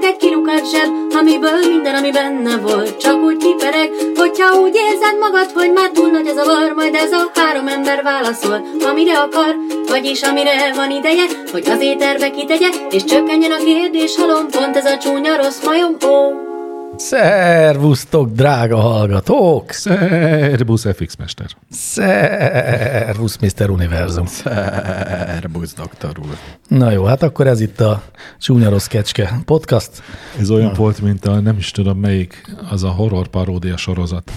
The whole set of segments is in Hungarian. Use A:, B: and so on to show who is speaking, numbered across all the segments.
A: egy kilukat zseb, amiből minden, ami benne volt, csak úgy kipereg, hogyha úgy érzed magad, hogy már túl nagy az a var, majd ez a három ember válaszol, amire akar, vagyis amire van ideje, hogy az éterbe kitegye, és csökkenjen a kérdés halom, pont ez a csúnya rossz majom, ó.
B: Szervusztok, drága hallgatók!
C: Szerbusz FX mester.
B: Szervusz, Mr. Univerzum!
C: Szerbusz doktor úr.
B: Na jó, hát akkor ez itt a Csúnya Rossz Kecske podcast.
C: Ez olyan Na. volt, mint a nem is tudom melyik, az a horror paródia sorozat.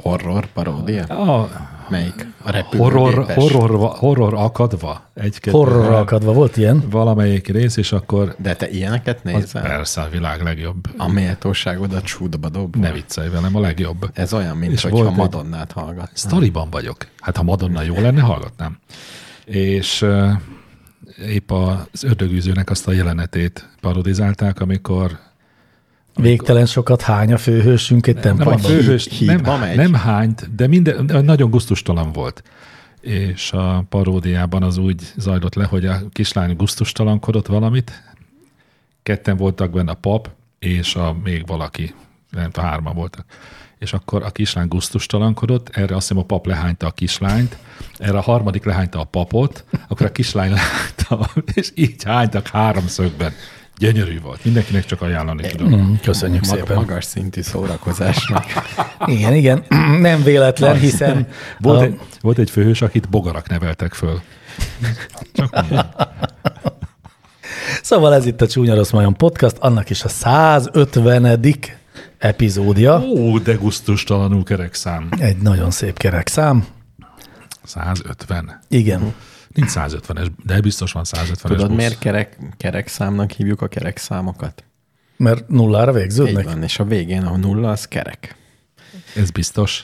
D: Horror paródia?
C: A,
D: Melyik? A
C: horror,
D: repülőgépes.
C: horror, horror akadva. Egy
B: Horrorra akadva volt ilyen?
C: Valamelyik rész, és akkor
D: De te ilyeneket
C: az
D: nézel?
C: persze a világ legjobb.
D: A méltóságod a csúdba dob.
C: Ne viccelj velem, a legjobb.
D: Ez olyan, mint
C: És
D: és
C: volt
D: hogyha
C: egy-
D: Madonnát hallgatsz.
C: E, Sztoriban vagyok. Hát ha Madonna jó lenne, hallgatnám. És ö, épp az ördögűzőnek azt a jelenetét parodizálták, amikor
B: Végtelen sokat hány a főhősünk egy
C: nem a
B: templomban.
D: fő-
C: főhős
D: Hí-
C: nem,
D: hídba megy.
C: nem hányt, de minden de nagyon guztustalan volt. És a paródiában az úgy zajlott le, hogy a kislány guztustalankodott valamit, ketten voltak benne a pap, és a még valaki, nem tudom, hárman voltak. És akkor a kislány guztustalankodott, erre azt hiszem a pap lehányta a kislányt, erre a harmadik lehányta a papot, akkor a kislány lehányta, és így hánytak háromszögben. Gyönyörű volt. Mindenkinek csak ajánlani tudom.
B: Mm, Köszönjük
D: Mag-
B: szépen.
D: magas szintű szórakozásnak.
B: Igen, igen, nem véletlen, hiszen
C: Volt,
B: a-
C: egy, volt egy főhős, akit bogarak neveltek föl. Csak mondom.
B: Szóval ez itt a Csúnya Rossz Majom Podcast, annak is a 150. epizódja.
C: Ó, de gusztustalanul kerek szám.
B: Egy nagyon szép kerek szám.
C: 150.
B: Igen.
C: Nincs 150-es, de biztos van 150-es
D: Tudod,
C: busz.
D: miért kerek, kerekszámnak hívjuk a kerekszámokat?
B: Mert nullára
D: Így
B: végződnek.
D: van, és a végén a nulla az kerek.
C: Ez biztos.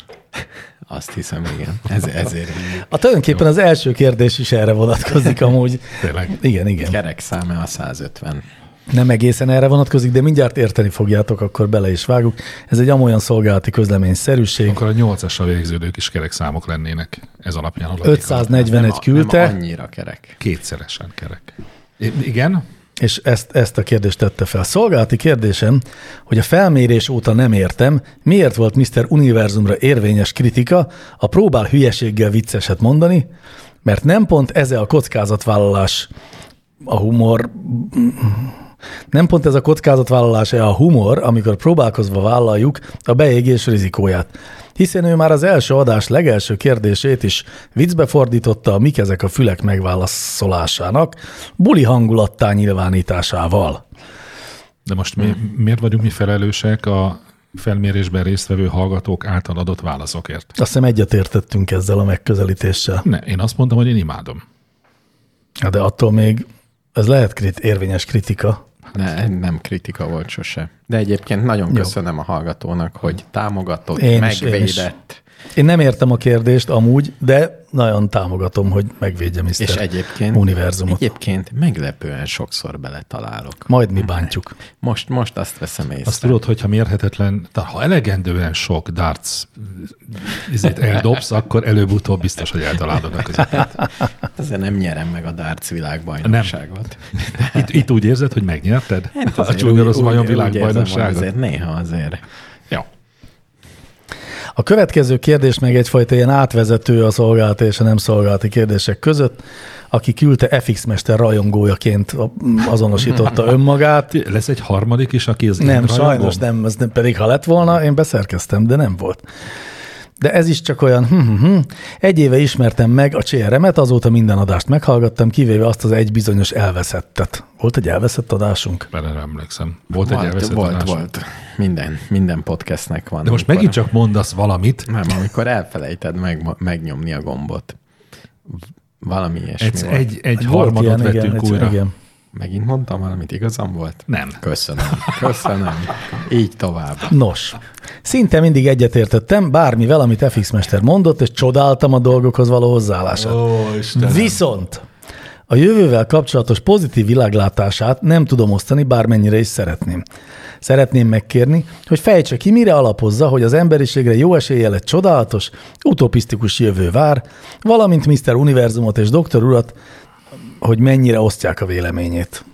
D: Azt hiszem, igen. Ez, ezért hívjuk.
B: A tulajdonképpen az első kérdés is erre vonatkozik amúgy.
C: Tényleg.
B: Igen, igen.
D: Kerekszáma a 150.
B: Nem egészen erre vonatkozik, de mindjárt érteni fogjátok, akkor bele is vágunk. Ez egy amolyan szolgálati közleményszerűség.
C: Akkor a 8-asra végződők is kerek számok lennének ez alapján. alapján.
B: 541
D: Nem, nem
B: küldte,
D: annyira kerek.
C: Kétszeresen kerek. I- igen?
B: és ezt, ezt a kérdést tette fel. Szolgálati kérdésem, hogy a felmérés óta nem értem, miért volt Mr. Univerzumra érvényes kritika, a próbál hülyeséggel vicceset mondani, mert nem pont ez a kockázatvállalás a humor Nem pont ez a kockázatvállalása a humor, amikor próbálkozva vállaljuk a beégés rizikóját. Hiszen ő már az első adás legelső kérdését is viccbe fordította a mik ezek a fülek megválaszolásának, buli hangulattá nyilvánításával.
C: De most mi, miért vagyunk mi felelősek a felmérésben résztvevő hallgatók által adott válaszokért?
B: Azt hiszem egyetértettünk ezzel a megközelítéssel.
C: Ne, én azt mondtam, hogy én imádom.
B: Na De attól még ez lehet krit- érvényes kritika.
D: Ne, nem kritika volt sose. De egyébként nagyon köszönöm a hallgatónak, hogy támogatott,
B: Én is, én is.
D: megvédett,
B: Én nem értem a kérdést amúgy, de nagyon támogatom, hogy megvédjem Mr.
D: és egyébként,
B: univerzumot.
D: egyébként meglepően sokszor beletalálok.
B: Majd mi bántjuk.
D: Most, most azt veszem észre.
C: Azt tudod, hogyha mérhetetlen, tehát ha elegendően sok darts izét eldobsz, akkor előbb-utóbb biztos, hogy eltalálod a közepet.
D: Ezzel Hát nem nyerem meg a darts világbajnokságot.
C: Itt, itt úgy érzed, hogy megnyerted?
D: Hát
C: a
D: azért
C: csúnya
D: úgy-
C: rossz
D: úgy-
C: vajon
D: úgy érzem, hogy
C: világbajnokságot?
D: Azért néha azért.
C: Ja.
B: A következő kérdés meg egyfajta ilyen átvezető a szolgálati és a nem szolgálati kérdések között, aki küldte FX Mester rajongójaként a- azonosította önmagát.
C: Ti- Lesz egy harmadik is, aki az én
B: Nem,
C: rajongom?
B: sajnos nem, ez nem, pedig ha lett volna, én beszerkeztem, de nem volt. De ez is csak olyan, hm, hm, hm. egy éve ismertem meg a CRM-et, azóta minden adást meghallgattam, kivéve azt az egy bizonyos elveszettet. Volt egy elveszett adásunk?
C: Bele nem emlékszem. Volt, egy
D: Volt,
C: elveszett
D: volt,
C: adás.
D: volt. Minden, minden podcastnek van.
C: De most
D: amikor-
C: megint csak mondasz valamit,
D: Nem, amikor elfelejted meg, megnyomni a gombot. Valami ilyesmi
C: egy,
D: volt. Egy...
C: egy, egy
B: Volt
C: harmadot vettünk
B: egy-
C: újra.
B: Igen.
D: Megint mondtam valamit, igazam volt?
C: Nem.
D: Köszönöm, köszönöm. Így tovább.
B: Nos, szinte mindig egyetértettem bármivel, amit FX Mester mondott, és csodáltam a dolgokhoz való hozzáállását. Viszont a jövővel kapcsolatos pozitív világlátását nem tudom osztani, bármennyire is szeretném. Szeretném megkérni, hogy fejtse ki, mire alapozza, hogy az emberiségre jó eséllyel egy csodálatos, utopisztikus jövő vár, valamint Mr. Univerzumot és Dr. Urat, hogy mennyire osztják a véleményét.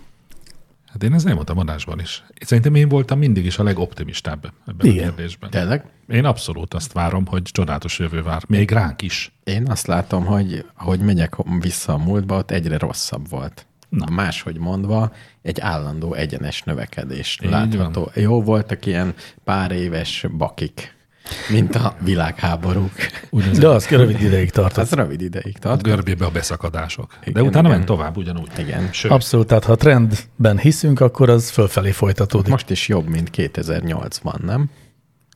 C: Hát én ezt nem mondtam adásban is. Szerintem én voltam mindig is a legoptimistább ebben Igen.
B: Igen.
C: a kérdésben. De.
D: Tényleg?
C: Én abszolút azt várom, hogy csodálatos jövő vár. Még ránk is.
D: Én azt látom, hogy ahogy megyek vissza a múltba, ott egyre rosszabb volt. Na. Máshogy mondva, egy állandó egyenes növekedés
C: Így
D: látható. Jó voltak ilyen pár éves bakik, mint a világháborúk.
B: De az rövid ideig tartott.
D: Az rövid ideig
C: A
D: tart.
C: görbébe a beszakadások. Igen, De
D: Igen,
C: utána
D: igen.
C: ment tovább ugyanúgy.
D: Igen.
C: Sőt,
B: Abszolút, tehát ha a trendben hiszünk, akkor az fölfelé folytatódik.
D: Most is jobb, mint 2008-ban, nem?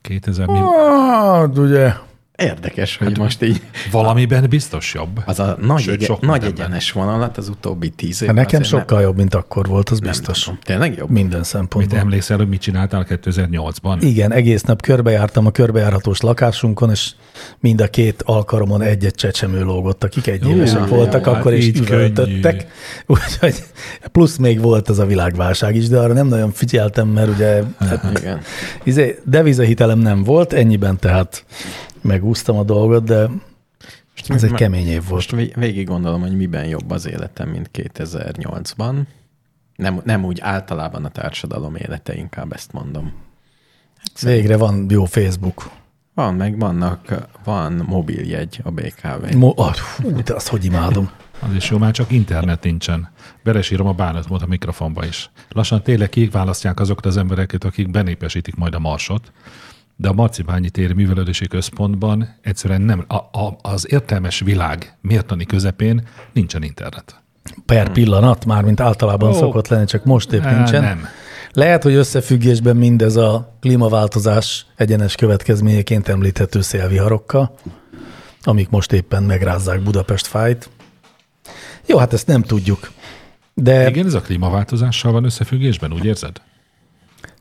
C: 2000 mi?
B: Hát, ugye,
D: Érdekes, hogy most így
C: Valamiben biztos jobb.
D: az a nagy,
C: Sőt,
D: Sőt,
C: sok
D: ege, nagy
C: mindenben.
D: egyenes vonalat az utóbbi tíz évben.
B: hát nekem
D: azért
B: sokkal jobb, mint akkor volt, az biztos.
D: Nem, tényleg jobb?
B: Minden
C: Mit
B: szempontból.
C: emlékszel, hogy mit csináltál 2008-ban?
B: Igen, egész nap körbejártam a körbejárhatós lakásunkon, és mind a két alkalomon egy-egy csecsemő lógott, akik egy évesek
D: jaj,
B: voltak,
C: jaj,
B: akkor
C: hát
B: is
C: így
B: üvöltöttek. Úgyhogy plusz még volt ez a világválság is, de arra nem nagyon figyeltem, mert ugye hát,
D: Igen.
B: izé, devizahitelem nem volt, ennyiben tehát megúsztam a dolgot, de
D: Most
B: ez egy
D: ma-
B: kemény év volt.
D: Most vég- végig gondolom, hogy miben jobb az életem, mint 2008-ban. Nem, nem úgy általában a társadalom élete, inkább ezt mondom.
B: Végre van jó Facebook.
D: Van, meg vannak, van mobiljegy a BKV.
B: Mo- ah, hú, de azt hogy imádom.
C: Az is jó, már csak internet nincsen. Beresírom a bánatmód a mikrofonba is. Lassan tényleg kiválasztják azokat az embereket, akik benépesítik majd a marsot, de a Marcibányi téri művelődési központban egyszerűen nem, a, a, az értelmes világ mértani közepén nincsen internet.
B: per pillanat, mármint általában
C: Hmm. Ó.
B: oh. szokott lenni, csak most épp
C: Á,
B: nincsen.
C: nem.
B: Lehet, hogy összefüggésben mindez a klímaváltozás egyenes következményeként említhető szélviharokkal, amik most éppen megrázzák Budapest fájt. Jó, hát ezt nem tudjuk. De Igen?
C: Igen, ez a klímaváltozással van összefüggésben, úgy érzed?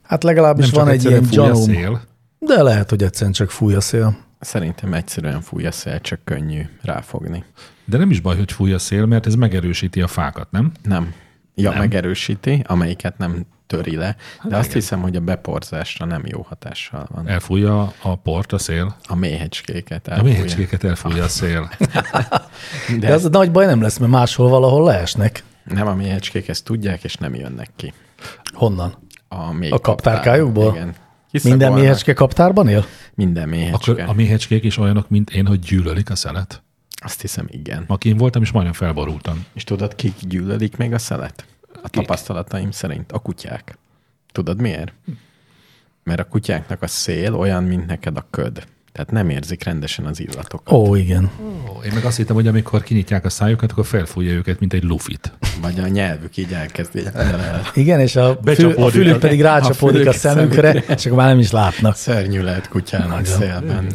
B: hát legalábbis van egy
C: egyszerűen
B: ilyen
C: fúj a
B: gyanúm.
C: szél.
B: De lehet, hogy egyszerűen csak fúj a szél.
D: Szerintem egyszerűen fúj a szél, csak könnyű ráfogni.
C: De nem is baj, hogy fúj a szél, mert ez megerősíti a fákat, nem?
D: Nem. Ja, nem. megerősíti, amelyiket nem töri le, de
B: Hát
D: azt hiszem, hogy a beporzásra nem jó hatással van.
C: Elfújja a port a szél,
D: A méhecskéket
C: a
D: elfújja.
C: méhecskéket elfújja a szél.
D: De
B: De ez a nagy baj nem lesz, mert máshol valahol leesnek.
D: nem a méhecskék, ezt tudják, és nem jönnek ki.
B: Honnan?
D: A, méh
B: A kaptárkájukból?
D: kaptár- Igen.
B: Minden
D: Kiszabolnak.
B: méhecske kaptárban él?
D: Minden méhecske.
C: Akkor a méhecskék is olyanok, mint én, hogy gyűlölik a szelet.
D: Azt hiszem, igen.
C: Ma kín voltam, és majdnem felborultam.
D: És tudod, kik gyűlölik még a szelet? A tapasztalataim szerint a kutyák. Tudod miért? Mert a kutyáknak a szél olyan, mint neked a köd. Tehát nem érzik rendesen az illatokat.
B: Ó, igen.
C: Ó, én meg azt hittem, hogy amikor kinyitják a szájukat, akkor felfújja őket, mint egy lufit.
D: Vagy a nyelvük így elkezd. így-
B: Igen, és a, fül, a
C: Becsapódik
B: fülük
C: a-
B: pedig rácsapódik
D: fülük
B: a szemükre, és akkor már nem is látnak.
D: Szörnyű lehet kutyának
B: Nagyon.
D: szélben.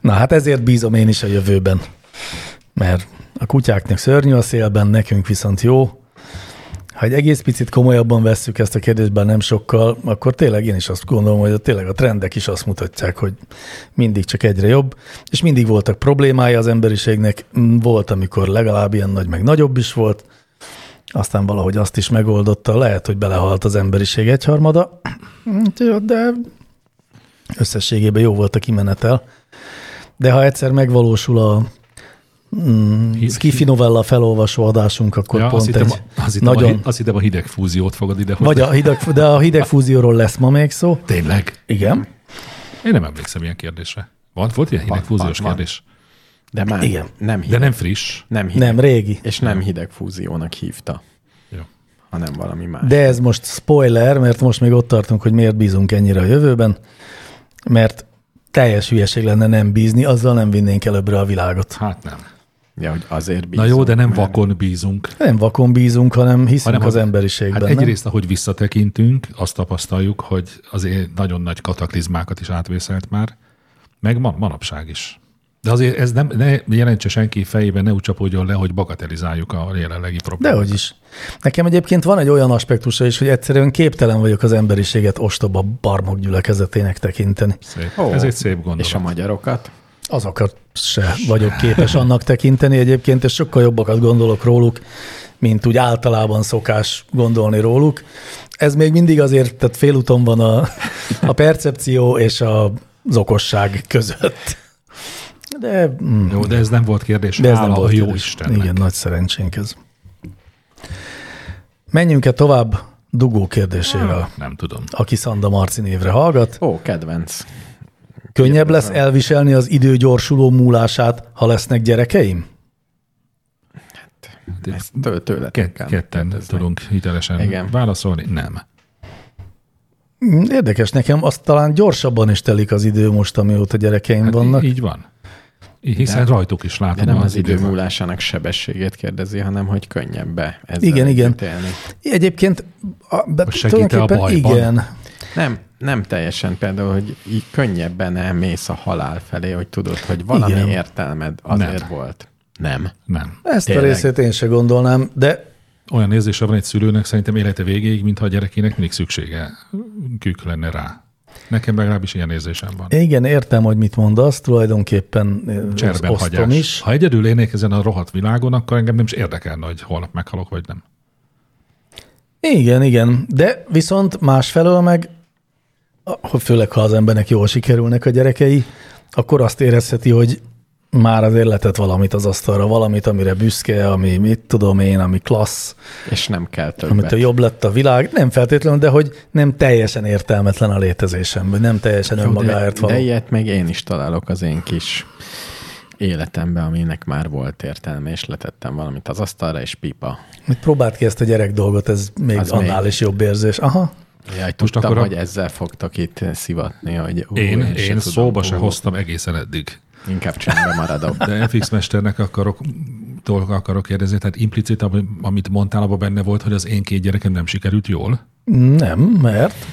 B: Na hát ezért bízom én is a jövőben. Mert a kutyáknak szörnyű a szélben, nekünk viszont jó. Ha egy egész picit komolyabban vesszük ezt a kérdést, bár nem sokkal, akkor tényleg én is azt gondolom, hogy a- tényleg a trendek is azt mutatják, hogy mindig csak egyre jobb, és mindig voltak problémája az emberiségnek, Mm, volt, amikor legalább ilyen nagy, meg nagyobb is volt, aztán valahogy azt is megoldotta, lehet, hogy belehalt az emberiség egyharmada, Úgyhogy, de összességében jó volt a kimenetel. De ha egyszer megvalósul a mm,
C: Hi-
B: Skifi novella felolvasó adásunk, akkor ja,
C: azt,
B: pont
C: hittem,
B: egy
C: azt, hittem nagyon... a,
B: nagyon...
C: hi- azt hittem a hideg fúziót fogod ide
B: Vagy a hideg, de a hidegfúzióról lesz ma még szó.
C: Tényleg?
B: Igen.
C: Én nem emlékszem ilyen kérdésre. Van, volt ilyen
D: Van,
C: hidegfúziós
D: van, van.
C: kérdés?
D: De már
B: Igen.
D: nem
C: De
D: hideg.
C: nem friss.
D: nem hideg.
B: Nem, régi.
D: És nem hideg fúziónak hívta,
C: Jó.
D: hanem valami más.
B: De ez most spoiler, mert most még ott tartunk, hogy miért bízunk ennyire a jövőben, mert teljes hülyeség lenne nem bízni, azzal nem vinnénk előbbre a világot.
C: Hát nem. Bízunk,
D: Ja, hogy azért
C: Na
D: bízunk,
C: jó, de nem
D: mert-
C: vakon bízunk.
B: Nem vakon bízunk, hanem hiszünk
C: Hanem
B: hanem az
C: a-
B: emberiségben.
C: Hát
B: nem?
C: egyrészt, ahogy visszatekintünk, azt tapasztaljuk, hogy azért nagyon nagy kataklizmákat is átvészelt már, meg ma, manapság is. De azért ez nem, ne jelentse senki fejében, ne úgy csapódjon le, hogy bagatelizáljuk a jelenlegi problémát.
B: Dehogy is. Nekem egyébként van egy olyan aspektusa is, hogy egyszerűen képtelen vagyok az emberiséget ostoba barmok gyülekezetének tekinteni.
C: Szép.
D: Ó,
C: Oh, ez egy szép gondolat.
D: És a magyarokat?
B: Azokat se vagyok képes annak tekinteni egyébként, és sokkal jobbakat gondolok róluk, mint úgy általában szokás gondolni róluk. Ez még mindig azért, tehát félúton van a, a percepció és a, az okosság között. De, mm,
C: Jó, de ez nem volt kérdés.
B: de ez
C: Hála
B: nem volt
C: a jó
B: kérdés.
C: Istennek.
B: Igen, nagy szerencsénk ez. Menjünk-e tovább dugó kérdésével,
C: Nem tudom.
B: aki Szanda Marci névre hallgat.
D: Ó, kedvenc.
B: Könnyebb lesz elviselni az idő gyorsuló múlását, ha lesznek gyerekeim?
D: Ezt tő, tőle.
C: Kett, ketten tudunk hitelesen
D: Igen.
C: válaszolni. Nem.
B: Mm, Érdekes nekem, azt talán gyorsabban is telik az idő most, amióta gyerekeim hát
C: Hát
B: vannak.
C: í- Így van. Í- Hiszen rajtuk is
D: De
C: látom
D: nem az idő
C: időt.
D: múlásának sebességét kérdezi, hanem hogy könnyebb be ezzel
B: Igen, igen.
D: együtt élni.
B: Egyébként a, be,
C: Most segít-e a
B: tulajdonképpen
C: bajban?
B: igen.
D: Nem, nem teljesen például, hogy így könnyebben elmész a halál felé, hogy tudod, hogy valami
B: Igen.
D: igen. értelmed azért
C: Nem.
D: nem. volt. Nem.
C: Nem.
B: Ezt Tényleg.
D: Tényleg.
B: a részét én se gondolnám, de
C: Olyan érzése van egy szülőnek szerintem élete végéig, mintha a gyerekének mindig szüksége kük lenne rá. Nekem legalábbis ilyen érzésem van.
B: igen, értem, hogy mit mondasz, tulajdonképpen eh, azt
C: Cserben
B: osztom
C: hagyás.
B: is.
C: Ha egyedül élnék ezen a rohadt világon, akkor engem nem is érdekelne, hogy holnap meghalok, vagy nem.
B: Igen, igen, de viszont másfelől meg, a- főleg ha az embernek jól sikerülnek a gyerekei, akkor azt érezheti, hogy már azért letett valamit az asztalra, valamit, amire büszke, ami mit tudom én, ami klassz,
D: És nem kell
B: amit a
D: többet.
B: jobb lett a világ, nem feltétlenül, de hogy nem teljesen értelmetlen a létezésem, vagy nem teljesen önmagáért
D: de, de
B: való.
D: ilyet még én is találok az én kis életembe, aminek már volt értelme, és letettem valamit az asztalra, és pipa.
B: Mit próbált ki ezt a gyerek dolgot, ez még az
D: Az
B: annál
D: még.
B: is jobb érzés. Aha,
D: Jaj, tudtam,
C: akkor
D: akkor
C: a-
D: hogy ezzel fogtok itt szivatni, hogy ú,
C: Én,
D: se
C: én
D: tudom,
C: szóba se
D: ú,
C: hoztam egészen eddig.
D: Inkább csendben maradok.
C: De FX mesternek akarok, tól akarok kérdezni, tehát implicit, ami- amit mondtál, abban benne volt, hogy az én két gyerekem nem sikerült jól.
B: nem, mert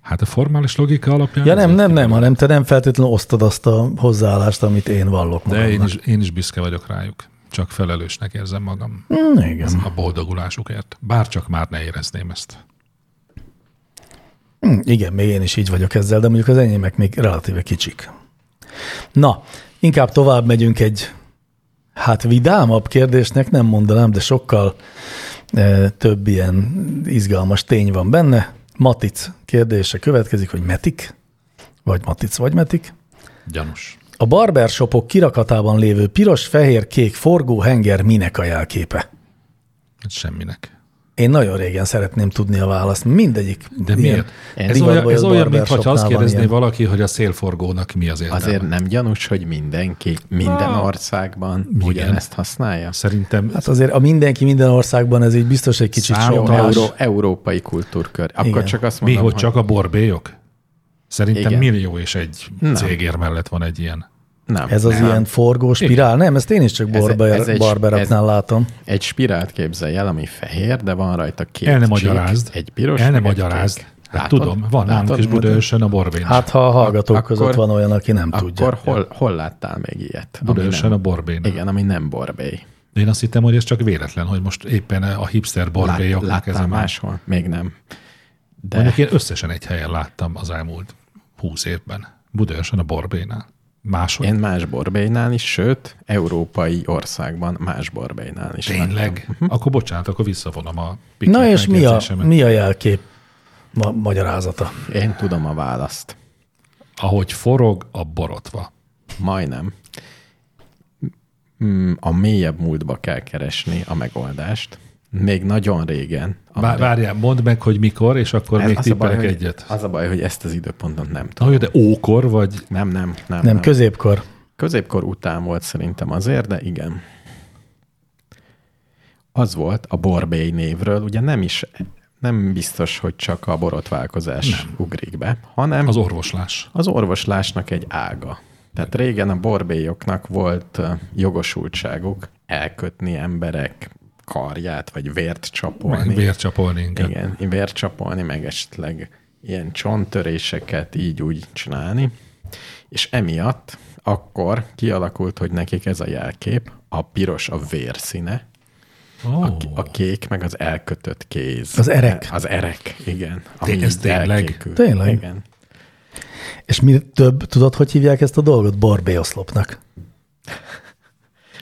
C: Hát a formális logika alapján...
B: Ja
C: ez
B: nem,
C: egy-
B: nem, nem, hanem te nem feltétlenül osztod azt a hozzáállást, amit én vallok
C: De én
B: magamnak.
C: is, én is büszke vagyok rájuk. Csak felelősnek érzem magam
B: Mm, igen.
C: a boldogulásukért. Bárcsak már ne érezném ezt.
B: Mm, igen, még én is így vagyok ezzel, de mondjuk az enyémek még relatíve kicsik. Na, inkább tovább megyünk egy, hát vidámabb kérdésnek nem mondanám, de sokkal e, több ilyen izgalmas tény van benne. Matic kérdése következik, hogy metik, vagy matic, vagy metik.
C: Gyanús.
B: A barbershopok kirakatában lévő piros, fehér, kék forgó henger minek a jelképe?
C: Hát Semminek.
B: Én nagyon régen szeretném tudni a választ. Mindegyik.
C: De
B: ilyen
C: miért? Ez
B: divatban
C: olyan, ez
B: jött
C: olyan mintha
B: barbershopnál
C: azt
B: van
C: kérdezné
B: ilyen.
C: valaki, hogy a szélforgónak mi az értelme.
D: Azért nem gyanús, hogy mindenki minden országban ugyanezt használja?
C: Szerintem
B: Hát azért a mindenki minden országban ez így biztos egy kicsit
C: Számos-
B: sajnálás.
D: Euró, európai kultúrkör. Akkor
B: Igen.
D: csak azt
C: mi,
D: mondom,
C: hogy, csak a borbélyok? Szerintem
D: Igen.
C: millió és egy cégér mellett van egy ilyen.
D: nem.
B: Ez az
D: nem.
B: ilyen forgó spirál? Nem, ezt én is csak
D: Ez-
B: barber,
D: ez egy-
B: barberaknál látom.
D: Egy spirált képzelj el, ami fehér, de van rajta két
C: El nem
D: csík,
C: magyarázd.
D: egy piros,
C: El nem
D: meg egy
C: magyarázd.
D: kék.
C: Hát
D: Látod?
C: tudom, van nálunk
D: Látod?
C: is Budaörsön a borbény.
B: Hát ha a hallgatók
D: Akkor-
B: között van olyan, aki nem tudja.
D: Akkor hol, hol láttál még ilyet? ami
C: Budaörsön
D: nem-
C: a borbény.
D: Igen, ami nem borbély.
C: Én azt hittem, hogy ez csak véletlen, hogy most éppen a hipster
D: Lát,
C: borbélyoknak ez a
D: láttál
C: más.
D: máshol? Még nem. De
C: Mondjuk én összesen egy helyen láttam az elmúlt húsz évben. Budaörsön a borbénál. Máshol.
D: én más borbélynál is, sőt, európai országban más borbélynál is.
C: Tényleg? Akkor bocsánat, akkor visszavonom a piknik
B: Na és mi a,
C: megjegyzésemet.
B: mi a jelkép ma- magyarázata?
D: Én tudom a választ.
C: Ahogy forog a borotva.
D: Ah, Majdnem. Mm, A mélyebb múltba kell keresni a megoldást. Még nagyon régen.
C: Bá- Várjál, mondd meg, hogy mikor, és akkor
D: Ez-
C: még
D: az a baj,
C: tippelek
D: hogy-
C: egyet.
D: Az a baj, hogy ezt az időpontot nem tudom.
C: Na, jó, de ókor, vagy
D: Nem, nem, nem.
B: Nem, középkor.
D: Középkor után volt szerintem azért, de igen. Az volt a borbély névről, ugye nem is, nem biztos, hogy csak a borotválkozás nem. ugrik be, hanem
C: az
D: az,
C: orvoslás.
D: az orvoslásnak egy ága. Tehát régen a borbélyoknak volt ö, jogosultságuk elkötni emberek karját, vagy vért csapolni.
C: Vércsapolni inkább.
D: hát Igen, vért csapolni, meg esetleg ilyen csonttöréseket így úgy csinálni. És emiatt akkor kialakult, hogy nekik ez a jelkép, a piros a vérszíne,
C: Ó,
D: a kék meg az elkötött kéz.
B: Az erek.
D: Az erek, igen.
C: Té- ez
D: így
C: tényleg?
D: elkékül.
B: Tényleg?
D: Igen.
B: És mi több, tudod, hogy hívják ezt a dolgot? Barbéoszlopnak.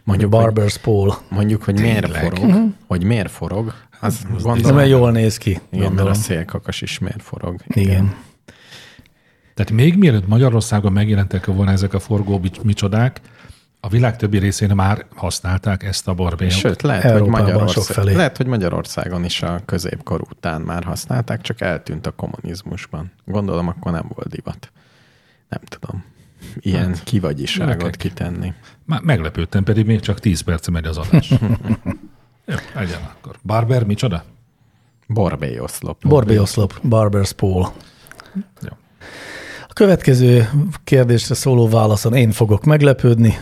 D: Mondjuk, hogy,
B: Barber's pole.
D: mondjuk, hogy miért forog, hogy miért forog, Mhm. az
B: Nem,
D: gondolom,
B: mert jól néz ki,
D: igen, mert a
B: gondolom.
D: szélkakas is miért forog.
B: Igen.
C: Tehát még mielőtt Magyarországon megjelentek volna ezek a forgó micsodák, A világ többi részén már használták ezt a borbélyot.
D: Sőt, lehet,
B: Európában
D: hogy Magyarország,
B: sokfelé.
D: lehet, hogy Magyarországon is a középkor után már használták, csak eltűnt a kommunizmusban. Gondolom, akkor nem volt divat. Nem tudom. Ilyen hát, kivagyiságot
C: gyerekek.
D: kitenni.
C: Már meglepődtem, pedig még csak 10 perc megy az adás. Jó, legyen akkor. Barber, micsoda?
D: Borbély oszlop.
B: Borbéoszlop, Barber's Paul.
C: Jó.
B: A következő kérdésre szóló válaszon én fogok meglepődni.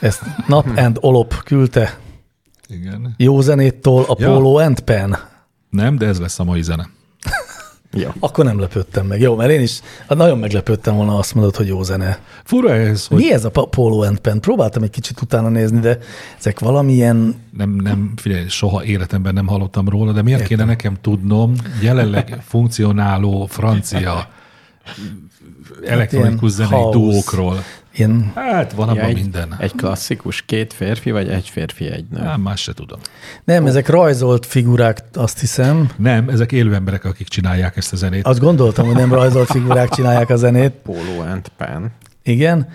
B: Ezt Nap
C: Hm.
B: and Olop küldte
C: Igen.
B: jó zenéttól a
C: Ja.
B: Polo and Pen.
C: Nem, de ez lesz a mai zene.
D: Jó.
B: Akkor nem lepődtem meg. Jó, mert én is hát nagyon meglepődtem volna, ha azt mondod, hogy jó zene.
C: Fura ez, hogy
B: Hogy... Mi ez a pa- Polo and Pen? Próbáltam egy kicsit utána nézni, de ezek valamilyen
C: nem, nem, figyelj, soha életemben nem hallottam róla, de miért kéne nekem tudnom jelenleg funkcionáló francia elektronikus
B: ilyen
C: zenei
B: house.
C: duókról?
B: ilyen
C: Hát van
D: Ja,
C: abban
D: egy,
C: minden.
D: egy klasszikus, két férfi, vagy egy férfi, egy
B: Hát.
D: nő.
C: Nem, más se tudom.
B: Nem, ezek rajzolt figurák, azt hiszem.
C: Nem, ezek élő emberek, akik csinálják ezt a zenét.
B: Azt gondoltam, hogy nem rajzolt figurák csinálják a zenét.
D: Polo and Pen.
B: Igen.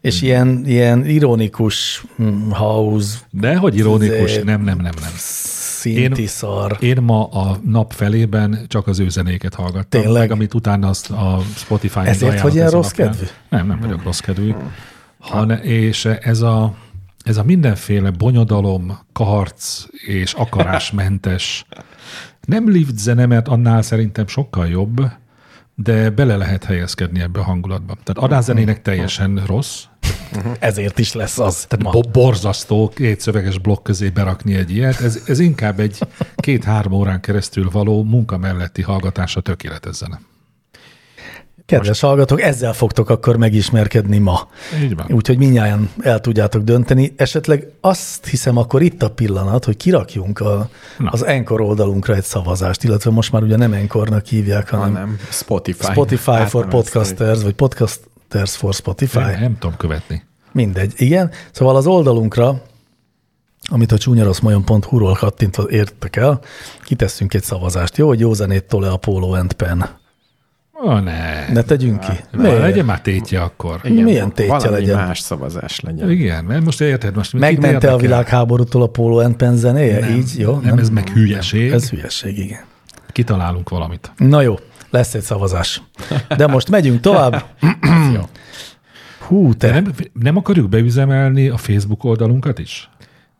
B: És ilyen, ilyen ironikus hm, house
C: De hogy ironikus,
B: Izé-
C: nem, nem, nem, nem.
B: szinti én... szar.
C: Én ma a nap felében csak az ő zenéket hallgattam.
B: Tényleg?
C: Meg amit utána azt a Spotify-on
B: Ezért,
C: ajánlott
B: hogy ilyen
C: ez a
B: rossz
C: napján.
B: kedvű? Hm.
C: Nem, nem vagyok rossz kedvű. Hanem, és ez a, ez a mindenféle bonyodalom, karc és akarásmentes nem lift zene, mert annál szerintem sokkal jobb, de bele lehet helyezkedni ebbe a hangulatba. Tehát
B: Hm,
C: adászenének teljesen rossz,
B: Ezért is lesz az.
C: tehát bo- borzasztó két szöveges blokk közé berakni egy ilyet. Ez, ez inkább egy két-három órán keresztül való munka melletti hallgatása tökéletes zene.
B: Kedves most... hallgatók, ezzel fogtok akkor megismerkedni ma.
C: Így van.
B: Úgyhogy minnyáján el tudjátok dönteni. Esetleg azt hiszem, akkor itt a pillanat, hogy kirakjunk a,
C: Na.
B: az Enkor oldalunkra egy szavazást, illetve most már ugye nem Enkornak hívják, hanem, hanem
D: Hanem Spotify.
B: Spotify
D: Hát
B: for
D: nem ezt,
B: Podcasters, vagy Podcasters for Spotify.
C: Nem, nem tudom követni.
B: Mindegy, igen. Szóval az oldalunkra, amit a csúnyaroszmajon.hu-ról kattintva értek el, kitesszünk egy szavazást. Jó, hogy jó zenét tol-e a Polo and Pen?
C: Ó, ne.
B: Ne tegyünk ki.
C: ne.
B: Miért?
C: Legyen már tétje akkor.
D: hogy
B: milyen tétje
D: valami
B: legyen?
D: más szavazás legyen.
C: Igen, mert most érted, most mit
B: Megmente a
C: érdekel?
B: világháborútól a Polo and Pen zenéje? Nem, Így, jó?
C: Nem, ez meg hülyeség.
B: Ez
C: Ez...
B: hülyeség, igen.
C: Kitalálunk valamit.
B: Na jó, lesz egy szavazás. De most megyünk tovább.
C: Jó.
B: Hú,
C: De
B: te,
C: nem, nem akarjuk beüzemelni a Facebook oldalunkat is?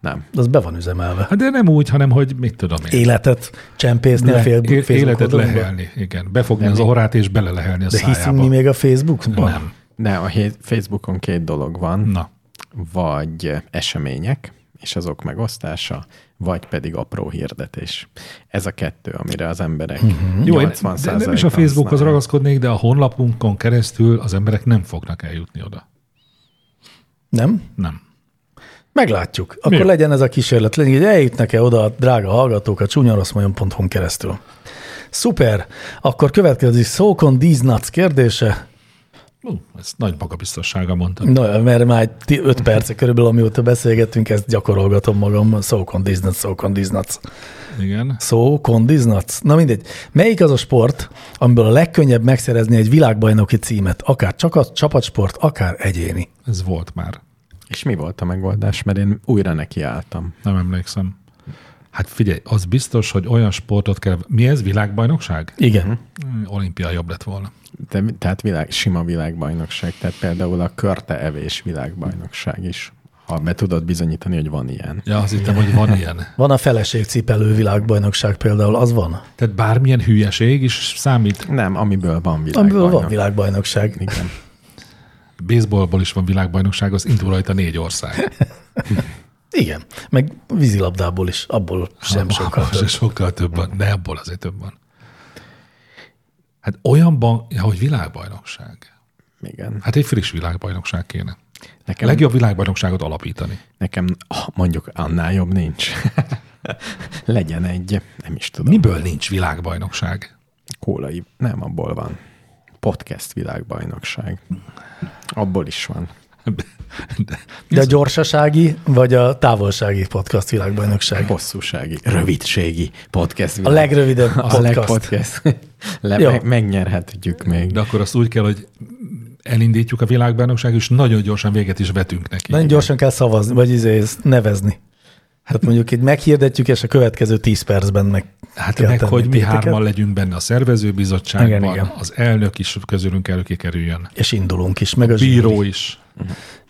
D: Nem.
B: az be van üzemelve.
C: Hát de nem úgy, hanem hogy mit tudom én.
B: Életet csempészni a
C: Le-
B: fél,
C: é-
B: Facebook
C: életet
B: oldalunkba?
C: lehelni, igen. Befogni az orrát és belelehelni a
B: De
C: szájába.
B: hiszünk mi még a Facebookban?
C: Nem.
D: De a hé- Facebookon két dolog van.
C: Na.
D: vagy események, és azok megosztása, vagy pedig apró hirdetés. Ez a kettő, amire az emberek uh-huh.
C: Mhm. Jó, én
D: 80
C: de nem is a Facebookhoz ragaszkodnék, de a honlapunkon keresztül az emberek nem fognak eljutni oda.
B: Nem?
C: Nem.
B: Meglátjuk. Akkor
C: Mi?
B: legyen ez a kísérlet. Legyen, hogy eljutnak-e oda a drága hallgatók a csúnyaroszmajon.hu-n keresztül. Szuper. Akkor következik szókon These Nuts kérdése.
C: Ú, ezt nagy magabiztossága mondta.
B: Na, mert már 5 perce körülbelül, amióta beszélgettünk, ezt gyakorolgatom magamban. Szókon These Nuts, szókon These Nuts.
C: Igen.
B: Szókon These Nuts. Na mindegy. Melyik az a sport, amiből a legkönnyebb megszerezni egy világbajnoki címet? Akár csak a csapatsport, akár egyéni.
C: Ez volt már.
D: És mi volt a megoldás? Mert én újra nekiálltam.
C: Nem emlékszem. Hát figyelj, az biztos, hogy olyan sportot kell... Mi ez? Világbajnokság?
B: Igen.
C: Hm, Olimpia jobb lett volna.
D: De, tehát világ, sima világbajnokság, tehát például a körte evés világbajnokság is. Ha be tudod bizonyítani, hogy van ilyen.
C: Ja, azt hittem, hogy van ilyen.
B: Van a feleségcipelő világbajnokság például, az van?
C: Tehát bármilyen hülyeség is számít.
D: Nem, amiből van világbajnok.
B: Amiből van világbajnokság.
D: Igen.
C: Baseballból is van világbajnokság, az indul rajta négy ország.
B: Igen, meg vízilabdából is, abból sem sokkal
C: Abban
B: több.
C: se sokkal több van, de abból azért több van. Hát olyanban, ja, hogy világbajnokság.
D: Igen.
C: Hát egy friss világbajnokság kéne.
D: Nekem,
C: Legjobb világbajnokságot alapítani.
D: nekem ah, mondjuk annál jobb nincs. Legyen egy, nem is tudom.
C: Miből nincs világbajnokság?
D: kólai, nem, abból van. Podcast világbajnokság. Abból is van.
C: De,
B: De a gyorsasági vagy a távolsági podcast világbajnokság?
D: Hosszúsági, rövidségi podcast
B: A
D: világ.
B: legrövidebb
D: a
B: podcast.
D: legpodcast. Le,
B: Jó.
D: me- megnyerhetjük még.
C: de akkor azt úgy kell, hogy elindítjuk a világbajnokság, és nagyon gyorsan véget is vetünk neki.
B: Nagyon gyorsan kell szavazni, vagy izé, ezt nevezni. Hát mondjuk itt meghirdetjük, és a következő 10 percben meg
C: Hát
B: kell
C: meg,
B: tenni
C: hogy mi
B: téteket,
C: hárman legyünk benne a szervezőbizottságban,
B: Igen, igen.
C: az elnök is közülünk előkikerüljön,
B: És indulunk is, meg a
C: bíró
B: zsűri.
C: is.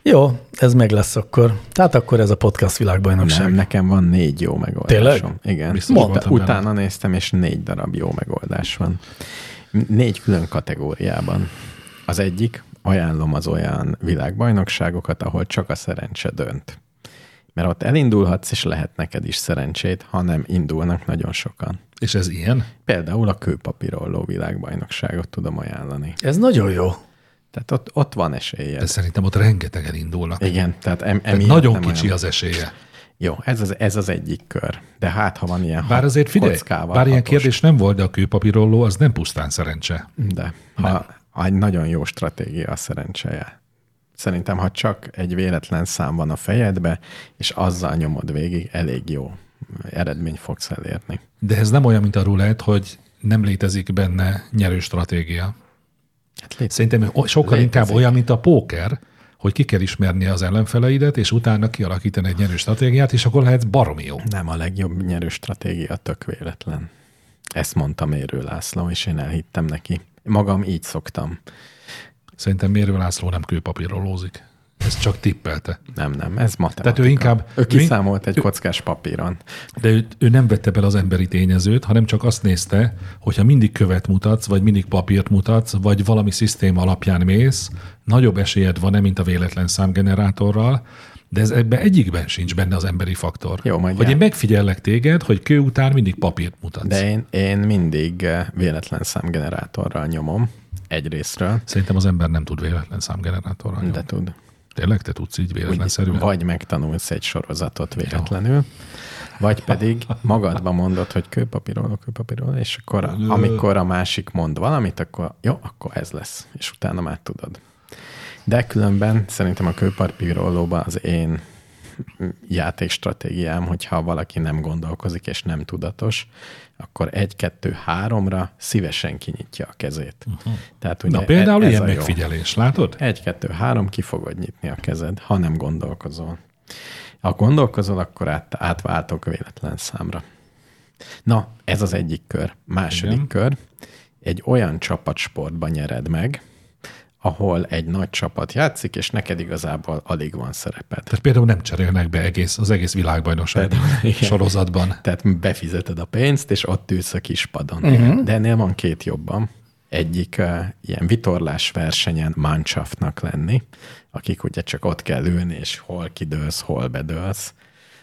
B: Jó, ez meg lesz akkor. Tehát akkor ez a podcast világbajnokság.
D: Nem, nekem van négy jó megoldásom.
B: Tényleg?
D: Igen.
C: Biztos
D: Uta-
C: voltam benne.
D: utána néztem, és négy darab jó megoldás van. N- Négy külön kategóriában. Az egyik, ajánlom az olyan világbajnokságokat, ahol csak a szerencse dönt. Mert ott elindulhatsz, és lehet neked is szerencsét, ha nem indulnak nagyon sokan.
C: És ez ilyen?
D: Például a kőpapírolló világbajnokságot tudom ajánlani.
B: Ez nagyon jó.
D: Tehát ott, ott van esélye.
C: De szerintem ott rengetegen indulnak.
D: Igen, tehát em,
C: Tehát
D: emiatt
C: nagyon
D: nem
C: kicsi
D: olyan-
C: az esélye.
D: Jó, ez az, ez az egyik kör. De hát, ha van ilyen
C: Bár
D: hat-
C: azért figyelj,
D: kockával
C: bár ilyen
D: hatos,
C: kérdés nem volt, de a kőpapírolló az nem pusztán szerencse.
D: De ha, ha egy nagyon jó stratégia a szerencseje. Szerintem, ha csak egy véletlen szám van a fejedbe, és azzal nyomod végig, elég jó eredmény fogsz elérni.
C: De ez nem olyan, mint a rulett, hogy nem létezik benne nyerő stratégia.
D: Hát létezik.
C: Szerintem o- sokkal
D: Létezik.
C: inkább olyan, mint a póker, hogy ki kell ismerni az ellenfeleidet, és utána kialakítani egy nyerő stratégiát, és akkor lehet baromi jó.
D: Nem a legjobb nyerő stratégia, tök véletlen. Ezt mondta Mérő László, és én elhittem neki. Magam így szoktam.
C: Szerintem Mérő László nem kőpapírolózik. Ez csak tippelte.
D: Nem, nem, ez matematika.
C: Tehát ő inkább-
D: Ő
C: ő-
D: kiszámolt egy kockás papíron.
C: De ő, ő nem vette bele az emberi tényezőt, hanem csak azt nézte, hogyha mindig követ mutatsz, vagy mindig papírt mutatsz, vagy valami szisztéma alapján mész, nagyobb esélyed van-e, mint a véletlen számgenerátorral, de ez ebben egyikben sincs benne az emberi faktor.
D: Jó, majd
C: hogy
D: jár.
C: én megfigyellek téged, hogy kő után mindig papírt mutatsz.
D: De én, én mindig eh, véletlen számgenerátorral nyomom, egyrésztről,
C: Szerintem az ember nem tud véletlen számgenerátorral.
D: de
C: nyomni.
D: tud.
C: Tényleg te tudsz így véletlenszerűen?
D: Úgy, vagy megtanulsz egy sorozatot véletlenül, vagy pedig magadba mondod, hogy kőpapíroló, kőpapíroló, és akkor a, amikor a másik mond valamit, akkor jó, akkor ez lesz, és utána már tudod. De különben szerintem a kőpapírolóban az én játékstratégiám, hogyha valaki nem gondolkozik és nem tudatos, akkor egy-kettő-háromra szívesen kinyitja a kezét. Uh-huh. Tehát ugye
C: Na például
D: e- ez
C: ilyen
D: a jó.
C: megfigyelés, látod?
D: Egy, kettő, három, ki fogod nyitni a kezed, ha nem gondolkozol. Ha gondolkozol, akkor át, átváltok véletlen számra. Na, ez az egyik kör. Második Igen.
C: Igen.
D: kör. Egy olyan csapatsportban nyered meg, ahol egy nagy csapat játszik, és neked igazából alig van szereped.
C: Tehát például nem cserélnek be egész, az egész világbajnokság sorozatban.
D: Tehát befizeted a pénzt, és ott ülsz a kis padon.
C: Mhm.
D: Uh-huh. De ennél van két jobban. Egyik uh, ilyen vitorlás versenyen Mannschaftnak lenni, akik ugye csak ott kell ülni, és hol kidőlsz, hol bedőlsz.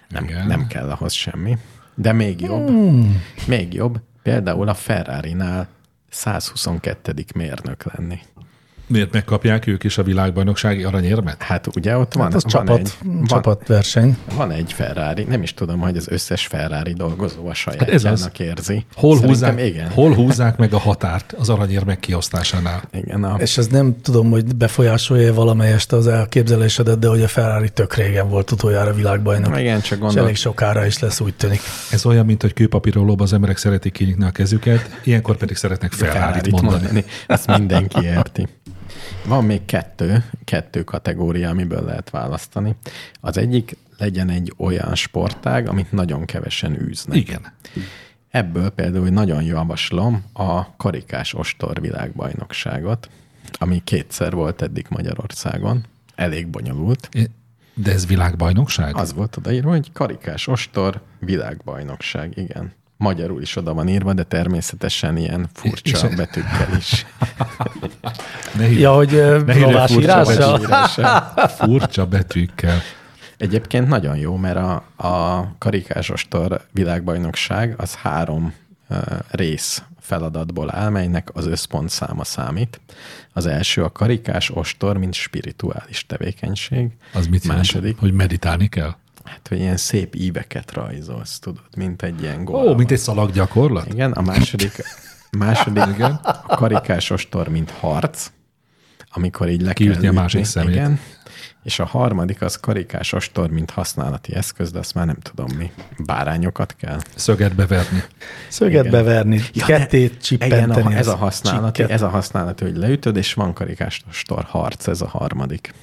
D: Nem,
C: Igen.
D: nem kell ahhoz semmi. De még jobb, hmm. még jobb, például a Ferrari-nál 122. mérnök lenni.
C: Miért megkapják ők is a világbajnoksági aranyérmet?
D: Hát ugye ott van,
B: Hát az
D: van,
B: csapat,
D: egy,
B: van.
D: van,
B: csapatverseny.
D: van egy Ferrari, nem is tudom, hogy az összes Ferrari dolgozó
C: ez
D: a
C: az.
D: sajátjának hát érzi.
C: Hol
D: Szerintem
C: húzzák,
D: igen.
C: hol húzzák meg a határt az aranyérmek kiosztásánál?
D: Igen, a,
B: És ez nem tudom, hogy befolyásolja valamelyest az elképzelésedet, de hogy a Ferrari tök régen volt utoljára világbajnok.
D: igen, csak
B: És
D: gondolom.
B: elég sokára is lesz, úgy tűnik.
C: Ez olyan, mint hogy kőpapírolóba az emberek szeretik kinyitni a kezüket, ilyenkor pedig szeretnek ferrari mondani. mondani.
D: Ezt mindenki érti. Van még kettő, kettő kategória, amiből lehet választani. Az egyik legyen egy olyan sportág, amit nagyon kevesen űznek.
C: Igen.
D: Ebből például nagyon javaslom a karikás ostor világbajnokságot, ami kétszer volt eddig Magyarországon. Elég bonyolult.
C: De ez világbajnokság?
D: Az volt odaírva, hogy karikás ostor világbajnokság, igen. Magyarul is oda van írva, de természetesen ilyen furcsa
C: és-
D: betűkkel is.
C: Ne hívj,
B: Ja, hogy ö,
C: ne hívj le
B: lovás
C: furcsa,
B: írással?
C: betű,
D: Betűírással.
C: furcsa betűkkel.
D: Egyébként nagyon jó, mert a, a karikás ostor világbajnokság az három ö, rész feladatból áll, melynek az összpont száma számít. Az első a karikás ostor, mint spirituális tevékenység.
C: Az mit
D: Második,
C: jelent, hogy meditálni kell?
D: hát, hogy ilyen szép íveket rajzolsz, tudod, mint egy ilyen
C: Ó,
D: golem.
C: oh, mint egy szalaggyakorlat?
D: Igen, a második, második igen. a karikás ostor, mint harc. amikor így le
C: Kiütni
D: kell
C: a másik
D: ütni.
C: szemét.
D: Igen. És a harmadik az karikás ostor, mint használati eszköz, de azt már nem tudom mi. Bárányokat kell.
C: Szöget beverni.
B: Szöget
D: Igen.
B: beverni, ja, kettét
D: igen,
B: csippenteni.
D: a, ez,
B: az
D: a használati,
B: csikket.
D: ez a használati, hogy leütöd, és van karikás ostor harc, ez a harmadik.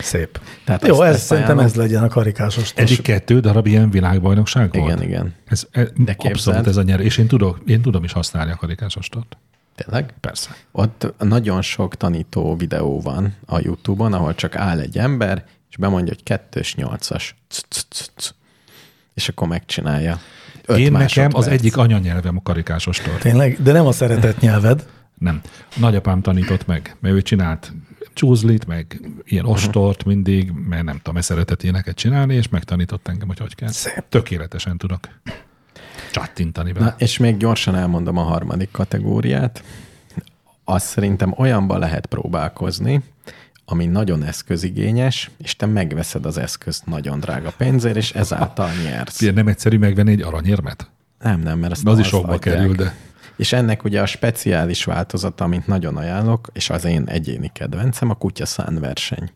B: Szép.
D: Tehát
B: Jó,
D: azt-
B: ez
D: ezt
B: szerintem
D: ajánlom.
B: ez legyen a karikásos.
C: Eddig kettő darab ilyen világbajnokság volt.
D: Igen, igen.
C: Ez, e, De
D: képzeld.
C: abszolút ez a nyer. És én, tudok, én tudom is használni a karikásostort.
D: Tényleg?
C: Persze.
D: Ott nagyon sok tanító videó van a YouTube-on, ahol csak áll egy ember, és bemondja, hogy kettős nyolcas. C-c-c-c. És akkor megcsinálja. Öt
C: én nekem
D: másodperc.
C: az egyik anyanyelvem a karikásostor.
B: Tényleg, de nem a szeretett nyelved.
C: Nem. Nagyapám tanított meg, mert ő csinált csúzlit, meg ilyen
D: Mhm.
C: ostort mindig, mert nem tudom, mert szeretett ilyeneket csinálni, és megtanított engem, hogy hogy kell.
B: Szép.
C: Tökéletesen tudok csattintani vele.
D: Na, és még gyorsan elmondom a harmadik kategóriát. Azt szerintem olyanban lehet próbálkozni, ami nagyon eszközigényes, és te megveszed az eszközt nagyon drága pénzért, és ezáltal nyersz.
C: Ilyen nem egyszerű megvenni egy aranyérmet?
D: Nem, nem, mert azt
C: De az is
D: azt
C: sokba
D: adják.
C: kerül, de
D: És ennek ugye a speciális változata, amit nagyon ajánlok, és az én egyéni kedvencem, a kutyaszán verseny.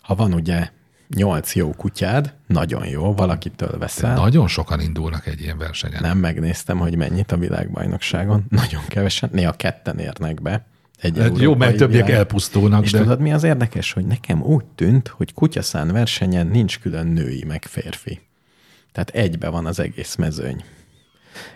D: Ha van ugye nyolc jó kutyád, nagyon jó, valakitől veszel.
C: nagyon sokan indulnak egy ilyen versenyen.
D: Nem megnéztem, hogy mennyit a világbajnokságon. Nagyon kevesen, néha ketten érnek be. Egy
C: Hát jó,
D: európai
C: mert többiek
D: világ-
C: elpusztulnak,
D: És
C: de-
D: tudod, mi az érdekes, hogy nekem úgy tűnt, hogy kutyaszán versenyen nincs külön női meg férfi. Tehát egybe van az egész mezőny.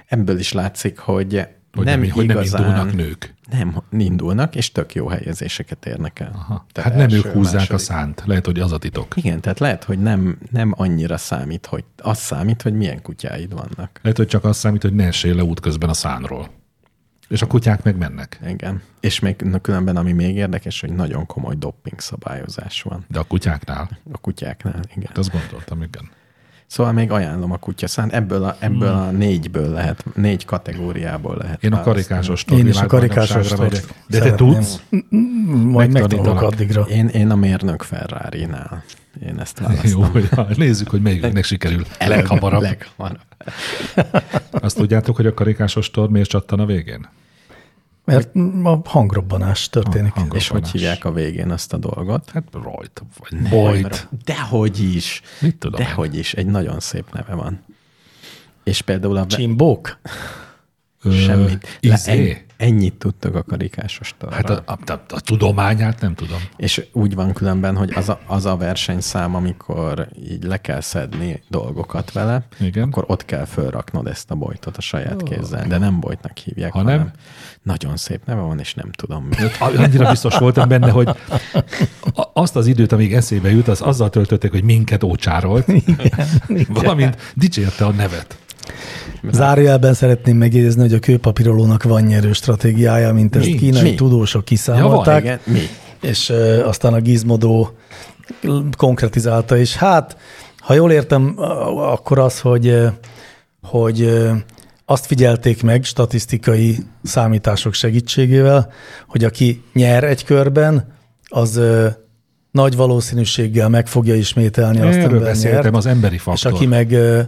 D: Ebből is látszik, hogy,
C: Hogy
D: nem,
C: nem, hogy nem
D: igazán,
C: indulnak nők.
D: Nem, indulnak, és tök jó helyezéseket érnek el.
C: Aha.
D: Tehát
C: hát nem
D: első,
C: ők húzzák
D: második.
C: a szánt. Lehet, hogy az a titok.
D: Igen, tehát lehet, hogy nem, nem annyira számít, hogy az számít, hogy milyen kutyáid vannak.
C: Lehet, hogy csak az számít, hogy ne essél le útközben a szánról. És a kutyák meg mennek.
D: Igen. És még na, különben, ami még érdekes, hogy nagyon komoly dopping szabályozás van
C: De a kutyáknál.
D: a kutyáknál. Igen.
C: Hát azt gondoltam, igen.
D: Szóval még ajánlom a kutyaszán. Ebből a, ebből a négyből lehet, négy kategóriából lehet.
C: Hmm. Én a
D: választani.
C: karikásos
B: Én is a karikásos
C: megyek. De te tudsz?
B: Majd megtanulok
C: Megtanítalak.
B: addigra.
D: Én, én a mérnök Ferrari-nál. Én ezt választom.
C: Jó, hogy nézzük, hogy melyiknek sikerül leghamarabb.
D: Leghamarabb.
C: Azt tudjátok, hogy a karikásos tor miért csattan a végén?
B: Mert a hangrobbanás történik.
C: Hang-
D: És hogy
C: Robbanás.
D: hívják a végén azt a dolgot?
C: Hát rajt, vagy bojt.
D: Dehogy is.
C: Mit tudom én?
D: Dehogy is. Egy nagyon szép neve van. És például a...
B: Csimbók?
C: Ö,
D: Semmit. Le, en,
C: Izé?
D: ennyit tudtak a karikásos tarra.
C: Hát a, a, a, a tudományát nem tudom.
D: És úgy van különben, hogy az a, az a versenyszám, amikor így le kell szedni dolgokat vele,
C: Igen.
D: akkor ott kell fölraknod ezt a bojtot a saját kézzel. De nem bojtnak hívják,
C: Ha nem?
D: Nagyon szép neve van, és nem tudom mi.
C: Annyira biztos voltam benne, hogy a- azt az időt, amíg eszébe jut, az azzal töltötték, hogy minket ócsárolt, valamint dicsérte a nevet.
B: Zárójelben szeretném megjegyezni, hogy a kőpapírolónak van nyerő stratégiája, mint ezt
C: Nincs.
B: kínai
D: Mi?
B: tudósok
C: Ja, van,
B: kiszámolták,
D: Igen, mi?
B: és ö, aztán a Gizmodó konkretizálta is. Hát, ha jól értem, a- akkor az, hogy, ö, hogy ö, azt figyelték meg statisztikai számítások segítségével, hogy aki nyer egy körben, az ö, nagy valószínűséggel meg fogja ismételni azt,
C: Erről
B: amivel nyert.
C: beszéltem, az emberi
B: És
C: faktor.
B: aki meg ö,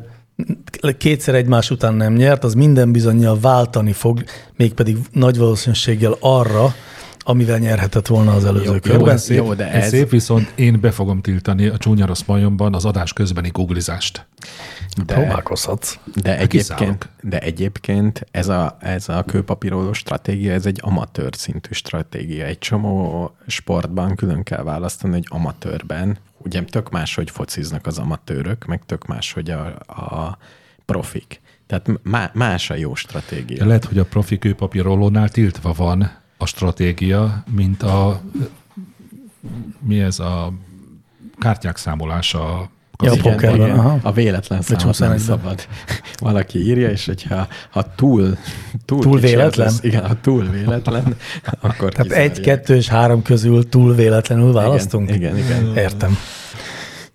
B: kétszer egymás után nem nyert, az minden bizonyal váltani fog, mégpedig nagy valószínűséggel arra, amivel nyerhetett volna az előző jó,
C: Jó,
B: körben.
C: ez szép,
D: Jó, de
C: de ez...
D: ez-
C: ez szép, viszont én be fogom tiltani a csúnya rossz majomban az adás közbeni googlizást.
D: De,
B: Próbálkozhatsz.
D: De
C: kiszállok.
D: egyébként, de egyébként ez a, ez a kőpapíroló stratégia, ez egy amatőr szintű stratégia. Egy csomó sportban külön kell választani, hogy amatőrben, ugye tök más, hogy fociznak az amatőrök, meg tök más, hogy a, a profik. Tehát má, más a jó stratégia.
C: De lehet, hogy a profi kőpapírolónál tiltva van a stratégia, mint a mi ez a kártyák számolása a
B: Ja, a
C: kazinóban.
B: pokerben. Aha.
D: A véletlen számot nem
B: csúszol egybe.
D: szabad. Valaki írja, és hogyha ha túl, túl,
B: Túl
D: kicsi az
B: véletlen?
D: össz- igen, ha túl véletlen, akkor
B: Tehát
D: kizárják.
B: egy, kettő és három közül túl véletlenül választunk?
D: igen, igen.
B: Értem.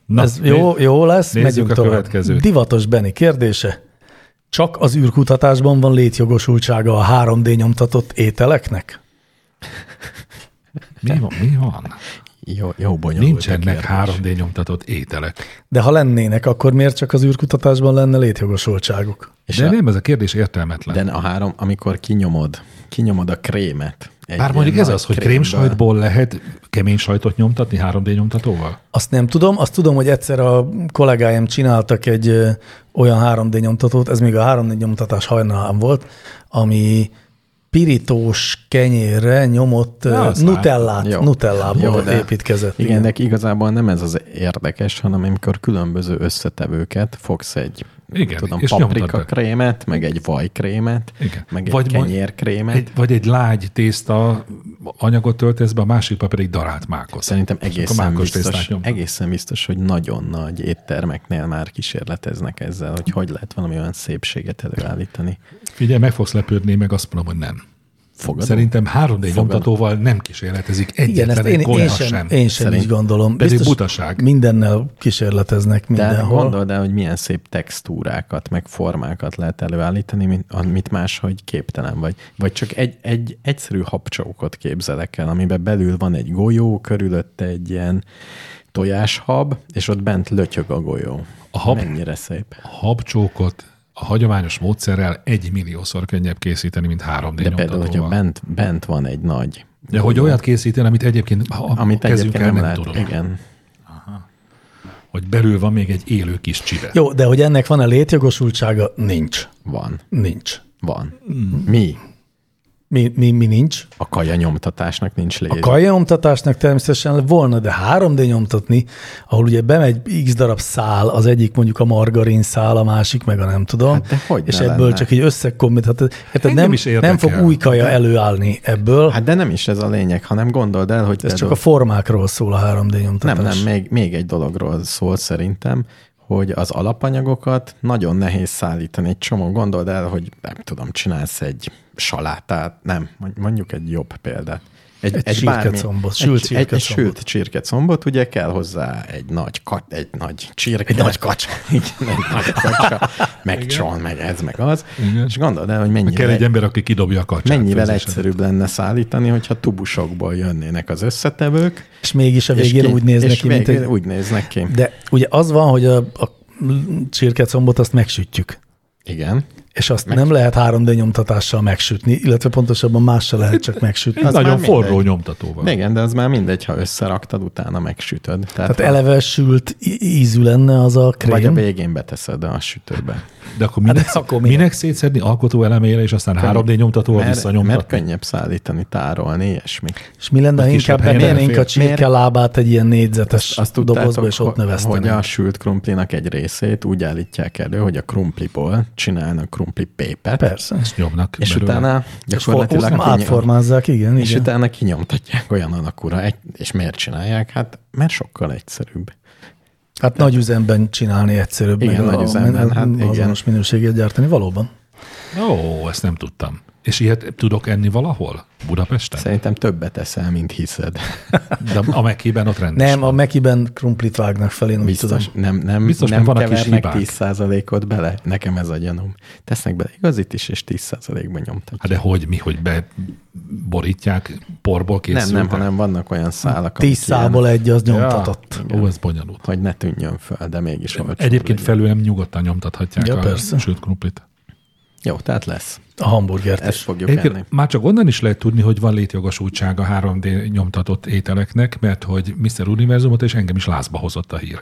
C: Na,
B: Ez jó, jó lesz,
C: nézzük
B: megyünk
C: a
B: tovább.
C: következőt.
B: Divatos Beni kérdése. Csak az űrkutatásban van létjogosultsága a 3D nyomtatott ételeknek?
C: Mi, mi van? Mi van?
D: Jó, jó bonyolult.
C: Nincsenek
D: a kérdés.
C: 3D nyomtatott ételek.
B: De ha lennének, akkor miért csak az űrkutatásban lenne létjogosultságuk?
C: És
D: És
C: de
D: a-
C: nem ez a kérdés értelmetlen.
D: De a három, amikor kinyomod, kinyomod a krémet.
C: Bár
D: egy ilyen
C: mondjuk ez
D: nagy
C: az, hogy
D: krémből.
C: krémsajtból lehet kemény sajtot nyomtatni 3D nyomtatóval?
B: Azt nem tudom, azt tudom, hogy egyszer a kollégáim csináltak egy ö, olyan 3D nyomtatót, ez még a 3D nyomtatás hajnalán volt, ami pirítós kenyérre nyomott
C: Na,
B: Na,
C: azt
B: nutellát,
D: Jó.
B: nutellából
D: Jó, de-
B: építkezett.
D: Igen, de igazából nem ez az érdekes, hanem amikor különböző összetevőket fogsz egy
C: Igen,
D: tudom,
C: és nyomtad be.
D: paprika krémet, meg egy vajkrémet,
C: Igen.
D: meg egy
C: Vagy
D: vagy
C: mond-
D: kenyérkrémet.
C: Egy, vagy egy lágy tészta anyagot töltesz be, a másikba pedig darált mákot.
D: Szerintem
C: És akkor
D: egészen
C: mákos
D: biztos,
C: tésztát nyomtad.
D: egészen biztos, hogy nagyon nagy éttermeknél már kísérleteznek ezzel, hogy hogy lehet valami olyan szépséget előállítani.
C: Figyelj, meg fogsz lepődni, meg azt mondom, hogy nem.
D: Fogadom.
C: Szerintem 3D nyomtatóval nem kísérletezik
B: Igen,
C: egyetlen
B: ezt
C: egy
B: én, én
C: kolléga
B: sem,
C: sem.
B: én sem
D: Szerint-
B: így gondolom.
C: Pedig butaság.
B: Mindennel kísérleteznek
D: De
B: mindenhol.
D: gondold el, hogy milyen szép textúrákat, meg formákat lehet előállítani, mint, amit máshogy képtelen vagy. Vagy csak egy, egy egyszerű habcsókot képzelek el, amiben belül van egy golyó, körülötte egy ilyen tojáshab, és ott bent lötyög a golyó.
C: A hab-
D: Mennyire szép.
C: A habcsókot a hagyományos módszerrel egy milliószor könnyebb készíteni, mint 3D
D: De például, hogyha
C: nyomtatóval.
D: bent, bent van egy nagy
C: De hogy olyat készíteni, amit egyébként ha a
D: amit
C: kezünkkel
D: egyébként nem,
C: nem
D: lehet.
C: tudunk.
D: Igen.
C: Hogy belül van még egy élő kis csibe.
B: Jó, de hogy ennek van-e létjogosultsága? Nincs.
D: Van.
B: Nincs.
D: Van. Mi?
B: Mi, mi, mi nincs?
D: A kaja nyomtatásnak nincs lény.
B: A kajaomtatásnak természetesen volna, de 3D nyomtatni, ahol ugye bemegy x darab szál, az egyik mondjuk a margarin szál, a másik meg a nem tudom,
D: Hát de hogy
B: és
D: ne
B: ebből
D: lenne?
B: csak így összekombinálhatod. Hát
C: Engem
B: nem,
C: is érdekel.
B: nem fog új kaja előállni ebből, hát
D: Hát de nem is ez a lényeg, hanem gondold el, hogy
B: ez
D: például-
B: csak a formákról szól a 3D nyomtatás.
D: Nem, nem, még, még egy dologról szól szerintem, hogy az alapanyagokat nagyon nehéz szállítani. Egy csomó gondold el, hogy nem tudom, csinálsz egy salátát, nem, mond- mondjuk egy jobb példát.
B: Egy csirkecombot,
D: egy,
B: sült
D: egy, egy, egy
B: csirkecombot.
D: sült csirkecombot, ugye kell hozzá egy nagy, kat, egy nagy csirke. Egy nagy kacsa. Igen, egy nagy kacsa. Meg csón, meg ez, meg az.
C: Igen.
D: És gondold el, hogy mennyire...
C: Kell egy ember, aki kidobja a kacsát.
D: Mennyivel
C: főzésen.
D: egyszerűbb lenne szállítani, hogyha tubusokból jönnének az összetevők,
B: És mégis a
D: és
B: végén
D: ki-
B: úgy néznek
D: és
B: ki, mint
D: végén
B: egy...
D: úgy néznek ki.
B: De ugye az van, hogy a, a csirkecombot azt megsütjük.
D: Igen.
B: És azt Meg... nem lehet 3D nyomtatással megsütni, illetve pontosabban más se lehet csak megsütni.
D: Az
C: Nagyon
D: már mindegy.
C: forró nyomtatóval.
D: De igen, de az már mindegy, ha összeraktad, utána megsütöd. Tehát,
B: Tehát eleve sült í- ízű lenne az a krém.
D: vagy a végén beteszed a sütőbe.
C: De akkor minek,
B: Hát de akkor minek?
C: minek szétszedni alkotó elemére, és aztán 3D nyomtatóval
D: Mert, mert
C: visszanyomtatni?
D: könnyebb szállítani, tárolni, iésmi.
B: És mi lenne, ha
C: Egy kisebb
B: inkább
C: helyen
B: betennénk a
C: elfér.
B: csirke lábát egy ilyen négyzetes azt, dobozba, és ott
D: ho- hogy
B: növesztenénk.
D: a sült krumplinak egy részét úgy állítják elő, hogy a krumpliból csinálnak krumpli pépet,
B: Persze.
C: Ezt nyomnak.
D: és
C: belőle.
D: utána
B: És for-
D: gyakorlatilag kinyom-
B: átformázzák, igen,
D: És
B: igen.
D: utána kinyomtatják olyan alakúra. Egy, és miért csinálják? Hát mert sokkal egyszerűbb.
B: Hát nagy üzemben csinálni egyszerűbb,
D: Igen,
B: meg
D: nagy üzemben, hát igen.
B: azonos minőséget gyártani, valóban.
C: Ó, ezt nem tudtam. És ilyet tudok enni valahol? Budapesten?
D: Szerintem többet eszel, mint hiszed.
C: De a mekében ott rendes.
B: Nem, a Mekiben krumplit vágnak fel, én úgy tudom.
D: Biztos, nem, nem,
C: Biztos,
D: nem
C: mert vannak is
D: kevernek
C: hibák.
D: 10%-ot bele. Nekem ez a gyanúm. Tesznek bele igazit is, és 10%-ban nyomtatják.
C: Hát de hogy mi, hogy beborítják, porból
D: nem,
C: készültek? Hát
D: nem, hanem vannak olyan szálak, amik
B: Tíz szából egy az nyomtatott.
C: Ja, ó, ez bonyolult.
D: hogy ne tűnjön föl, de mégis olcsóbb
C: Egyébként
D: legyen.
C: felőlem nyugodtan nyomtathatják
B: Ja,
C: a
B: persze.
C: sült krumplit.
D: Jó, tehát lesz.
B: A hamburgert
D: Ezt
B: is.
D: fogjuk enni.
C: Egyébként már csak onnan is lehet tudni, hogy van létjogosultság a 3D nyomtatott ételeknek, mert hogy Mr. Univerzumot és engem is lázba hozott a hír.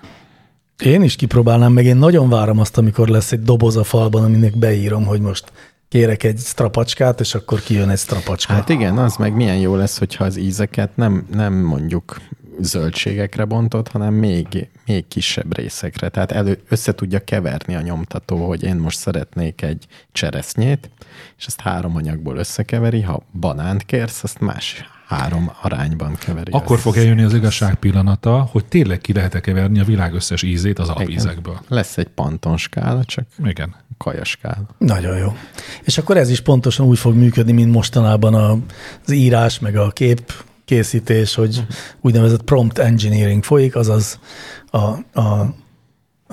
B: Én is kipróbálnám, meg én nagyon várom azt, amikor lesz egy doboz a falban, aminek beírom, hogy most kérek egy strapacskát, és akkor kijön egy strapacska.
D: Hát igen, az meg milyen jó lesz, hogyha az ízeket nem, nem mondjuk zöldségekre bontott, hanem még, még kisebb részekre. Tehát elő, össze tudja keverni a nyomtató, hogy én most szeretnék egy cseresznyét, és ezt három anyagból összekeveri, ha banánt kérsz, azt más három arányban keveri.
C: Akkor
D: össze.
C: fog eljönni az igazság pillanata, hogy tényleg ki lehet keverni a világ összes ízét az alapízekből.
D: Lesz egy pantonskála, csak
C: Igen.
D: kajaskála.
B: Nagyon jó. És akkor ez is pontosan úgy fog működni, mint mostanában a- az írás, meg a kép készítés, hogy úgynevezett prompt engineering folyik, azaz a, a,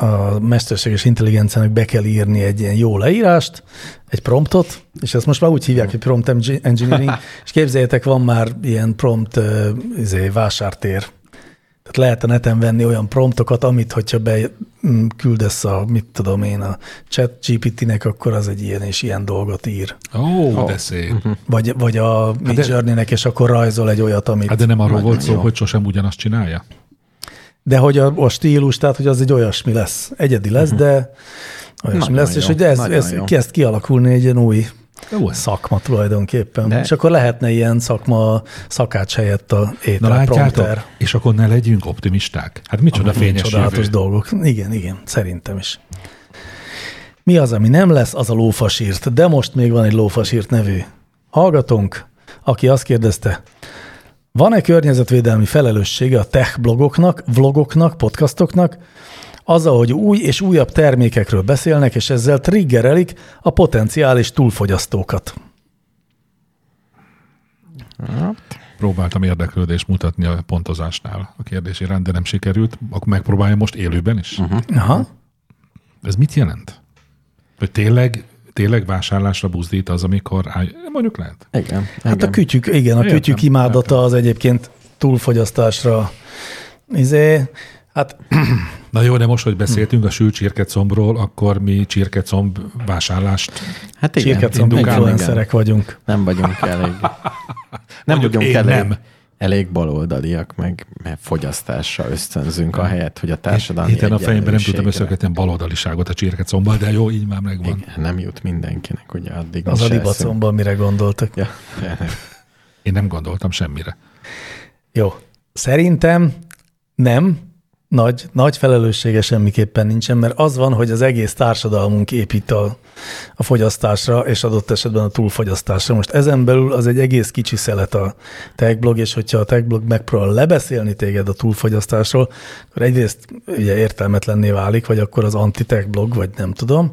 B: a mesterséges intelligenciának be kell írni egy ilyen jó leírást, egy promptot, és ezt most már úgy hívják, hogy prompt engi- engineering, és képzeljétek, van már ilyen prompt uh, izé, vásártér Tehát lehet a neten venni olyan promptokat, amit, hogyha be mm, küldesz a, mit tudom én, a chat GPT-nek, akkor az egy ilyen és ilyen dolgot ír.
C: Ó, oh,
D: Ó. Mhm.
C: de szép.
B: Vagy, vagy a Midjourney-nek, és akkor rajzol egy olyat, amit...
C: Hát de nem arról
D: Nagyon
C: volt szó,
D: jó.
C: hogy sosem ugyanazt csinálja?
B: De hogy a, a stílus, tehát hogy az egy olyasmi lesz. Egyedi lesz, de olyasmi
D: Nagyon
B: lesz, és
D: jó,
B: hogy ez,
D: nagyon
B: ez
D: jó.
B: kezd kialakulni egy ilyen új
C: Jó, ez.
B: szakma tulajdonképpen. De.
D: De-
B: És akkor lehetne ilyen szakma szakács helyett a
C: Na látjátok?
B: ételprompter.
C: És akkor ne legyünk optimisták. Hát micsoda fényes
B: Csodálatos
C: jövő.
B: dolgok. Igen, igen, szerintem is. Mi az, ami nem lesz, az a lófasírt. De most még van egy lófasírt nevű hallgatónk, aki azt kérdezte, van-e környezetvédelmi felelőssége a tech blogoknak, vlogoknak, podcastoknak, azzal, hogy új és újabb termékekről beszélnek, és ezzel triggerelik a potenciális túlfogyasztókat?
C: Próbáltam érdeklődést mutatni a pontozásnál a kérdés iránt, de nem sikerült. Akkor megpróbáljam most élőben is. Uh-huh.
B: Aha.
C: Ez mit jelent? Hogy tényleg, tényleg vásárlásra buzdít az, amikor áll... mondjuk lehet.
D: Igen.
B: Hát a kütyük, igen, a
C: Értem,
B: kütyük imádata az egyébként túlfogyasztásra. Izé, hát
C: Na jó, de most, hogy beszéltünk a sült csirkecombról, akkor mi csirkecomb vásárlást
D: hát igen.
B: csirkecomb
D: igen,
B: influencerek vagyunk.
D: Nem vagyunk elég. Nem
C: Mondjuk
D: vagyunk
C: én
D: elég.
C: nem.
D: Nem. Elég baloldaliak, meg meg fogyasztásra ösztönzünk a helyet, hogy a társadalmi
C: Héten a fejemben nem tudtam
D: egyenlőségre.
C: összekötni a baloldaliságot a csirkecombbal, de jó, így már megvan.
D: Igen, nem jut mindenkinek, ugye addig
B: Az
D: mi
B: a
D: se eszünk.
B: libacomban mire gondoltak.
D: Ja, hát
C: Én nem gondoltam semmire.
B: Jó. Szerintem nem, nagy, nagy felelőssége semmiképpen nincsen, mert az van, hogy az egész társadalmunk épít a, a fogyasztásra, és adott esetben a túlfogyasztásra. Most ezen belül az egy egész kicsi szelet a techblog, és hogyha a techblog megpróbál lebeszélni téged a túlfogyasztásról, akkor egyrészt ugye értelmetlenné válik, vagy akkor az anti blog, vagy nem tudom.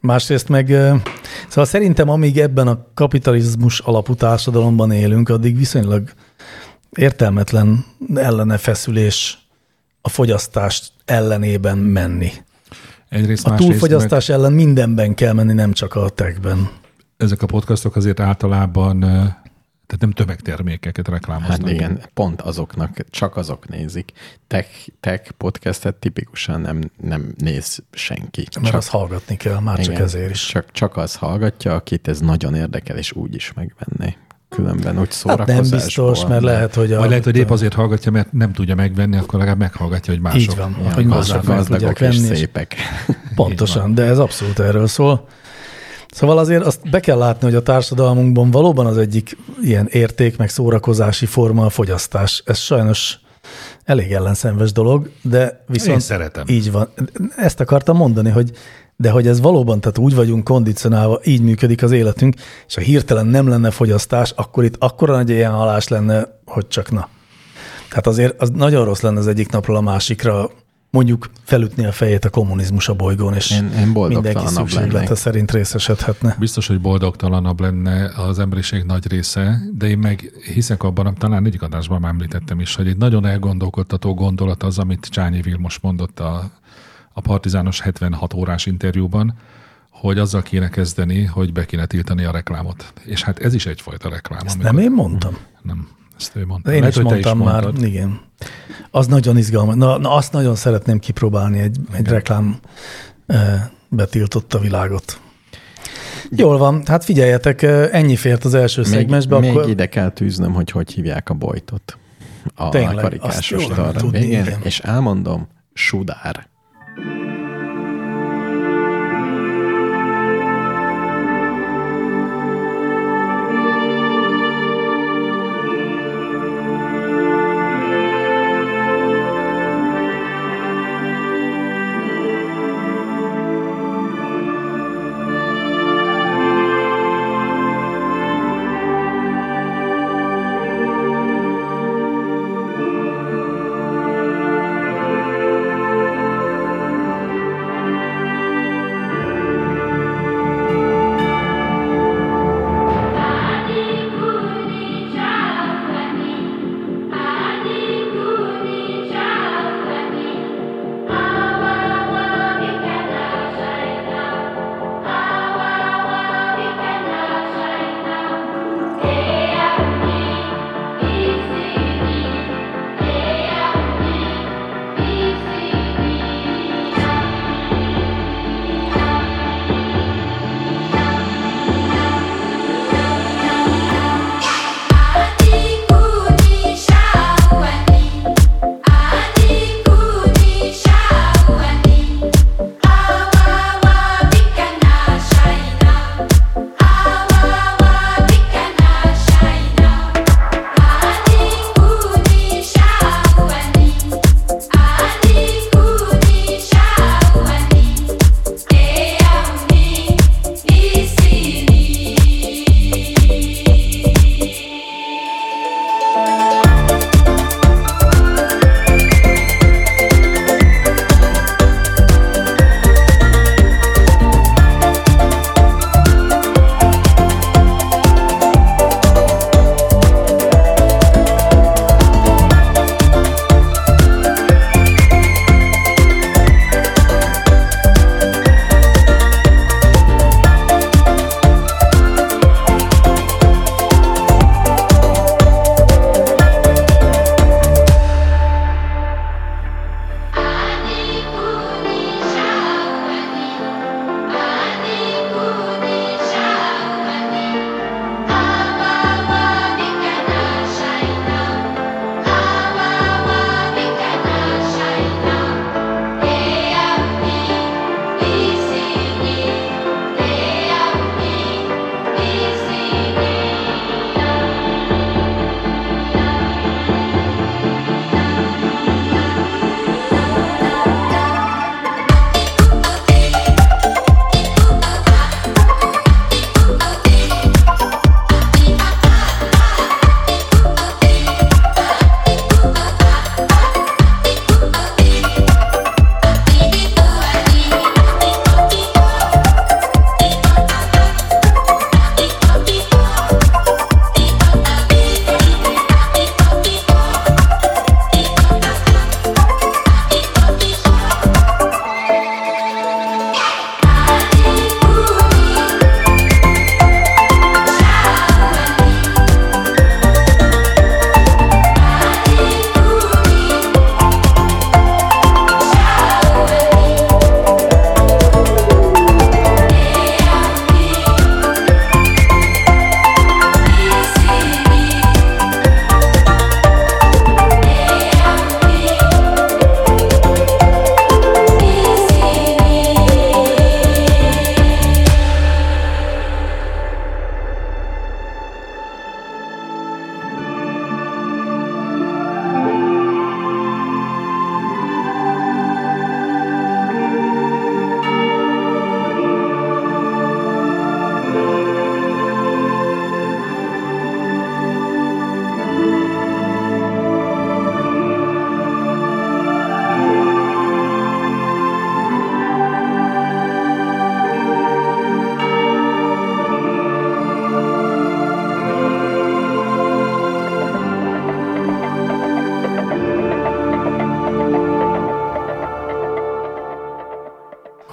B: Másrészt meg, ö, szóval szerintem amíg ebben a kapitalizmus alapú társadalomban élünk, addig viszonylag értelmetlen ellene feszülés a fogyasztás ellenében menni.
C: Egyrészt,
B: A
C: másrészt meg-
B: túlfogyasztás ellen mindenben kell menni, nem csak a techben.
C: ezek a podcastok azért általában ö, tehát nem tömegtermékeket reklámoznak.
D: hát igen, pont azoknak, csak azok nézik. Tech, tech podcastet tipikusan nem, nem néz senki.
B: Mert azt hallgatni kell, már csak
D: igen,
B: ezért is.
D: Csak, csak az hallgatja, akit ez nagyon érdekel, és úgy is megvenné. Különben úgy
B: Hát nem
D: szórakozásból.
B: biztos, mert lehet, hogy a...
C: Vagy lehet, hogy épp azért hallgatja, mert nem tudja megvenni, akkor legalább meghallgatja, hogy mások.
B: Így van, hogy mások
D: Mások
B: meg tudják
D: gazdagok és
B: venni, és
D: szépek.
B: Pontosan, de ez abszolút erről szól. Szóval azért azt be kell látni, hogy a társadalmunkban valóban az egyik ilyen érték, meg szórakozási forma a fogyasztás. Ez sajnos elég ellenszenves dolog, de viszont...
C: Én szeretem.
B: Így van. Ezt akartam mondani, hogy de hogy ez valóban, tehát úgy vagyunk kondicionálva, így működik az életünk, és ha hirtelen nem lenne fogyasztás, akkor itt akkora nagy ilyen halás lenne, hogy csak na. Tehát azért az nagyon rossz lenne az egyik napról a másikra mondjuk felütni a fejét a kommunizmus a bolygón, és
D: Én- én boldogtalanabb
B: mindenki
D: lennék.
B: szükséglete szerint részesedhetne.
C: Biztos, hogy boldogtalanabb lenne az emberiség nagy része, de én meg hiszek abban, talán egyik adásban már említettem is, hogy egy nagyon elgondolkodtató gondolat az, amit Csányi Vilmos mondott a, a Partizános 76 órás interjúban, hogy azzal kéne kezdeni, hogy be kéne tiltani a reklámot. És hát ez is egyfajta reklám.
B: Ezt
C: amikor-
B: nem én mondtam.
C: Nem, ezt ő mondta.
B: De én
C: Lehet,
B: is
C: hogy te
B: mondtam már,
C: mondtad.
B: igen. Az nagyon izgalmas. Na, na azt nagyon szeretném kipróbálni, egy, egy reklám ö, betiltotta világot. Jól van, hát figyeljetek, ö, ennyi fért az első
D: Még,
B: szegmensbe,
D: még
B: akkor
D: ide kell tűznöm, hogy hogy hívják a bojtot. A
B: Tényleg,
D: Tényleg,
B: azt
D: karikásos
B: jól lenne
D: tarra
B: tudni,
D: végén,
B: igen.
D: és elmondom, sudár.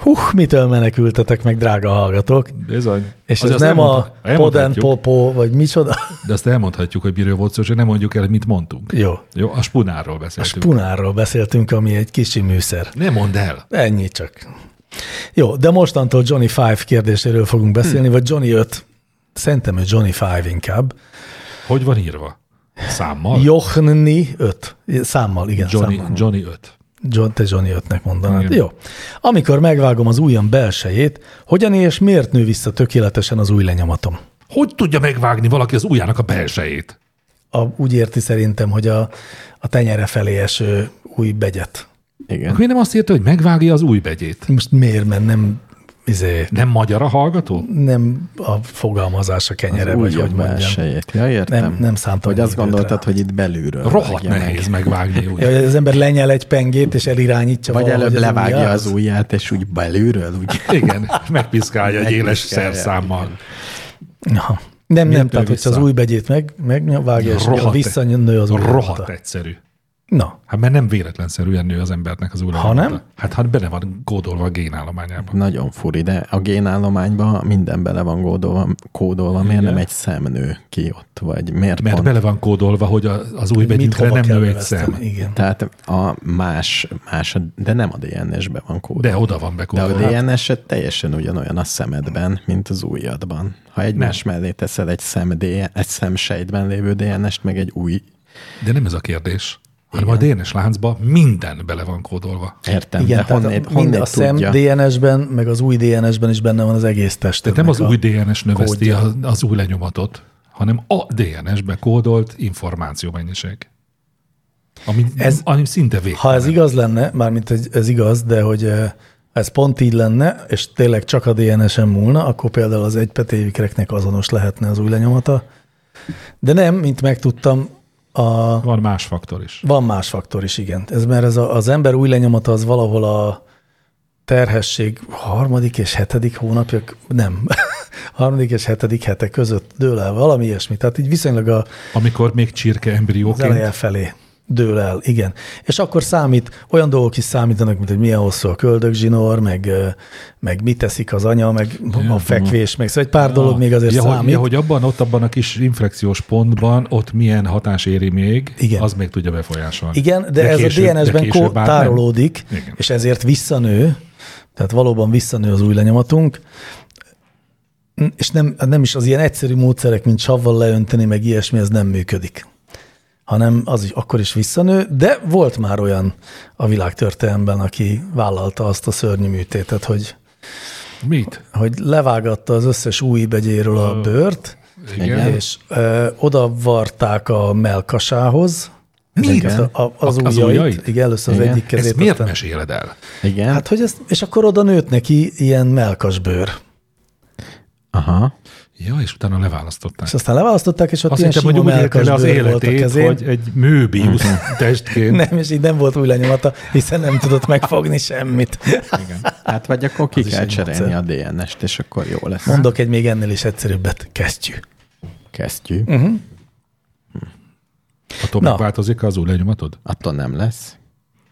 B: Puh, mitől menekültetek meg, drága hallgatók?
C: Bizony.
B: És
C: Azért
B: ez
C: azt
B: nem a
C: elmondhat-
B: poden
C: elmondhatjuk,
B: popó, vagy micsoda?
C: De azt elmondhatjuk, hogy miről volt szó, csak nem mondjuk el, hogy mit mondtunk.
B: Jó.
C: Jó, a spunáról
B: A
C: beszéltünk.
B: spunárról beszéltünk, ami egy kicsi műszer.
C: nem mondd el.
B: Ennyi csak. Jó, de mostantól Johnny Five kérdéséről fogunk
C: Hmm.
B: beszélni, vagy Johnny 5. Szerintem ő Johnny Five inkább.
C: Hogy van írva? Számmal?
B: Johnny 5. Számmal, igen,
C: Johnny,
B: számmal.
C: Johnny 5.
B: John, te Johnny 5-nek mondanád.
C: Igen.
B: Jó. Amikor megvágom az ujjam belsejét, hogyan és miért nő vissza tökéletesen az új lenyomatom?
C: Hogy tudja megvágni valaki az ujjának a belsejét?
B: A, úgy érti szerintem, hogy a, a tenyere felé eső új begyet.
D: Igen.
C: Miért nem azt írta, hogy megvágja az új begyét?
B: Most miért, mert nem, izé,
C: Nem magyar a hallgató?
B: nem a fogalmazás a kenyere, vagy hogy mondjam.
D: belsejét. Ja, értem.
B: Nem- nem szántam
D: Hogy azt
B: időt
D: gondoltad,
B: rá.
D: hogy itt belülről.
C: Rohadt
D: vágja meg.
C: nehéz megvágni úgy.
B: Ja, hogy az ember lenyel egy pengét, és elirányítja
D: Vagy
B: valahogy
D: előbb levágja
B: ujját.
D: az ujját, és úgy belülről, úgy
C: Igen, megpiszkálja egy éles szerszámmal.
B: Aha. Nem, nem,
C: Miért
B: tehát
C: nő
B: hogyha az
C: vissza?
B: új begyét meg, megvágja, és
C: Rohadt-
B: visszanő az új
C: Rohadt
B: lenyomata.
C: egyszerű.
B: Na,
C: Hát mert nem véletlenszerűen nő az embernek az újra.
B: Ha nem? Hm.
C: Hát hát bele van kódolva a génállományában.
D: Nagyon furi, de a génállományban minden bele van gódolva, kódolva, miért nem egy szemnő ki ott, vagy miért
C: Mert
D: pont...
C: bele van kódolva, hogy a- az új
B: mit
C: begyünkre
B: hova
C: nem
B: kell
C: nő egy
B: illeszteni?
C: szem.
B: Igen.
D: Tehát a más, más, de nem a DNS-be van kódolva.
C: De oda van
D: De a
C: bekódolva. Hát
D: DNS-et teljesen ugyanolyan a szemedben, mint az ujjadban. Ha egymás mellé teszel egy, szem DN, egy szemsejtben lévő DNS-t, meg egy új...
C: De nem ez a kérdés. Hanem a DNS láncba minden bele van kódolva.
D: Értem,
B: Igen,
D: de
B: tehát
D: honnét,
B: a, mind
D: honnét
B: a szem
D: tudja?
B: DNS-ben, meg az új DNS-ben is benne van az egész test.
C: Tehát nem az új DNS növeszti
B: kódja.
C: az, az új lenyomatot, hanem a DNS-be kódolt információ mennyiség. Ami, ez,
B: Ez-
C: ami szinte végtelen.
B: Ha ez igaz lenne, mármint ez- ez igaz, de hogy eh, ez pont így lenne, és tényleg csak a DNS-en múlna, akkor például az egypetévikreknek azonos lehetne az új lenyomata. De nem, mint megtudtam, a,
C: Van más faktor is.
B: van más faktor is, igen. Ez mert ez a, az ember új lenyomata az valahol a terhesség harmadik és hetedik hónapja, nem, harmadik és hetedik hete között dől el, valami ilyesmi. Tehát így viszonylag a,
C: Amikor még csirke
B: az eleje
C: embrióként,
B: felé dől el, igen. És akkor számít, olyan dolgok is számítanak, mint hogy milyen hosszú a köldögzsinór, meg, ö, meg mit teszik az anya, meg a fekvés, meg szóval egy pár dolog még azért
C: ja, hogy,
B: számít.
C: ja, hogy abban, ott abban a kis inflexiós pontban, ott milyen hatás éri még,
B: Igen.
C: az még tudja befolyásolni.
B: Igen, de, ez
C: később-
B: a DNS-ben
C: később
B: kó-
C: már nem.
B: tárolódik,
C: Igen.
B: és ezért visszanő, tehát valóban visszanő az új lenyomatunk, N- és nem, hát nem is az ilyen egyszerű módszerek, mint savval leönteni, meg ilyesmi, ez nem működik hanem az is akkor is visszanő, de volt már olyan a világtörténelemben, aki vállalta azt a szörnyű műtétet, hogy,
C: Mit?
B: hogy levágatta az összes új begyéről a bőrt,
C: Igen.
B: és ö, odavarták a melkasához,
D: Mit?
B: ezeket A, a, az,
C: A- az
B: az ujjait,
C: ujjait?
B: igen, először az
D: Igen.
B: egyik kezét.
C: Ezt miért
B: aztán-
C: meséled el?
D: Igen,
B: Hát,
D: hát,
B: hogy ez, és akkor oda nőtt neki ilyen melkas bőr.
D: aha.
C: Ja, és utána leválasztották.
B: És aztán leválasztották, és ott
C: Azt
B: Szóval ilyen
C: hittem, hogy
B: sima
C: úgy élte
B: melkas
C: le az
B: bőr volt a
C: életét,
B: kezén.
C: hogy egy műbiusz testként.
B: Nem, és így nem volt új lenyomata, hiszen nem tudott megfogni semmit.
D: Hát vagy akkor ki
B: is
D: kell
B: egy
D: cserélni a DNS-t, és akkor jó lesz.
B: Mondok egy még ennél is egyszerűbbet, kesztyű.
D: Kesztyű.
B: Mhm.
C: Attól
B: Na.
C: megváltozik az új lenyomatod?
D: Attól nem lesz.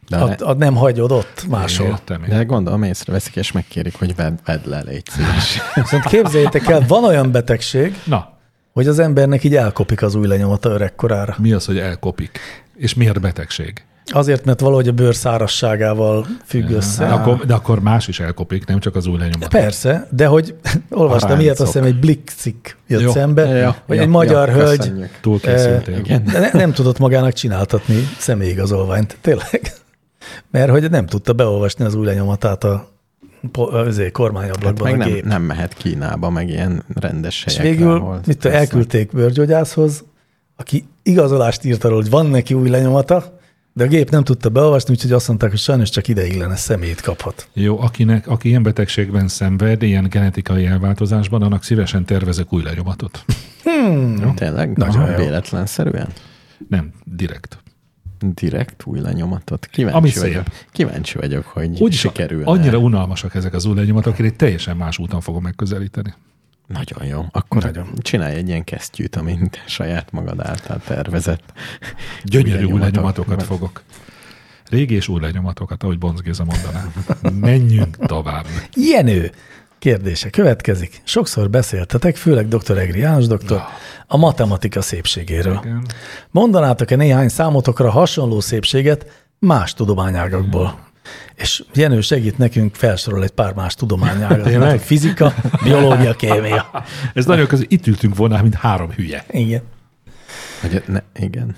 D: De, a,
B: A, a nem hagyod ott máshol.
C: Értem, én.
D: de gondolom észreveszik, és megkérik, hogy vedd, vedd le, légy szíves.
B: Viszont képzeljétek el, van olyan betegség,
C: Na,
B: hogy az embernek így elkopik az új lenyomata öregkorára.
C: mi az, hogy elkopik? És miért betegség?
B: Azért, mert valahogy a bőr szárasságával függ össze. Hát
C: De akkor, de akkor más is elkopik, nem csak az új lenyomat.
B: Persze, de hogy olvastam
D: Aráncok.
B: ilyet, azt hiszem egy blikcik jött
C: Jó.
B: jó. szembe,
D: Ja,
B: hogy
D: ja,
B: egy magyar
D: ja,
B: hölgy
D: köszönjük.
C: Túlkészültél.
D: igen.
B: de ne, nem tudott magának csináltatni személyigazolványt, tényleg. Mert hogy nem tudta beolvasni az új lenyomatát a, po- azért kormányablakban
D: Hát Meg
B: a
D: nem,
B: gép.
D: nem mehet Kínába, meg ilyen rendes
B: És
D: helyekre.
B: végül
D: ahol
B: mit tudom,
D: lesz-
B: elküldték bőrgyógyászhoz, aki igazolást írt arról, hogy van neki új lenyomata, de a gép nem tudta beolvasni, úgyhogy azt mondták, hogy sajnos csak ideiglenes személyt kaphat.
C: Jó, akinek, aki ilyen betegségben szenved, ilyen genetikai elváltozásban, annak szívesen tervezek új lenyomatot.
D: Tényleg?
B: Nagyon
D: Nagyon
B: jó.
D: véletlenszerűen?
C: Nem, direkt.
D: Direkt új lenyomatot. Kíváncsi
C: Ami szép.
D: vagyok. Kíváncsi vagyok, hogy
C: Úgy
D: Úgy
C: sikerül.
D: sikerül.
C: Annyira unalmasak ezek az új lenyomatok, én egy teljesen más úton fogom megközelíteni.
D: Nagyon jó. Akkor Nagyon. csinálj egy ilyen kesztyűt, amint te saját magad által tervezett.
C: Gyönyörű új
D: lenyomatok.
C: lenyomatokat fogok. régi és új lenyomatokat, ahogy Bonc Géza mondaná. Menjünk tovább.
B: Jenő kérdése következik. Sokszor beszéltetek, főleg dr. Egri János doktor, a matematika szépségéről.
C: Igen.
B: Mondanátok-e néhány számotokra hasonló szépséget más tudományágakból? És Jenő segít nekünk felsorol egy pár más tudományágat.
C: Tényleg?
B: Hát Fizika, biológia, kémia.
C: Ez nagyon közül, itt ültünk volna, mint három hülye.
B: Igen.
D: Hogy ne, igen.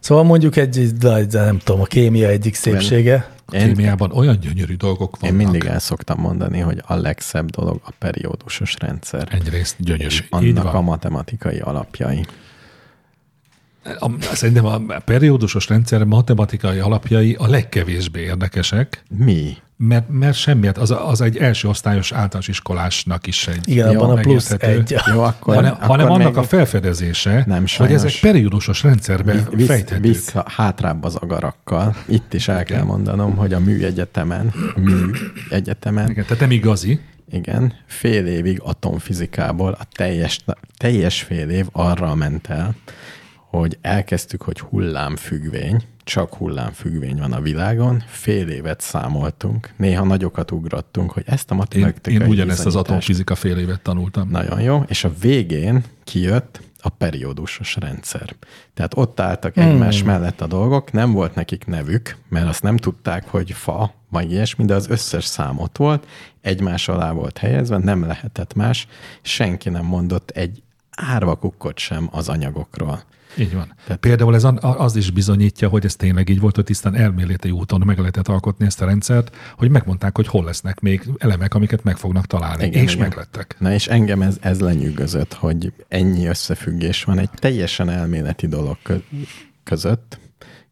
B: Szóval mondjuk egy, egy, egy, nem tudom, a kémia egyik szépsége.
D: Én,
C: Kémiában olyan gyönyörű dolgok vannak.
D: én mindig el szoktam mondani, hogy a legszebb dolog a periódusos rendszer.
C: Egyrészt gyönyörű. Így
D: Annak a
C: van.
D: matematikai alapjai.
C: A, szerintem a periódusos rendszer matematikai alapjai a legkevésbé érdekesek,
D: Mi?
C: mert, mert semmiért, az, a- az egy első osztályos általános iskolásnak is egy
B: Igen,
C: jól
B: abban a plusz
C: megérthető.
B: egy.
D: Jó, akkor,
C: hanem,
D: akkor
C: hanem
D: még
C: annak a felfedezése,
D: Nem,
C: hogy
D: sajnos.
C: ezek periódusos rendszerben
D: visz-
C: fejthetők.
D: vissza, hátrább az agarakkal. Itt is el kell mondanom, hogy a műegyetemen, a műegyetemen,
C: Igen, tehát nem igazi.
D: igen, fél évig atomfizikából a teljes, teljes fél év arra ment el, hogy elkezdtük, hogy hullámfüggvény, csak hullámfüggvény van a világon, fél évet számoltunk, néha nagyokat ugrottunk, hogy ezt a
C: Én,
D: matematikai
C: én ugyanezt az
D: bizonyítást-
C: atomfizika fél évet tanultam.
D: Nagyon jó. És a végén kijött a periódusos rendszer. Tehát ott álltak egymás mellett a dolgok, nem volt nekik nevük, mert azt nem tudták, hogy fa, vagy ilyesmi, de az összes szám ott volt, egymás alá volt helyezve, nem lehetett más, senki nem mondott egy árva kukkot sem az anyagokról.
C: Így van. Tehát például ez an- a- az is bizonyítja, hogy ez tényleg így volt, hogy tisztán elméleti úton meg lehetett alkotni ezt a rendszert, hogy megmondták, hogy hol lesznek még elemek, amiket meg fognak találni.
D: Igen,
C: Igen, és
D: igen.
C: igen. meglettek.
D: Na és engem ez, ez lenyűgözött, hogy ennyi összefüggés van egy teljesen elméleti dolog kö- között,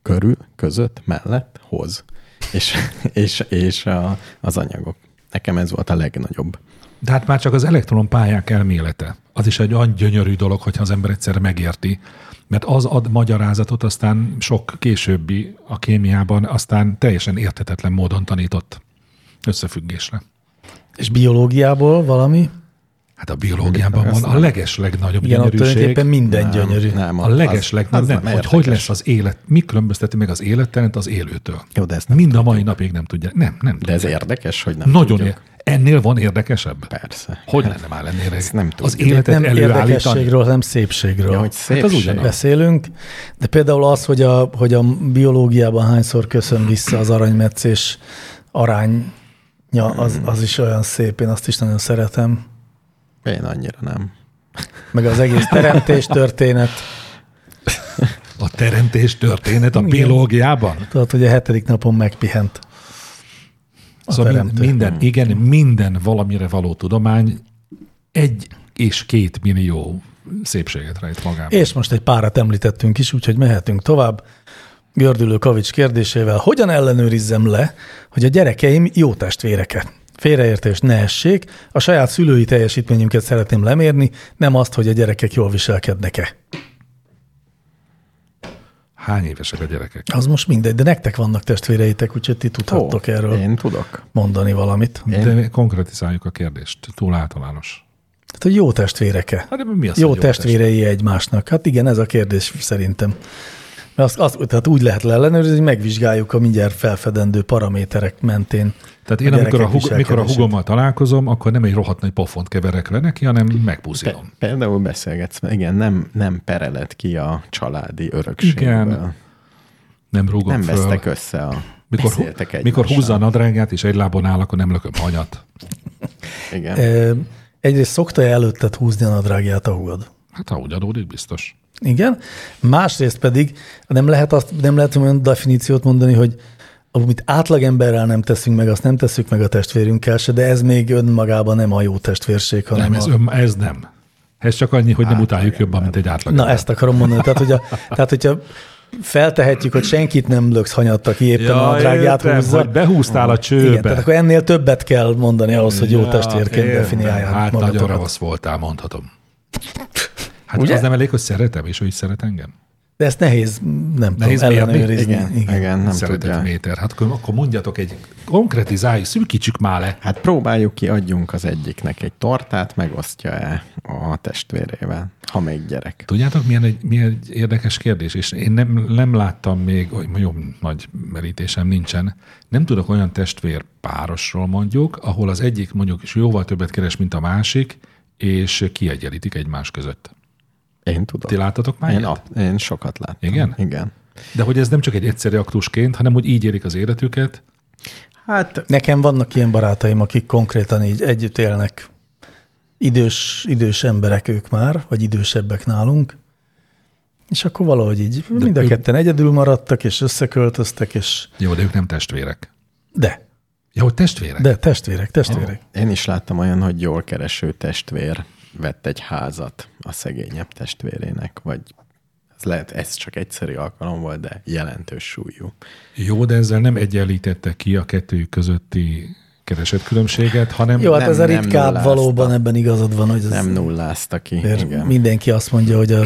D: körül, között, mellett, hoz. És, és, és a, az anyagok. Nekem ez volt a legnagyobb.
C: De hát már csak az elektronpályák elmélete. Az is egy olyan gyönyörű dolog, hogyha az ember egyszer megérti, mert az ad magyarázatot aztán sok későbbi a kémiában, aztán teljesen értetetlen módon tanított összefüggésre.
B: És biológiából valami?
C: Hát a biológiában van a leges legnagyobb
B: Igen, ott
C: gyönyörűség.
B: tulajdonképpen minden gyönyörű. Hát
D: Nem,
C: A leges legnagyobb, hogy hogy
D: érdekes.
C: lesz az élet, mi különbözteti meg az élettelent az élőtől.
D: Jó, de ezt nem
C: Mind a mai napig nem tudják. Nem, nem
D: De
C: tudják.
D: ez érdekes, hogy nem
C: Nagyon
D: tudjuk.
C: ér- Ennél van érdekesebb?
D: Persze.
C: Hogy lenne már ennél érdekes?
D: nem
C: Az
D: tudjuk.
C: életet
B: nem
C: előállítani?
B: érdekességről, hanem szépségről. Hát
D: Ja, hogy
C: az
D: szépség.
C: ugyanaz.
B: beszélünk, de például az, hogy a, hogy a biológiában hányszor köszön vissza az aranymetszés arány, ja, az, az is olyan szép, én azt is nagyon szeretem.
D: Én annyira nem.
B: Meg az egész teremtés történet.
C: A teremtés történet a biológiában?
B: Tudod, hogy a hetedik napon megpihent. A
C: Szóval mind-
B: teremtő.
C: minden,
D: Hmm.
C: igen, minden valamire való tudomány egy és két millió szépséget rejt magában.
B: És most egy párat említettünk is, úgyhogy mehetünk tovább. Gördülő Kavics kérdésével, hogyan ellenőrizzem le, hogy a gyerekeim jó testvéreket? Félreértés ne essék, a saját szülői teljesítményünket szeretném lemérni, nem azt, hogy a gyerekek jól viselkednek-e.
C: Hány évesek a gyerekek?
B: Az most mindegy, de nektek vannak testvéreitek, úgyhogy ti tudhattok
D: Ó,
B: erről
D: Én tudok.
B: mondani valamit.
C: De konkretizáljuk a kérdést. Túl általános.
B: Tehát, Hát, hogy jó testvéreke.
C: Hát, de mi az,
B: jó
C: hogy jó
B: testvérei egymásnak. Hát igen, ez a kérdés szerintem. Mert azt, azt, tehát úgy lehet leellenőrizni, hogy megvizsgáljuk a mindjárt felfedendő paraméterek mentén.
C: Tehát én,
B: A
C: amikor a,
B: gyerekek
C: hug, mikor a
B: viselkedését.
C: hugommal találkozom, akkor nem egy rohadt nagy pofont keverek le neki, hanem megpuszilom.
D: Például beszélgetsz, igen, nem, nem pereled ki a családi örökségből.
C: Igen. Nem rúgom
D: Nem
C: föl.
D: vesztek össze a
C: Mikor, hu-
D: beszéltek
C: mikor
D: egymással.
C: húzza a nadrágját, és egy lábon áll, akkor nem lököm hanyat.
D: Igen.
C: Eh,
B: Ö, Egyrészt szokta előtted húzni a nadrágját a hugod.
C: Hát ha úgy adódik, biztos.
B: Igen. Másrészt pedig nem lehet, azt, nem lehet olyan definíciót mondani, hogy amit átlagemberrel nem teszünk meg, azt nem tesszük meg a testvérünkkel se, de ez még önmagában nem a jó testvérség, hanem
C: Nem,
B: a...
C: ez, ön, ez nem. Ez csak annyi, hogy
D: Hát,
C: nem utáljuk jobban, mint egy átlag.
B: Na, ezt akarom mondani. Tehát, hogy a, tehát hogyha feltehetjük, hogy senkit nem löksz hanyatta ki, éppen a nadrágját húzza.
C: hogy behúztál a csőbe.
B: Igen, tehát akkor ennél többet kell mondani ahhoz, hogy jó testérként definiálják
C: Hát nagyon
B: magatokat.
C: ravasz voltál, mondhatom. Hát Ugye? az nem elég, hogy szeretem, és ő is szeret engem.
B: De ezt nehéz, nem
C: Nehéz
B: tudom,
C: mérni?
B: ellenőrizni.
D: Igen, igen, igen nem
C: Szeretett
D: tudja.
C: méter. Hát akkor, akkor mondjatok egy, konkretizálj, szűkítsük már le.
D: Hát próbáljuk ki, adjunk az egyiknek egy tortát, megosztja el a testvérével, ha még gyerek.
C: Tudjátok, milyen egy, milyen egy érdekes kérdés, és én nem, nem láttam még, hogy mondjam, nagy merítésem nincsen, nem tudok olyan testvér párosról mondjuk, ahol az egyik mondjuk is jóval többet keres, mint a másik, és kiegyenlítik egymás között.
D: Én tudom.
C: Ti láttatok már
D: Én,
C: ilyet?
D: a, én sokat láttam.
C: Igen?
D: Igen.
C: De hogy ez nem csak egy egyszerű aktusként, hanem hogy így élik az életüket,
D: Hát
B: Nekem vannak ilyen barátaim, akik konkrétan így együtt élnek. Idős, idős emberek ők már, vagy idősebbek nálunk. És akkor valahogy így De mind a
C: ők-
B: ketten egyedül maradtak, és összeköltöztek, és
C: jó, de ők nem testvérek.
B: de,
C: Ja, hogy testvérek?
B: de testvérek, testvérek.
D: én is láttam olyan, hogy jól kereső testvér vett egy házat a szegényebb testvérének, vagy ez lehet, ez csak egyszerű alkalom volt, de jelentős súlyú.
C: Jó, de ezzel nem egyenlítette ki a kettőjük közötti keresett különbséget, hanem
B: Jó, hát
D: Nem-
B: ez a
D: nem
B: ritkább
D: nullázta.
B: valóban, ebben igazad van, hogy ez
C: Hm.
D: Nem nullázta ki.
B: Mert
D: Igen.
B: mindenki azt mondja, hogy a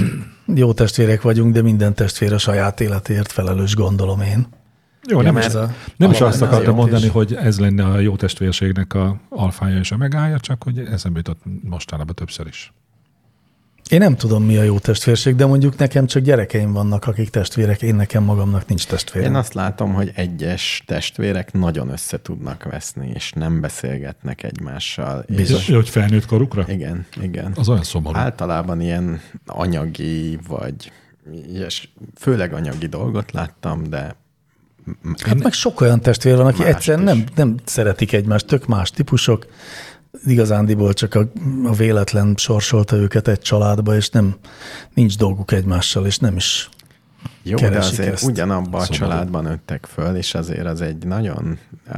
B: jó testvérek vagyunk, de minden testvér a saját életért felelős, gondolom én.
C: Jó, nem,
D: mert
C: is,
B: a-
C: nem is
D: a-
C: azt
D: az
C: akartam
D: jó
C: mondani,
D: is.
C: hogy ez lenne a jó testvérségnek a alfája és omegája, csak hogy eszembe jutott mostanában többször is.
B: Én nem tudom, mi a jó testvérség, de mondjuk nekem csak gyerekeim vannak, akik testvérek, én nekem magamnak nincs testvérem.
D: Én azt látom, hogy egyes testvérek nagyon össze tudnak veszni, és nem beszélgetnek egymással.
C: És,
D: És,
C: hogy felnőtt korukra?
D: igen, Hát, igen.
C: Az olyan szomorú.
D: Általában ilyen anyagi, vagy ilyes, főleg anyagi dolgot láttam, de
B: Hát meg sok olyan testvér van, aki
D: Mást
B: egyszerűen
D: is.
B: nem, nem szeretik egymást, tök más típusok. Igazándiból csak a, a véletlen sorsolta őket egy családba, és nem nincs dolguk egymással, és nem is.
D: jó, de
B: Keresik
D: azért
B: ezt.
D: ugyanabba a
C: Szomorú.
D: családban nőttek föl, és azért az egy nagyon, uh,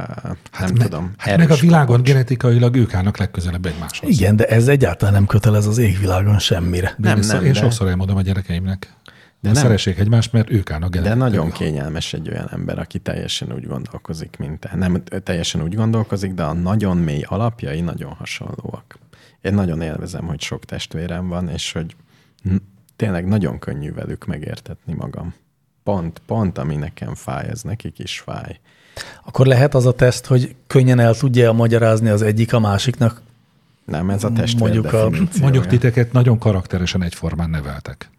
D: hát nem
C: me-
D: tudom,
C: Hát meg a
D: erős
C: világon genetikailag ők állnak legközelebb egymáshoz.
B: Igen, de ez egyáltalán nem kötelez az égvilágon semmire.
C: De
D: Nem,
C: én szor-
D: nem,
C: én
D: de-
C: sokszor elmondom a gyerekeimnek, de
D: nem.
C: szeressék egymást, mert ők állnak
D: De
C: genetikailag.
D: nagyon kényelmes egy olyan ember, aki teljesen úgy gondolkozik, mint te. Nem teljesen úgy gondolkozik, de a nagyon mély alapjai nagyon hasonlóak. Én nagyon élvezem, hogy sok testvérem van, és hogy n- tényleg nagyon könnyű velük megértetni magam. Pont, pont, ami nekem fáj, ez nekik is fáj.
B: Akkor lehet az a teszt, hogy könnyen el tudja magyarázni az egyik a másiknak.
D: Nem, ez a testvér
B: Mondjuk a-
D: definíciója.
C: Mondjuk titeket nagyon karakteresen egyformán neveltek.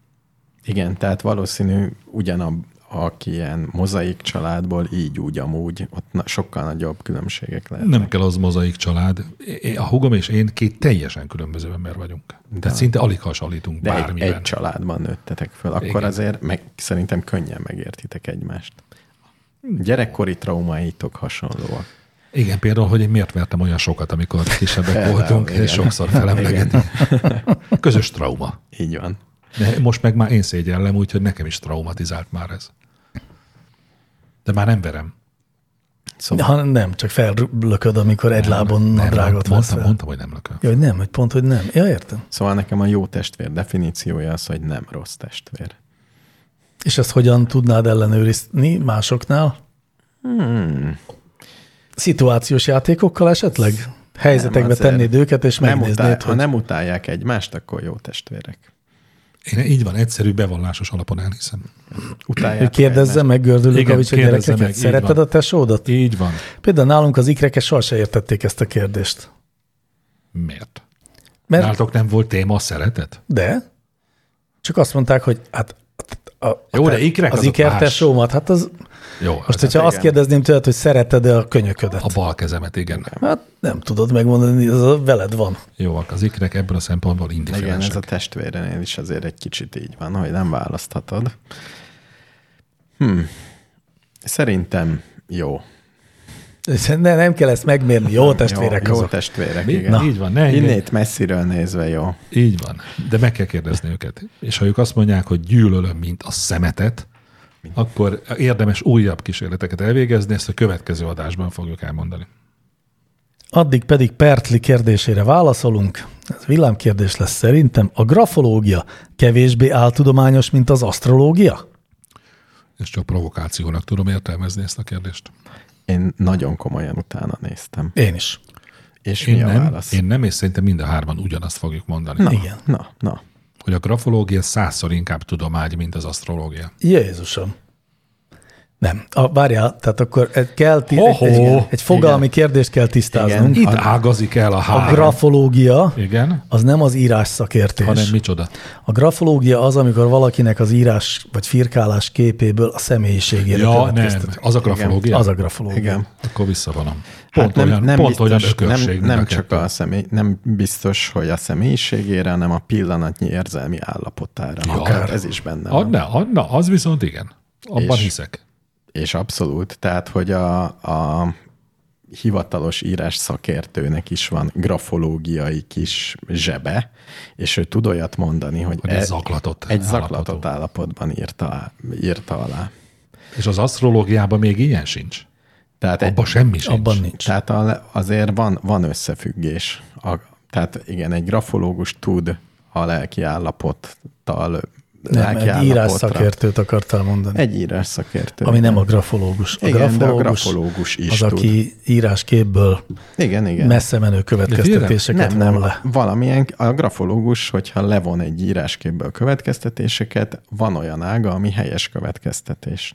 D: Igen, tehát valószínű ugyanab, aki ilyen mozaik családból így, úgy, amúgy, ott na, sokkal nagyobb különbségek lehet.
C: Nem kell az mozaik család. É- A hugom és én két teljesen különböző ember vagyunk. Tehát szinte alig hasonlítunk
D: De egy,
C: bármiben.
D: egy családban nőttetek föl, akkor
C: Igen.
D: Igen. azért meg, szerintem könnyen megértitek egymást. Gyerekkori traumáitok hasonlóak.
C: Igen, például, hogy én miért vertem olyan sokat, amikor kisebbek
D: Például,
C: voltunk, és
D: igen.
C: sokszor felemlegetik. Közös trauma.
D: Így van.
C: De most meg már én szégyellem, úgyhogy nekem is traumatizált már ez. De már nem verem.
D: Szóval
B: Ha nem, csak fellököd, amikor egy lábon
C: nem,
B: nadrágot vesz
C: mondtam,
B: fel.
C: mondtam, hogy nem lököm.
B: Ja, hogy nem, hogy pont, hogy nem. Ja, értem.
D: Szóval nekem a jó testvér definíciója az, hogy nem rossz testvér.
B: És ezt hogyan tudnád ellenőrizni másoknál?
D: Hmm.
B: Szituációs játékokkal esetleg? Helyzetekbe
D: azért.
B: tennéd őket, és
D: Nem utál,
B: megnéznéd,
D: ha
B: hogy
D: nem utálják egymást, akkor jó testvérek.
C: Én így van, egyszerű bevallásos alapon elhiszem.
B: hogy
D: Utálják
B: kérdezze meg gördülők
C: Igen,
B: a
C: kérdezze
B: gyerekeket.
C: meg, így
B: Szereted a
C: van.
B: tesódat?
C: Így van.
B: Például nálunk az ikreke sohasem értették ezt a kérdést.
C: Miért?
B: Mert
C: Nálatok nem volt téma a szeretet?
B: de, csak azt mondták, hogy hát a, a,
C: Jó,
B: a-
C: de ikrek
B: az
C: azok
B: ikertesómat, hát az,
C: Jó,
B: most,
C: az-
B: hogyha azt kérdezném tőled, hogy szereted-e a könyöködet?
C: Hát, a bal kezemet, igen.
B: Hát nem tudod megmondani, ez a veled van.
C: Jó, az ikrek ebből a szempontból
D: Meg. Igen, ez
C: indiferensek.
D: a testvérenél is azért egy kicsit így van, hogy nem választhatod. Hmm. Szerintem jó.
B: Ne, nem kell ezt megmérni, jó testvérek
D: jó,
B: azok.
D: Jó testvérek,
C: Mi?
D: igen.
C: Na. Így van, ne engedj.
D: Innét messziről nézve jó.
C: Így van, de meg kell kérdezni őket. És ha ők azt mondják, hogy gyűlölöm, mint a szemetet, akkor érdemes újabb kísérleteket elvégezni, ezt a következő adásban fogjuk elmondani.
B: Addig pedig Pertli kérdésére válaszolunk. Ez villámkérdés lesz szerintem. A grafológia kevésbé áltudományos, mint az asztrológia?
C: És csak provokációnak tudom értelmezni ezt a kérdést.
D: Én nagyon komolyan utána néztem.
B: Én is.
D: És
C: Én
D: mi a
C: nem,
D: válasz?
C: én nem, és szerintem mind a hárman ugyanazt fogjuk mondani.
D: Na,
B: Igen.
D: na, na.
C: hogy a grafológia százszor inkább tudomány, mint az asztrológia.
B: Jézusom. Nem. A, várjál, tehát akkor egy, kell ti- egy,
C: Hoho.
B: egy, igen, egy fogalmi igen. kérdést kell tisztáznunk.
C: Itt
B: A,
C: Hát ágazik el a
B: a
C: három.
B: grafológia
C: Igen,
B: az nem az írás szakértés.
C: hanem micsoda.
B: A grafológia az, amikor valakinek az írás vagy firkálás képéből a személyiségére
C: Ja, nem,
B: következtetünk.
C: az a grafológia.
B: Az a grafológia.
D: Igen.
C: Akkor visszavonom.
D: Hát
C: Pont olyan, pont olyan ökörség,
D: nem,
C: mint
D: nem
C: a
D: csak
C: kettő.
D: a személy, nem biztos, hogy a személyiségére, hanem a pillanatnyi érzelmi állapotára. Ja, Akár ez is benne van.
C: Adna, adna, az viszont igen. Abban
D: És-
C: hiszek.
D: És abszolút, tehát, hogy a, a hivatalos írás szakértőnek is van grafológiai kis zsebe, és ő tud olyat mondani, hogy, e-
C: Hogy ez zaklatott
D: egy
C: állapotú.
D: zaklatott állapotban írta, írta alá.
C: És az asztrológiában még ilyen sincs.
D: Tehát egy-
C: Abban semmi sincs.
B: Abban nincs.
D: Tehát a, azért van, van összefüggés. A, tehát igen, egy grafológus tud a lelki állapottal,
B: Nem, egy írás
D: szakértő.
B: szakértőt akartál mondani.
D: Egy írás szakértő.
B: Ami nem a grafológus. A
D: Igen, de a
B: grafológus,
D: grafológus is
B: az,
D: tud.
B: aki írásképből
D: Igen, igen.
B: messze menő következtetéseket
D: nem, nem,
B: von le.
D: valamilyen, a grafológus, hogyha levon egy írásképből következtetéseket, van olyan ága, ami helyes következtetés.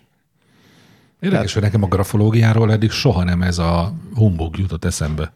C: Érdekes, hogy nekem a grafológiáról eddig soha nem ez a humbug jutott eszembe.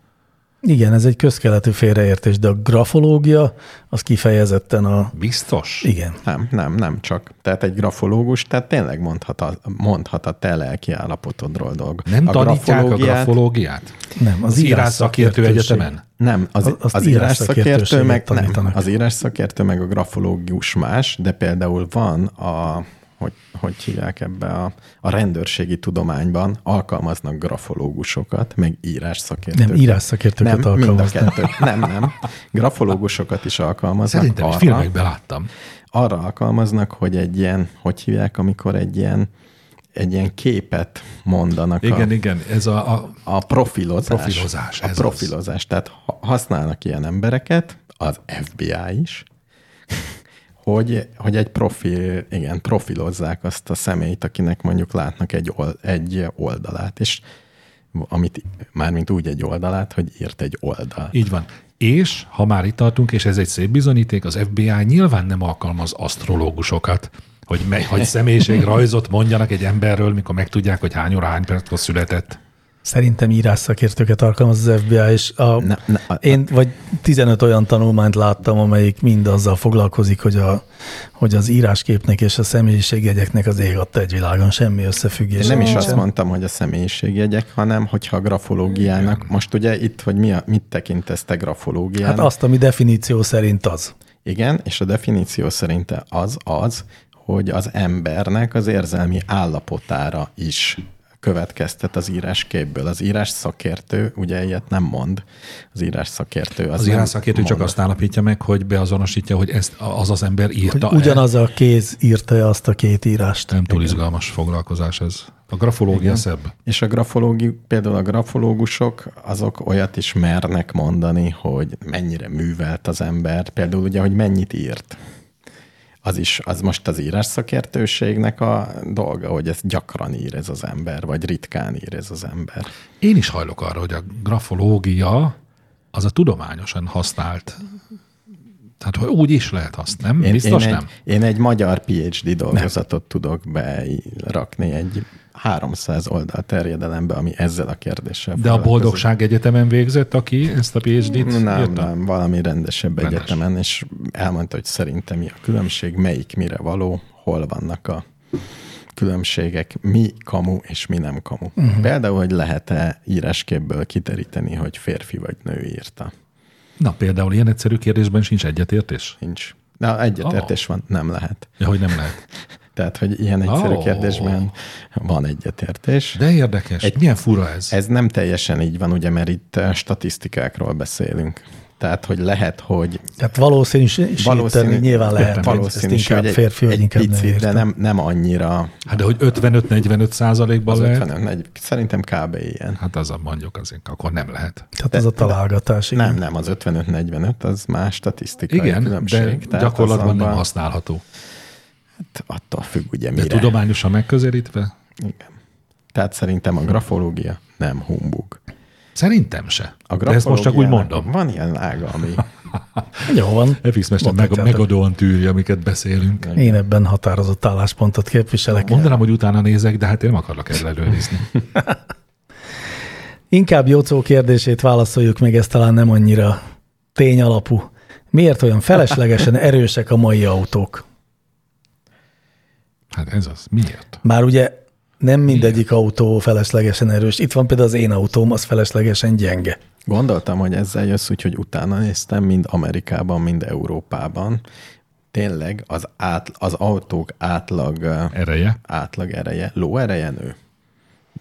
B: Igen, ez egy közkeletű félreértés, de a grafológia az kifejezetten a...
C: Biztos?
B: Igen.
D: Nem, nem, nem csak. Tehát egy grafológus, tehát tényleg mondhat a, mondhat a te lelki állapotodról dolg.
C: Nem
D: a
C: a tanítják
D: grafológiát-
C: a grafológiát?
B: Nem, az,
C: Az írás szakértő
B: írásszakértőség.
C: egyetemen?
D: Nem, az,
B: A-
D: az,
B: azt
D: az írás szakértő
B: írásszakértőséget
D: meg nem,
B: tanítanak.
D: az írás szakértő meg a grafológus más, de például van a, hogy, hogy hívják ebbe a, a rendőrségi tudományban, alkalmaznak grafológusokat, meg írás szakértőket.
B: Nem, írásszakértőket
D: nem, mind a
B: alkalmaznak.
D: kettő. Nem, nem. Grafológusokat is alkalmaznak
C: Szerintem egy
D: arra,
C: filmekben láttam.
D: arra alkalmaznak, hogy egy ilyen, hogy hívják, amikor egy ilyen, egy ilyen képet mondanak a,
C: Igen, igen, ez a, a
D: a profilozás.
C: Profilozás,
D: A
C: ez
D: profilozás. Az. Tehát ha- használnak ilyen embereket, az FBI is, hogy, hogy egy profil, igen, profilozzák azt a személyt, akinek mondjuk látnak egy, ol, egy oldalát, és amit mármint úgy egy oldalát, hogy írt egy oldal.
C: Így van. És, ha már itt tartunk, és ez egy szép bizonyíték, az FBI nyilván nem alkalmaz asztrológusokat, hogy, mely, hogy személyiségrajzot mondjanak egy emberről, mikor megtudják, hogy hány óra, hány perckor született.
B: Szerintem írásszakértőket alkalmaz az FBI, és a,
D: Ne- ne- a-
B: én vagy 15 olyan tanulmányt láttam, amelyik mind azzal foglalkozik, hogy, a, hogy az írásképnek és a személyiségjegyeknek az ég adta egy világon semmi összefüggés. Hát
D: Én nem is azt mondtam, hogy a személyiségjegyek, hanem hogyha a grafológiának, most ugye itt, hogy mi a, mit tekintesz te grafológiának?
B: Hát azt, ami definíció szerint az.
D: Igen, és a definíció szerinte az az, hogy az embernek az érzelmi állapotára is következtet az írásképből. Az írás szakértő ugye ilyet nem mond. Az írás szakértő az,
C: Az
D: nem
C: írásszakértő csak azt állapítja meg, hogy beazonosítja, hogy ezt az az ember írta
B: Hogy ugyanaz a kéz írta azt a két írást.
C: Nem túl izgalmas foglalkozás ez. A grafológia Igen. szebb.
D: És a grafológi, például a grafológusok, azok olyat is mernek mondani, hogy mennyire művelt az ember, például ugye, hogy mennyit írt. Az is, az most az írás szakértőségnek a dolga, hogy ezt gyakran ír ez az ember, vagy ritkán ír ez az ember.
C: Én is hajlok arra, hogy a grafológia az a tudományosan használt. Tehát hogy úgy is lehet azt, nem? Én, Biztos
D: én
C: én nem? Egy...
D: Egy, én egy magyar PhD dolgozatot nem. tudok berakni egy 300 oldal terjedelembe, ami ezzel a kérdéssel
C: De a
D: foglalkozik.
C: Boldogság Egyetemen végzett, aki ezt a PhD-t
D: Nem,
C: írta?
D: nem, valami rendesebb
C: Rendes.
D: Rendes. egyetemen, és elmondta, hogy szerintem mi a különbség, melyik mire való, hol vannak a különbségek, mi kamu és mi nem kamu.
C: Mhm.
D: Uh-huh. Például, hogy lehet-e írásképből kiteríteni, hogy férfi vagy nő írta.
C: Na például ilyen egyszerű kérdésben sincs egyetértés?
D: Nincs. Na, egyetértés van, nem lehet.
C: Ja, hogy nem lehet.
D: Tehát, hogy ilyen egyszerű
C: Ó.
D: oh. kérdésben van egyetértés.
C: De érdekes. Egy... Milyen fura ez?
D: Ez nem teljesen így van, ugye, mert itt eh, statisztikákról beszélünk. Tehát, hogy lehet, hogy
B: Tehát valószínűsíteni nyilván lehet, hogy ezt
D: valószínű,
B: inkább férfi, vagy
D: egy
B: inkább nő
D: picit, de
B: írta.
D: nem, nem annyira
C: Hát de hogy 55-45 százalékban
D: az
C: lehet?
D: 50, egy, szerintem kb. ilyen.
C: Hát az a mondjuk azért, akkor nem
D: Hát,
C: lehet.
B: Tehát az a találgatás. igen.
D: Nem, nem, az 55-45, az más statisztikai
C: Igen, de
D: különbség. Tehát
C: gyakorlatban
D: azonban
C: nem használható.
D: Attól függ ugye
C: De
D: mire.
C: tudományosan megközelítve?
D: Igen. Tehát szerintem a grafológia nem humbug.
C: Szerintem se.
D: A
C: De ezt most csak úgy
D: grafológiának
C: mondom.
D: Van ilyen ága, ami,
B: Jó van.
C: FX Mester meg,
B: Mondhatjátok.
C: megadóan tűri, amiket beszélünk.
B: Én ebben határozott álláspontot képviselek.
C: Mondanám, hogy utána nézek, de hát én nem akarlak ezzel előrizni.
B: Inkább Jocó kérdését válaszoljuk meg, ez talán nem annyira tényalapú. Miért olyan feleslegesen erősek a mai autók?
C: Hát ez az. Miért?
B: Már ugye nem mindegyik autó feleslegesen erős. Itt van például az én autóm, az feleslegesen gyenge.
D: Gondoltam, hogy ezzel jössz, úgyhogy utána néztem mind Amerikában, mind Európában. Tényleg az, át, az autók átlag, ö,
C: Ereje?
D: átlag ereje, lóereje nő.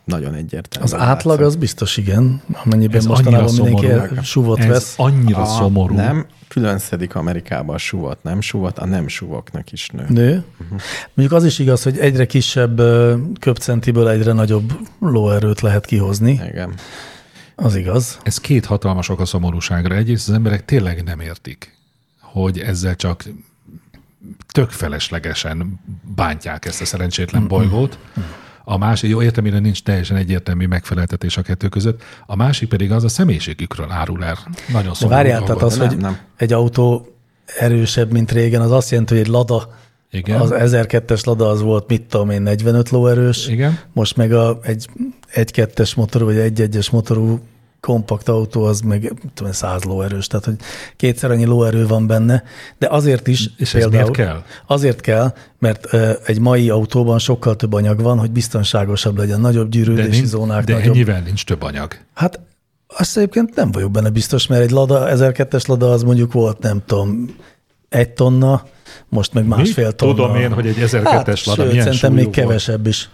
D: Nagyon egyértelmű.
B: Az átlag az biztos igen, amennyiben
C: Ez
B: mostanában
C: annyira
B: mindenki
C: szomorú.
B: el- suvot
C: ez
B: vesz.
C: annyira a, szomorú.
D: Nem, külön szedik Amerikában a suvat, nem suvat, a nem suvaknak is nő.
B: Nő. Mondjuk az is igaz, hogy egyre kisebb ö, köbcentiből egyre nagyobb lóerőt lehet kihozni.
D: Igen.
B: Az igaz.
C: Ez két hatalmas ok a szomorúságra. Egyrészt az emberek tényleg nem értik, hogy ezzel csak tök feleslegesen bántják ezt a szerencsétlen bolygót. A másik, jó értem, mire nincs teljesen egyértelmű megfeleltetés a kettő között. A másik pedig az a személyiségükről árul el. Nagyon
B: De
C: szomorú.
B: várjál,
C: dolgot.
B: tehát az,
D: Nem,
B: hogy
D: nem.
B: egy autó erősebb, mint régen, az azt jelenti, hogy egy Lada,
C: Igen.
B: az 1002-es Lada az volt, mit tudom én, 45 lóerős,
C: Igen.
B: most meg a, egy 1-2-es motorú, vagy 1-1-es motorú kompakt autó, az meg mit tudom, én, 100 lóerős, tehát hogy kétszer annyi lóerő van benne, de azért is
C: És ez miért kell?
B: Azért kell, mert ö, egy mai autóban sokkal több anyag van, hogy biztonságosabb legyen, nagyobb
C: de,
B: gyűrűdési
C: nincs,
B: zónák,
C: de
B: nagyobb
C: ennyivel nincs több anyag.
B: Hát azt egyébként nem vagyok benne biztos, mert egy Lada, 1002-es Lada az mondjuk volt, nem tudom, egy tonna, most meg másfél tonna. Hát,
C: Tudom én, hogy egy 1002-es Lada
B: sőt,
C: milyen
B: szerintem
C: súlyú
B: még
C: volt.
B: kevesebb is.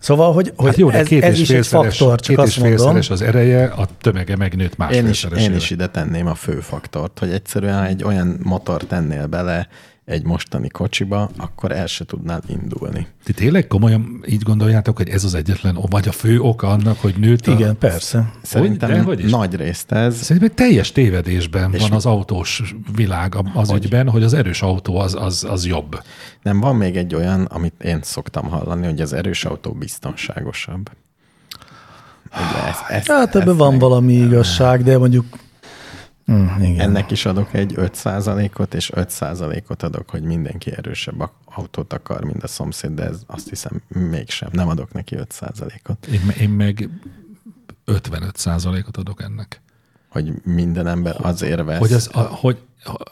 B: Szóval, hogy, hogy
C: Hát jó, de
B: ez,
C: két
B: ez is
C: és
B: egy
C: félszeres,
B: faktor, csak
C: két és
B: azt mondom.
C: félszeres az ereje, a tömege megnőtt
D: Én is,
C: másfélszeresére.
D: én is ide tenném a fő faktort, hogy egyszerűen ha egy olyan motor tennél bele egy mostani kocsiba, akkor el se tudnál indulni.
C: Ti tényleg komolyan így gondoljátok, hogy ez az egyetlen, vagy a fő oka annak, hogy nőtt a...
B: Igen, persze. Hát,
D: Szerintem
C: Dehogy
D: hogy,
C: is.
D: nagy részt ez.
C: Szerintem egy teljes tévedésben
D: És
C: van
D: mi-
C: az autós világ a- az hogy? ügyben, hogy az erős autó az, az, az jobb.
D: Nem, van még egy olyan, amit én szoktam hallani, hogy az erős autó biztonságosabb. Ugye ez, ez,
B: Hát
D: ez
B: ebben van
D: meg-
B: valami igazság, de mondjuk... Mm, igen.
D: Ennek is adok egy 5%-ot, és 5%-ot adok, hogy mindenki erősebb ak- autót akar, mint a szomszéd, de ez azt hiszem mégsem. Nem adok neki 5%-ot,
C: Én, én meg 55 százalékot adok ennek.
D: hogy minden ember azért vesz.
C: Hogy, az, a, hogy,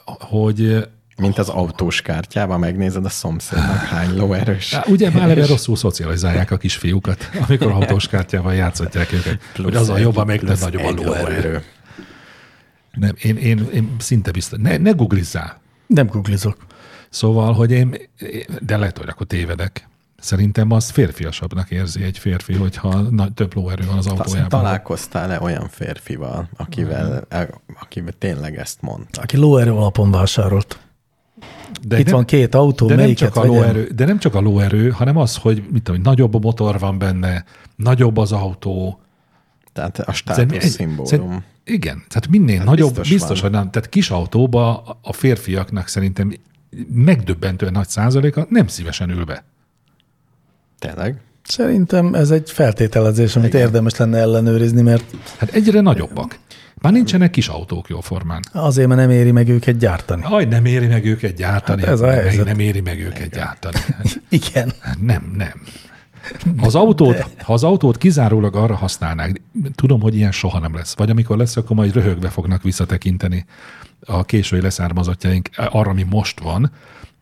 C: hogy
D: Mint az autós kártyában megnézed a szomszédnak hány lóerős.
C: Á, Ugye már eleve rosszul szocializálják a kisfiúkat, amikor autós kártyával játszhatják őket, hogy az a jobb, amelyik nem nagyobb a lóerő. Nem, én, én, én szinte biztos. Ne, ne googlizzál.
B: Nem googlizok.
C: Szóval, hogy én, de lehet, hogy akkor tévedek. Szerintem az férfiasabbnak érzi egy férfi, hogyha nagy, több lóerő van az autójában.
D: Találkoztál-e olyan férfival, akivel, e- akivel tényleg ezt mondta?
B: Aki lóerő alapon vásárolt.
C: de
B: Itt
C: nem,
B: van két autó,
C: de nem,
B: melyiket
C: csak a
B: vegyem?
C: lóerő, de nem csak a lóerő, hanem az, hogy mit tudom, hogy nagyobb a motor van benne, nagyobb az autó.
D: Tehát a
C: Szerintem-
D: státusz
C: egy-
D: szimbólum.
C: szerint- Igen, tehát minél hát nagyobb,
D: biztos
C: biztos, biztos
D: van.
C: hogy nem. Tehát kis autóba a- a férfiaknak szerintem megdöbbentően nagy százaléka nem szívesen ül be.
D: Tényleg?
B: Szerintem ez egy feltételezés, amit érdemes lenne ellenőrizni, mert
C: Hát egyre nagyobbak. Már nincsenek kis autók jóformán.
B: azért, mert nem éri meg őket gyártani.
C: Aj, nem éri meg őket gyártani.
B: Hát ez a
C: meg
B: helyzet.
C: Nem éri meg őket gyártani.
B: Igen.
C: Nem, nem. Ha az, autót, ha az autót kizárólag arra használnák, tudom, hogy ilyen soha nem lesz. Vagy amikor lesz, akkor majd röhögve fognak visszatekinteni a késői leszármazottjaink arra, ami most van,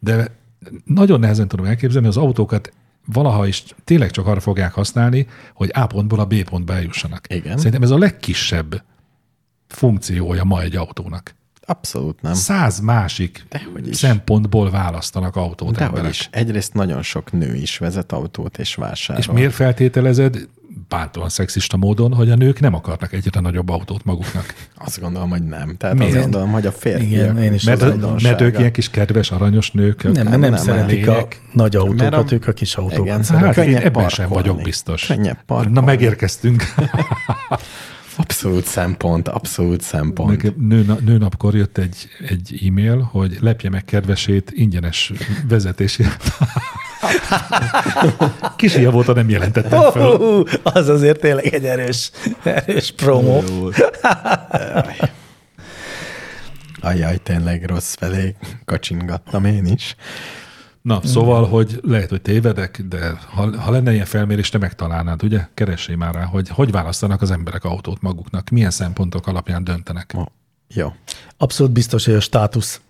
C: de nagyon nehezen tudom elképzelni, az autókat valaha is tényleg csak arra fogják használni, hogy A pontból a B pontba eljussanak.
D: Igen.
C: Szerintem ez a legkisebb funkciója ma egy autónak.
D: Abszolút nem.
C: Száz másik
D: Dehogy is.
C: szempontból választanak autót
D: Dehogy
C: emberek.
D: is. Egyrészt nagyon sok nő is vezet autót és vásárol.
C: És miért feltételezed bántóan szexista módon, hogy a nők nem akarnak egyre nagyobb autót maguknak?
D: Azt gondolom, hogy nem. Tehát
C: Miért?
D: azt gondolom, hogy a férfiak.
B: Igen, én is
D: az
C: Mert,
D: ajdonsága.
C: mert ők ilyen kis kedves, aranyos nők.
B: Nem,
D: Nem,
B: nem, nem
D: nem,
B: szeretik
C: nem.
B: a nagy
D: Mert
B: autókat,
D: a-
B: ők a kis
D: Igen,
B: autókat.
D: szóval
C: Hát én
D: könnyebb
C: ebben sem
D: parkolni.
C: vagyok biztos.
D: Könnyebb parkolni.
C: Na megérkeztünk.
D: Abszolút szempont, abszolút szempont.
C: Nekem nőna- Nőnapkor jött egy, egy e-mail, hogy lepje meg kedvesét ingyenes vezetésért. Kis ilyen volt, ha nem jelentettem
B: Oh,
C: fel.
B: hú, az azért tényleg egy erős, erős promó.
D: Ajaj, tényleg rossz felé kacsingattam én is.
C: Na, szóval, hogy lehet, hogy tévedek, de ha, ha lenne ilyen felmérés, te megtalálnád, ugye? Keressél már rá, hogy hogy választanak az emberek autót maguknak, milyen szempontok alapján döntenek.
D: Ma. Jó.
B: Abszolút biztos, hogy a státusz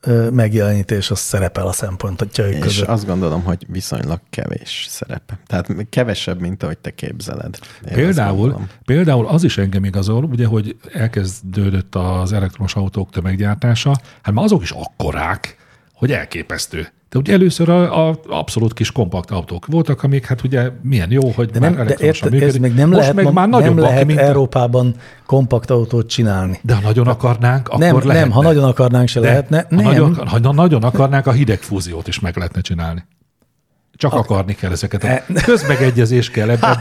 B: ö, megjelenítés az szerepel a szempontjaik
D: És
B: között.
D: azt gondolom, hogy viszonylag kevés szerepe. Tehát kevesebb, mint ahogy te képzeled. Én azt
C: Például,
D: gondolom.
C: például az is engem igazol, ugye, hogy elkezdődött az elektromos autók tömeggyártása, hát már azok is akkorák, hogy elképesztő. De ugye először a, a abszolút kis kompakt autók voltak, amik hát ugye milyen jó, hogy
B: De,
C: már
B: nem, de
C: elektromosan
B: érted, ez
C: működik.
B: még nem
C: Most
B: lehet,
C: meg
B: ma-
C: már
B: nem
C: nagyobbak,
B: lehet
C: mint a-
B: Európában kompakt autót csinálni.
C: De ha nagyon akarnánk, akkor
B: nem,
C: lehetne.
B: nem, ha nagyon akarnánk, se
C: De
B: lehetne.
C: Ha
B: Nem.
C: nagyon, ha na- nagyon akarnák, a hidegfúziót is meg lehetne csinálni. Csak akarni kell ezeket.
D: E-
C: A közmegegyezés kell ebben.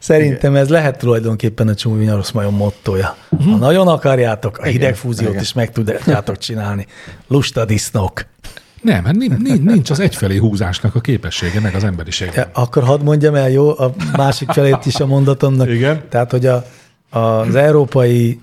B: Szerintem ez lehet tulajdonképpen a csúmi nyarosz majom mottoja.
C: Mhm.
B: Ha nagyon akarjátok, a hidegfúziót is meg tudjátok csinálni. Lusta disznók.
C: Nem, hát nin- nin- nincs az egyfelé húzásnak a képessége, meg az emberiségnek.
B: Ja, Akkor hadd mondjam el, jó, a másik felét is a mondatomnak.
C: Igen.
B: Tehát, hogy a, az európai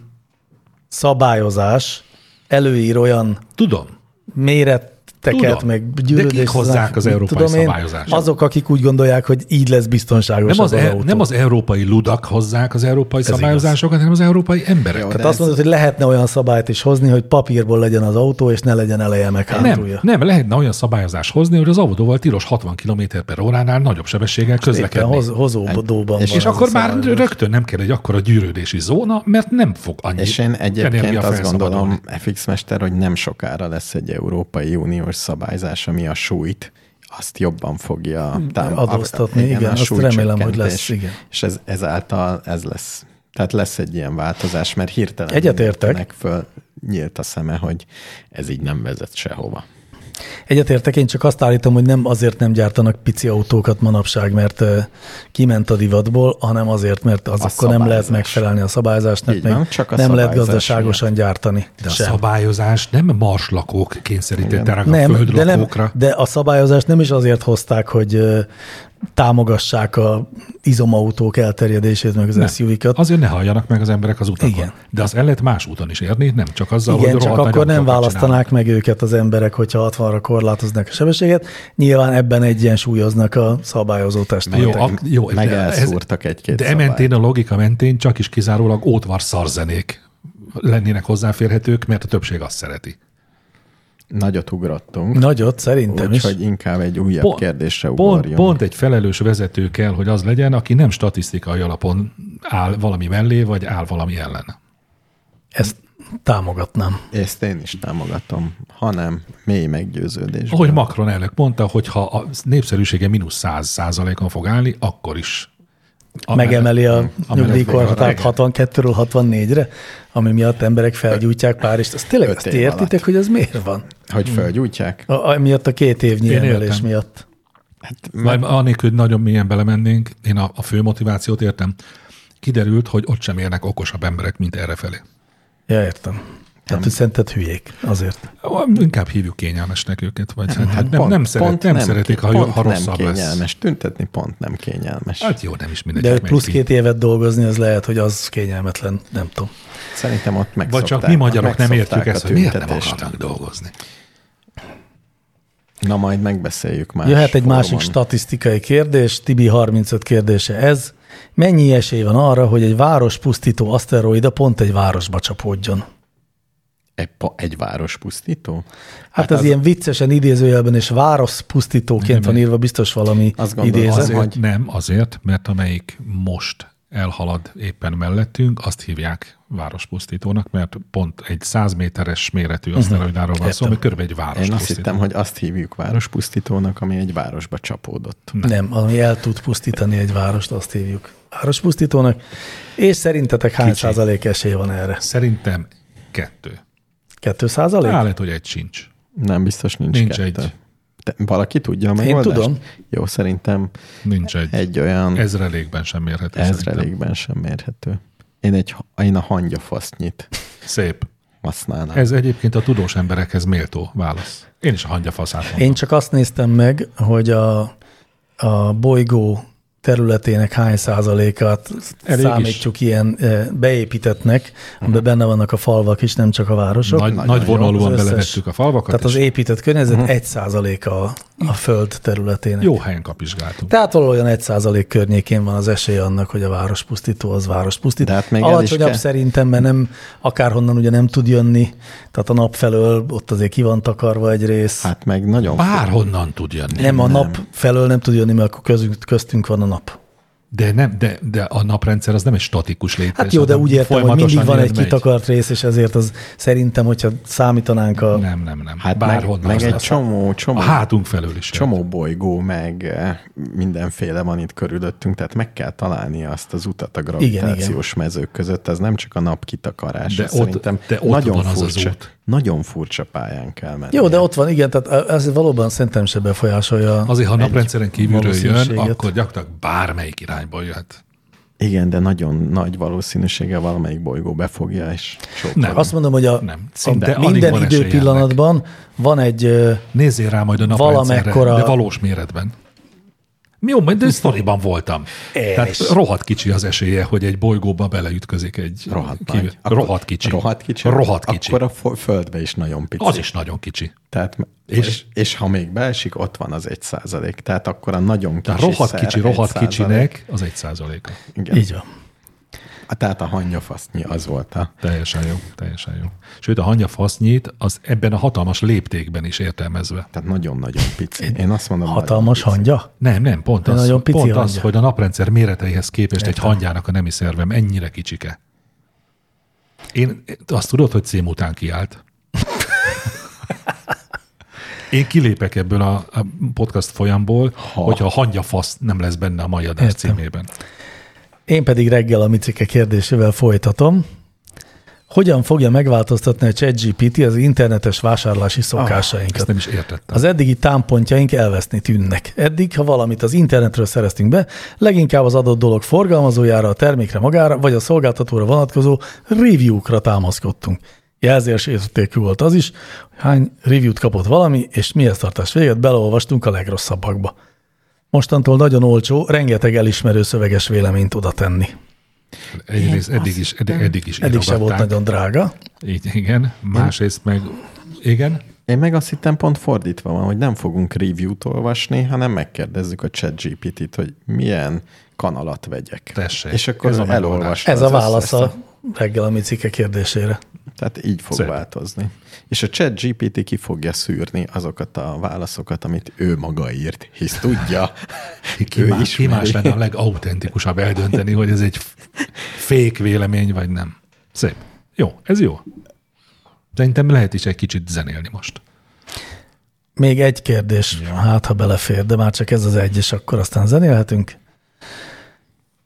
B: szabályozás előír olyan
C: Tudom.
B: méreteket,
C: Tudom.
B: meg
C: De
B: gyűlödés.
C: kik hozzák az
B: mit
C: európai
B: tudom én,
C: szabályozást?
B: Azok, akik úgy gondolják, hogy így lesz biztonságos
C: Nem az,
B: az,
C: e-
B: autó.
C: nem az európai ludak hozzák az európai szabályozásokat, hanem az európai emberek.
D: Jó, de
B: Tehát azt
D: ez-
B: mondod, hogy lehetne olyan szabályt is hozni, hogy papírból legyen az autó, és ne legyen eleje meg
C: Nem,
D: hát
B: hátulja.
C: nem, lehetne olyan szabályozás hozni, hogy az autóval tilos 60 km per óránál nagyobb sebességgel
B: Éppen
C: közlekedni.
B: hoz, hozódóban
D: És-
B: van ez
C: És
B: a
C: akkor már
B: szabályozás.
C: rögtön nem kell egy akkora gyűrődési zóna, mert nem fog annyi
D: És én egyébként
C: energia
D: azt
C: felszabadulni.
D: gondolom, FX Mester, hogy nem sokára lesz egy Európai Uniós szabályzás, ami a súlyt azt jobban fogja támogatni.
B: Hmm, Adóztatni, igen, azt remélem, hogy lesz, igen.
D: És ez, ezáltal ez lesz. Tehát lesz egy ilyen változás, mert hirtelen
B: Egyetértek.
D: mindenkinek föl nyílt a szeme, hogy ez így nem vezet sehova.
B: Egyetértek, én csak azt állítom, hogy nem azért nem gyártanak pici autókat manapság, mert ö, kiment a divatból, hanem azért, mert az
D: A
B: akkor nem lehet
D: szabályozás.
B: megfelelni a szabályzásnak,
D: Így
B: meg
D: van, csak a
B: nem lehet
D: szabályzás
B: gazdaságosan gyártani.
C: De a
B: sem.
C: szabályozás nem marslakók kényszerítette rá a
B: nem, de, nem,
C: földlakókra.
B: de a szabályozást nem is azért hozták, hogy ö, támogassák a izomautók elterjedését, meg az
C: Nem.
B: SUV-kat.
C: Azért ne halljanak meg az emberek az utakon.
B: Igen.
C: Igen. De azt el lehet más úton is érni, nem csak azzal,
B: Igen,
C: hogy
B: csak
C: rohadt nagy
B: akkor nem
C: autókat
B: választanák meg őket az emberek, hogyha 60-ra korlátoznak a sebességet. Nyilván ebben egyensúlyoznak a szabályozó testületek.
C: Jó, ak- jó,
D: meg
C: de ez-
D: elszúrtak egy-két
C: De
D: szabályt.
C: ementén a logika mentén csak is kizárólag ótvar szarzenék lennének hozzáférhetők, mert a többség azt szereti.
D: Nagyot ugrottunk,
B: Nagyot, szerintem is.
D: úgyhogy inkább egy újabb kérdésre
C: pont,
D: ugorjunk.
C: pont egy felelős vezető kell, hogy az legyen, aki nem statisztikai alapon áll valami mellé, vagy áll valami ellen.
B: Ezt támogatnám.
D: Ezt én is támogatom, hanem mély meggyőződés.
C: Ahogy Macron elnök mondta, hogy ha a népszerűsége mínusz 100 százalékon fog állni, akkor is. A
B: Megemeli a
C: amellett
B: nyugdíjkorhatárt
C: van.
B: 62-ről 64-re, ami miatt emberek felgyújtják Párizst. Azt tényleg
D: Öt
B: azt
D: év
B: ti értitek,
D: alatt.
B: hogy ez miért van?
D: Hogy fölgyújtják?
B: A, a, miatt a két évnyi
C: Én
B: emelés
C: értem.
B: miatt.
C: Hát,
D: Hát
C: Majd anélkül, hogy nagyon mélyen belemennénk, én a, a fő motivációt értem. Kiderült, hogy ott sem élnek okosabb emberek, mint errefelé.
B: Ja, értem. Tehát, hogy szerinted hülyék azért.
C: Inkább hívjuk kényelmesnek őket, vagy hát, hát nem,
D: Pont-
C: nem, szeret,
D: pont
C: nem, szeretik, ha, jó-
D: pont
C: ha
D: nem
C: rosszabb
D: kényelmes.
C: lesz.
D: Tüntetni pont nem kényelmes.
C: Hát jó, nem is mindegy.
B: De
C: hogy
B: hogy plusz
C: melyik
B: két évet dolgozni, az lehet, hogy az kényelmetlen, nem tudom.
D: Szerintem ott meg
C: Vagy csak mi magyarok nem értjük ezt, hogy miért nem akarnak dolgozni.
D: Na majd megbeszéljük már.
B: Jöhet egy másik statisztikai kérdés, Tibi 35 kérdése ez. Mennyi esély van arra, hogy egy város pusztító aszteroida pont egy városba csapódjon?
D: Egy, pa- egy város pusztító?
B: Hát, hát ez ilyen viccesen idézőjelben, és város pusztítóként van írva, biztos valami
D: Azt gondolom,
B: idézet.
C: Azért
D: Azért-
C: hogy... nem, azért, mert amelyik most elhalad éppen mellettünk, azt hívják várospusztítónak, mert pont egy 100 méteres méretű aszteroidáról van szó, ami körülbelül egy
D: Én azt
C: várospusztító.
D: hittem, hogy azt hívjuk várospusztítónak, ami egy városba csapódott.
B: Nem, ami el tud pusztítani egy várost, azt hívjuk várospusztítónak. És szerintetek hány százalék esély van erre?
C: Szerintem kettő.
B: Kettő százalék?
C: Á, lehet, hogy egy sincs.
D: Nem, biztos nincs,
C: Nincs
D: kettő.
C: egy.
D: Te, valaki tudja a
B: Én
D: megoldást?
B: tudom.
D: Jó, szerintem
C: Nincs egy. egy.
D: egy olyan...
C: Ezrelékben sem mérhető. szerintem.
D: Ezrelékben sem mérhető. Én, egy, én a hangyafasznyit
C: Szép.
D: használnám. Ez
C: Ez egyébként a tudós emberekhez méltó válasz. Én is a hangyafaszát mondom.
B: Én csak azt néztem meg, hogy a, a bolygó területének hány százalékát
C: Elég
B: Elég
C: is. Mhm.
B: számítjuk is. ilyen eh, beépítettnek, amiben benne vannak a falvak is, nem csak a városok.
C: Nagy,
D: nagyon
C: nagy
D: jó,
C: vonalúan
B: az összes-
C: belevettük a falvakat,
B: Tehát
C: és
B: az épített környezet egy százaléka a, a föld területének.
C: Mhm. jó helyen kapizsgáltunk.
B: Tehát valahol olyan 1% környékén van az esély annak, hogy a várospusztító az várospusztító.
D: De hát még el is
B: Alacsonyabb
D: kell.
B: szerintem, mert nem akárhonnan ugye nem tud jönni, tehát a nap felől ott azért ki van takarva egy rész. Hát,
D: Hát meg nagyon...
C: Bárhonnan tud jönni.
B: nem, nem, a nap felől nem tud jönni, mert akkor közünk, köztünk van a nap.
C: De, nem, de, de a naprendszer az nem egy statikus létezés.
B: Hát jó, de
C: hanem
B: úgy értem, hogy
C: folyamatosan
B: mindig van
C: jön,
B: egy
C: megy.
B: kitakart rész, és ezért az szerintem, hogyha számítanánk a...
C: Nem, nem, nem.
D: Hát
C: Hát Bárhonnan.
D: meg,
C: az
D: meg egy
C: lesz.
D: csomó, csomó,
C: A hátunk felől is. jön.
D: csomó bolygó, meg eh, mindenféle van itt körülöttünk, tehát meg kell találni azt az utat a gravitációs mezők között. Ez nem csak a nap kitakarása.
C: De ott-
D: Szerintem
C: de ott
D: nagyon
C: van az az
D: furcsa,
C: út.
D: Nagyon furcsa pályán kell menni.
B: Jó, de ott van, igen, tehát ez valóban szerintem se befolyásolja.
C: Azért, ha a naprendszeren kívülről jön,
B: valószínűséget.
C: akkor gyakorlatilag bármelyik irányból jöhet.
D: Igen, de nagyon nagy valószínűséggel valamelyik bolygó befogja, és sok.
C: Nem.
B: Azt mondom, hogy a,
C: Nem,
B: a
C: szinte alig
B: minden
C: van esélye
B: időpillanatban van egy ö,
C: Nézzél rá majd a naprendszerre,
B: Valamekkora-
C: de valós méretben. Jó, majd de sztoriban voltam.
B: Én
C: Tehát
B: is.
C: rohadt kicsi az esélye, hogy egy bolygóba beleütközik egy...
D: Rohadt
C: kívül-
D: nagy.
C: rohadt kicsi.
D: Rohadt kicsi.
C: Rohadt kicsi.
D: Akkor a fo- földbe is nagyon pici.
C: Az is nagyon kicsi.
D: Tehát,
C: És-
D: és, és, és ha még beesik, ott van az egy százalék. Tehát akkor a nagyon kicsi
C: Tehát rohadt
D: szer
C: kicsi,
D: egy
C: rohadt
D: százalék.
C: kicsinek az egy százaléka.
D: Igen.
B: így van.
D: A- Tehát a hangyafasznyi az volt a...
C: Teljesen jó, teljesen jó. Sőt, a hangya fasznyit az ebben a hatalmas léptékben is értelmezve.
D: Tehát nagyon-nagyon pici. Én azt mondom,
B: Hatalmas
D: nagyon pici.
B: hangya?
C: Nem, nem, pont
B: De
C: az,
B: nagyon pici
C: pont az
B: hangya.
C: hogy a naprendszer méreteihez képest egy hangyának a nemi szervem ennyire kicsike. Én azt tudod, hogy cím után kiállt. Én kilépek ebből a, a podcast folyamból, ha. hogyha a hangyafasz nem lesz benne a mai adás
B: Értem.
C: címében.
B: Én pedig reggel a Micike kérdésével folytatom. Hogyan fogja megváltoztatni a ChatGPT az internetes vásárlási
C: Ezt
B: szokásainkat?
C: nem is értettem.
B: Az eddigi támpontjaink elveszni tűnnek. Eddig, ha valamit az internetről szereztünk be, leginkább az adott dolog forgalmazójára, a termékre magára, vagy a szolgáltatóra vonatkozó review-kra támaszkodtunk. Jelzésértékű volt az is, hány review-t kapott valami, és mihez tartás véget beleolvastunk a legrosszabbakba. Mostantól nagyon olcsó, rengeteg elismerő szöveges véleményt oda tenni.
C: Egyrészt eddig is, eddig, eddig is
B: Eddig se volt
C: írogatták.
B: nagyon drága.
C: Így, igen. Másrészt meg, igen,
D: Én meg azt hittem pont fordítva van, hogy nem fogunk review-t olvasni, hanem megkérdezzük a chat GPT-t, hogy milyen kanalat vegyek.
C: Tessék,
D: És akkor
C: ez
D: ez
C: a
D: a
C: megoldás.
D: elolvasta.
B: Ez
D: az
B: a válasz
D: összes-
B: a reggel a Micike kérdésére.
D: Tehát így fog
C: Szép.
D: Szép. változni. És a chat GPT ki fogja szűrni azokat a válaszokat, amit ő maga írt, hisz tudja.
C: ki, más, ki más lenne a legautentikusabb eldönteni, hogy ez egy f- fék vélemény, vagy nem. Szép. Jó, ez jó. Szerintem lehet is egy kicsit zenélni most.
B: Még egy kérdés, ja. hát ha belefér, de már csak ez az egy, és akkor aztán zenélhetünk.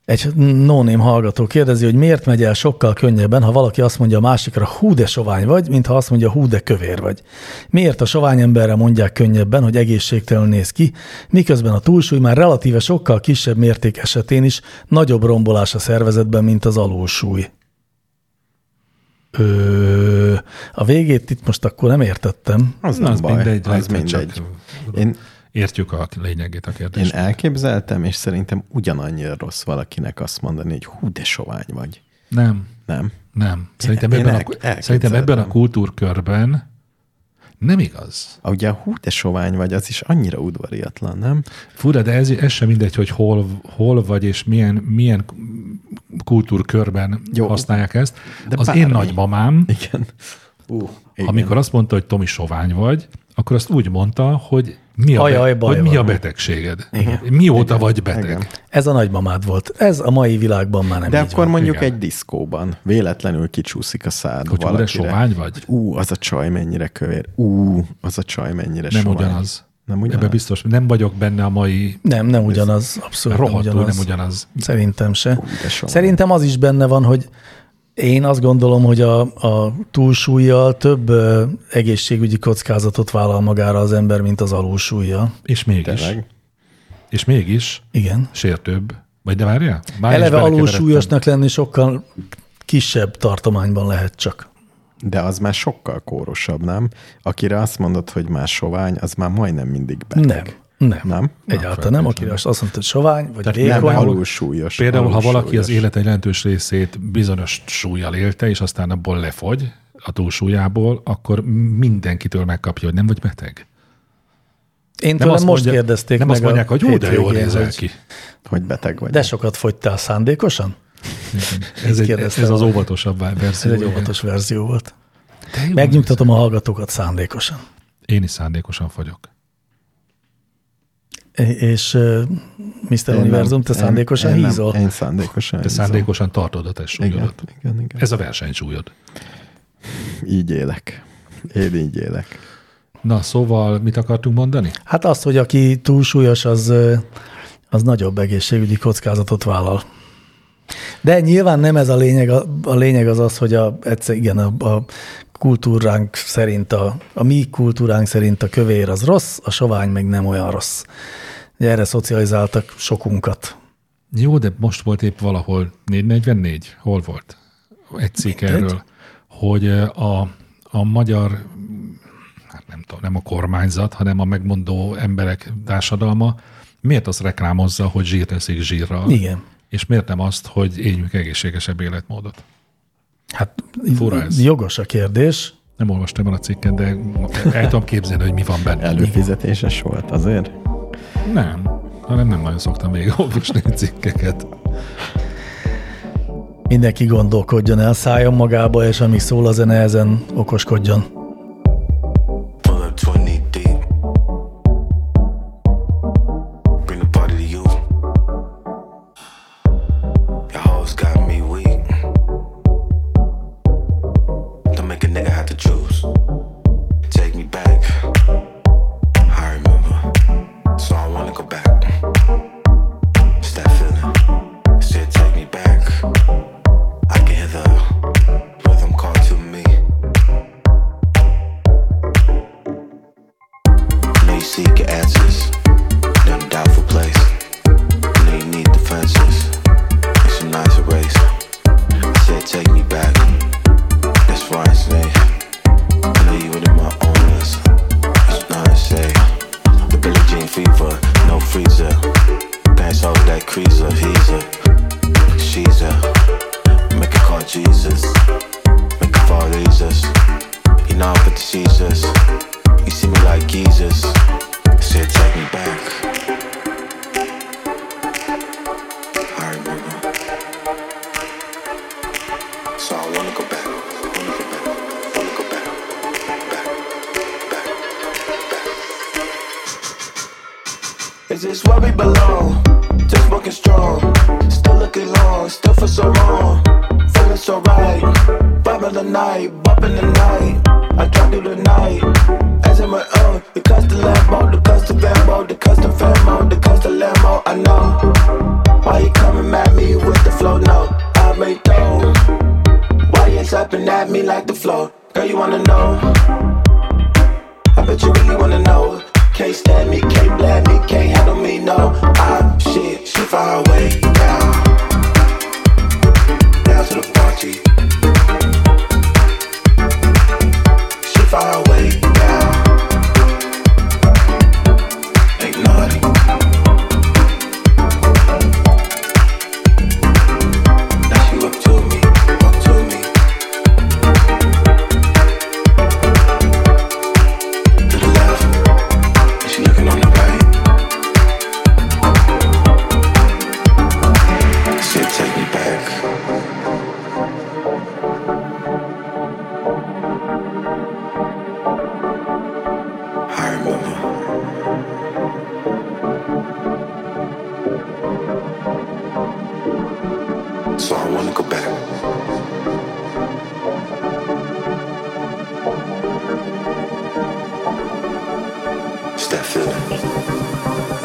B: Egy nóném hallgató kérdezi, hogy miért megy el sokkal könnyebben, ha valaki azt mondja a másikra, hú de sovány vagy, mint ha azt mondja, hú de kövér vagy. Miért a sovány emberre mondják könnyebben, hogy egészségtelenül néz ki, miközben a túlsúly már relatíve sokkal kisebb mérték esetén is nagyobb rombolás a szervezetben, mint az alulsúly. Ö, a végét itt most akkor nem értettem.
D: Az,
C: Na,
D: nem
C: az
D: baj,
C: mindegy,
D: az
C: lehet, hogy
D: mindegy.
C: csak-
D: Én,
C: Értjük a lényegét a
D: én
C: kérdésnek.
D: elképzeltem, és szerintem ugyanannyira rossz valakinek azt mondani, hogy hú, de sovány vagy.
C: Nem,
D: Nem?
C: nem. Szerintem,
D: Én
C: ebben,
D: el-
C: a, szerintem ebben a
D: elképzeltem.
C: kultúrkörben nem igaz.
D: Ah, Ugye a hú, de sovány vagy, az is annyira udvariatlan, nem?
C: Fura, de ez, ez sem mindegy, hogy hol, hol vagy, és milyen, milyen kultúrkörben
D: Jó.
C: használják ezt.
D: De
C: az én
D: bármi.
C: nagymamám,
D: Igen. Uh, igen.
C: Amikor azt mondta, hogy Tomi sovány vagy, akkor azt úgy mondta, hogy mi a,
B: Ajaj,
C: be,
B: baj
C: hogy mi
B: van.
C: a betegséged. Igen. Mióta Igen. vagy beteg. Igen.
D: Igen.
B: Ez a nagymamád volt. Ez a mai világban már nem
D: De
B: így
D: akkor
B: van.
D: mondjuk
C: igen.
D: egy diszkóban véletlenül kicsúszik a szád
C: Hogy úr,
D: valakire.
C: sovány vagy?
D: Ú, az a csaj mennyire kövér. Ú, az a csaj mennyire
C: Nem
D: sovány.
C: ugyanaz.
D: Nem
C: Ebben
D: ugyanaz.
C: biztos, nem vagyok benne a mai
B: Nem, nem ugyanaz, abszolút nem
C: rohadtul,
B: ugyanaz.
C: nem ugyanaz.
B: Szerintem se.
D: de soha.
B: Szerintem az is benne van, hogy én azt gondolom, hogy a, a túlsúlyjal több ö, egészségügyi kockázatot vállal magára az ember, mint az alulsúlyjal.
C: És mégis.
D: Tényleg?
C: És mégis
B: Igen.
C: sértőbb. Vagy de várjál? Már is
B: Eleve
C: belekeveredtem.
B: alulsúlyosnak lenni sokkal kisebb tartományban lehet csak.
D: De az már sokkal kórosabb, nem? Akire azt mondod, hogy már sovány, az már majdnem mindig beteg.
B: Nem. Nem.
D: Nem?
B: Egyáltalán nem, akire azt mondta, hogy sovány, vagy
D: Tehát nem
B: vékony.
D: alul súlyos.
C: Például, ha
D: alul
C: valaki az
D: súlyos.
C: élete jelentős részét bizonyos súlyjal élte, és aztán abból lefogy, a túlsúlyából, akkor mindenkitől megkapja, hogy nem vagy beteg.
B: Én
C: Nem
B: tőlem most kérdezték
C: nem
B: meg
C: azt mondják,
B: a
C: hogy hú, de jól
B: hétvégén,
C: nézel
B: hogy
C: ki.
D: Hogy beteg vagy.
B: De sokat fogytál szándékosan?
C: Ez, egy,
B: kérdeztem.
C: ez az óvatosabb
B: Ez
C: verzió.
B: egy
C: igen.
B: óvatos verzió volt.
C: De jó,
B: Megnyugtatom a hallgatókat szándékosan.
C: Én is szándékosan fogyok.
B: E- És uh, Mr.
D: Én nem-
B: Univerzum, te
D: én-
B: szándékosan
D: én nem-
B: hízol?
D: Én szándékosan
C: Te szándékosan tartod a te
D: Igen,
C: súlyodat.
D: igen, igen.
C: Ez a versenysúlyod.
D: Így élek. Én így élek.
C: Na, szóval mit akartunk mondani?
B: Hát azt, hogy aki túlsúlyos, az, ö, az nagyobb egészségügyi kockázatot vállal. De nyilván nem ez a lényeg. A, a lényeg az az, hogy a, egyszer, igen, a, a kultúránk szerint, a, a mi kultúránk szerint a kövér az rossz, a sovány meg nem olyan rossz. Ugye erre szocializáltak sokunkat.
C: Jó, de most volt épp valahol 444, hol volt? Egy cikk erről, hogy a, a magyar, hát nem tudom, nem a kormányzat, hanem a megmondó emberek társadalma miért azt reklámozza, hogy zsírt eszik zsírral?
B: Igen.
C: És miért nem azt, hogy éljünk egészségesebb életmódot?
B: Hát
C: Fura ez.
B: jogos a kérdés.
C: Nem olvastam el a cikket, de el tudom képzelni, hogy mi van benne.
D: Előfizetéses volt azért?
C: Nem, hanem nem nagyon szoktam még olvasni a cikkeket.
B: Mindenki gondolkodjon el, szálljon magába, és amíg szól a zene, ezen okoskodjon.
E: Pull up 20 deep. Bring the party to you. Your hoes got me weak. Don't make a nigga have to choose. Take me back. I remember. So I wanna go back. It's that feeling. Said take me back. I can hear the rhythm call to me. Know you seek your answers in a doubtful place. Know you need defenses. It's a nice erase. I said, take me back. That's why I say, I know you into my owners. It's not I say. The Billie Jean fever, no freezer. Pants over that creaser, he's a, she's a. Make her call Jesus. Make her fall Jesus. You know I'm with Jesus. You see me like Jesus. Said take me back. I remember. So I wanna go back. Wanna go back. Wanna go back. Back. Back. Back. Is this where we belong? Just walking strong. Still looking long. Still for so long. Feeling so right. Vibing the night. Bumping the night. I drive through the night. As in my own. The custom Lambo. The custom Lambo. The custom Famo. The custom Lambo. I know. Why you coming at me with the flow? No, I made dough. Why you slapping at me like the flow? Girl, you wanna know? I bet you really wanna know. Can't stand me, can't blame me, can't handle me, no. I shit, she find her way down. Down to the party. She find her way down. Ain't naughty. Now she up to me, up to me. To the left, and she looking on the right. Said, take me back. I remember. So I wanna go back. It's that feeling.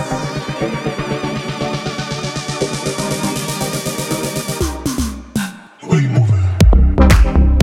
E: Where you moving?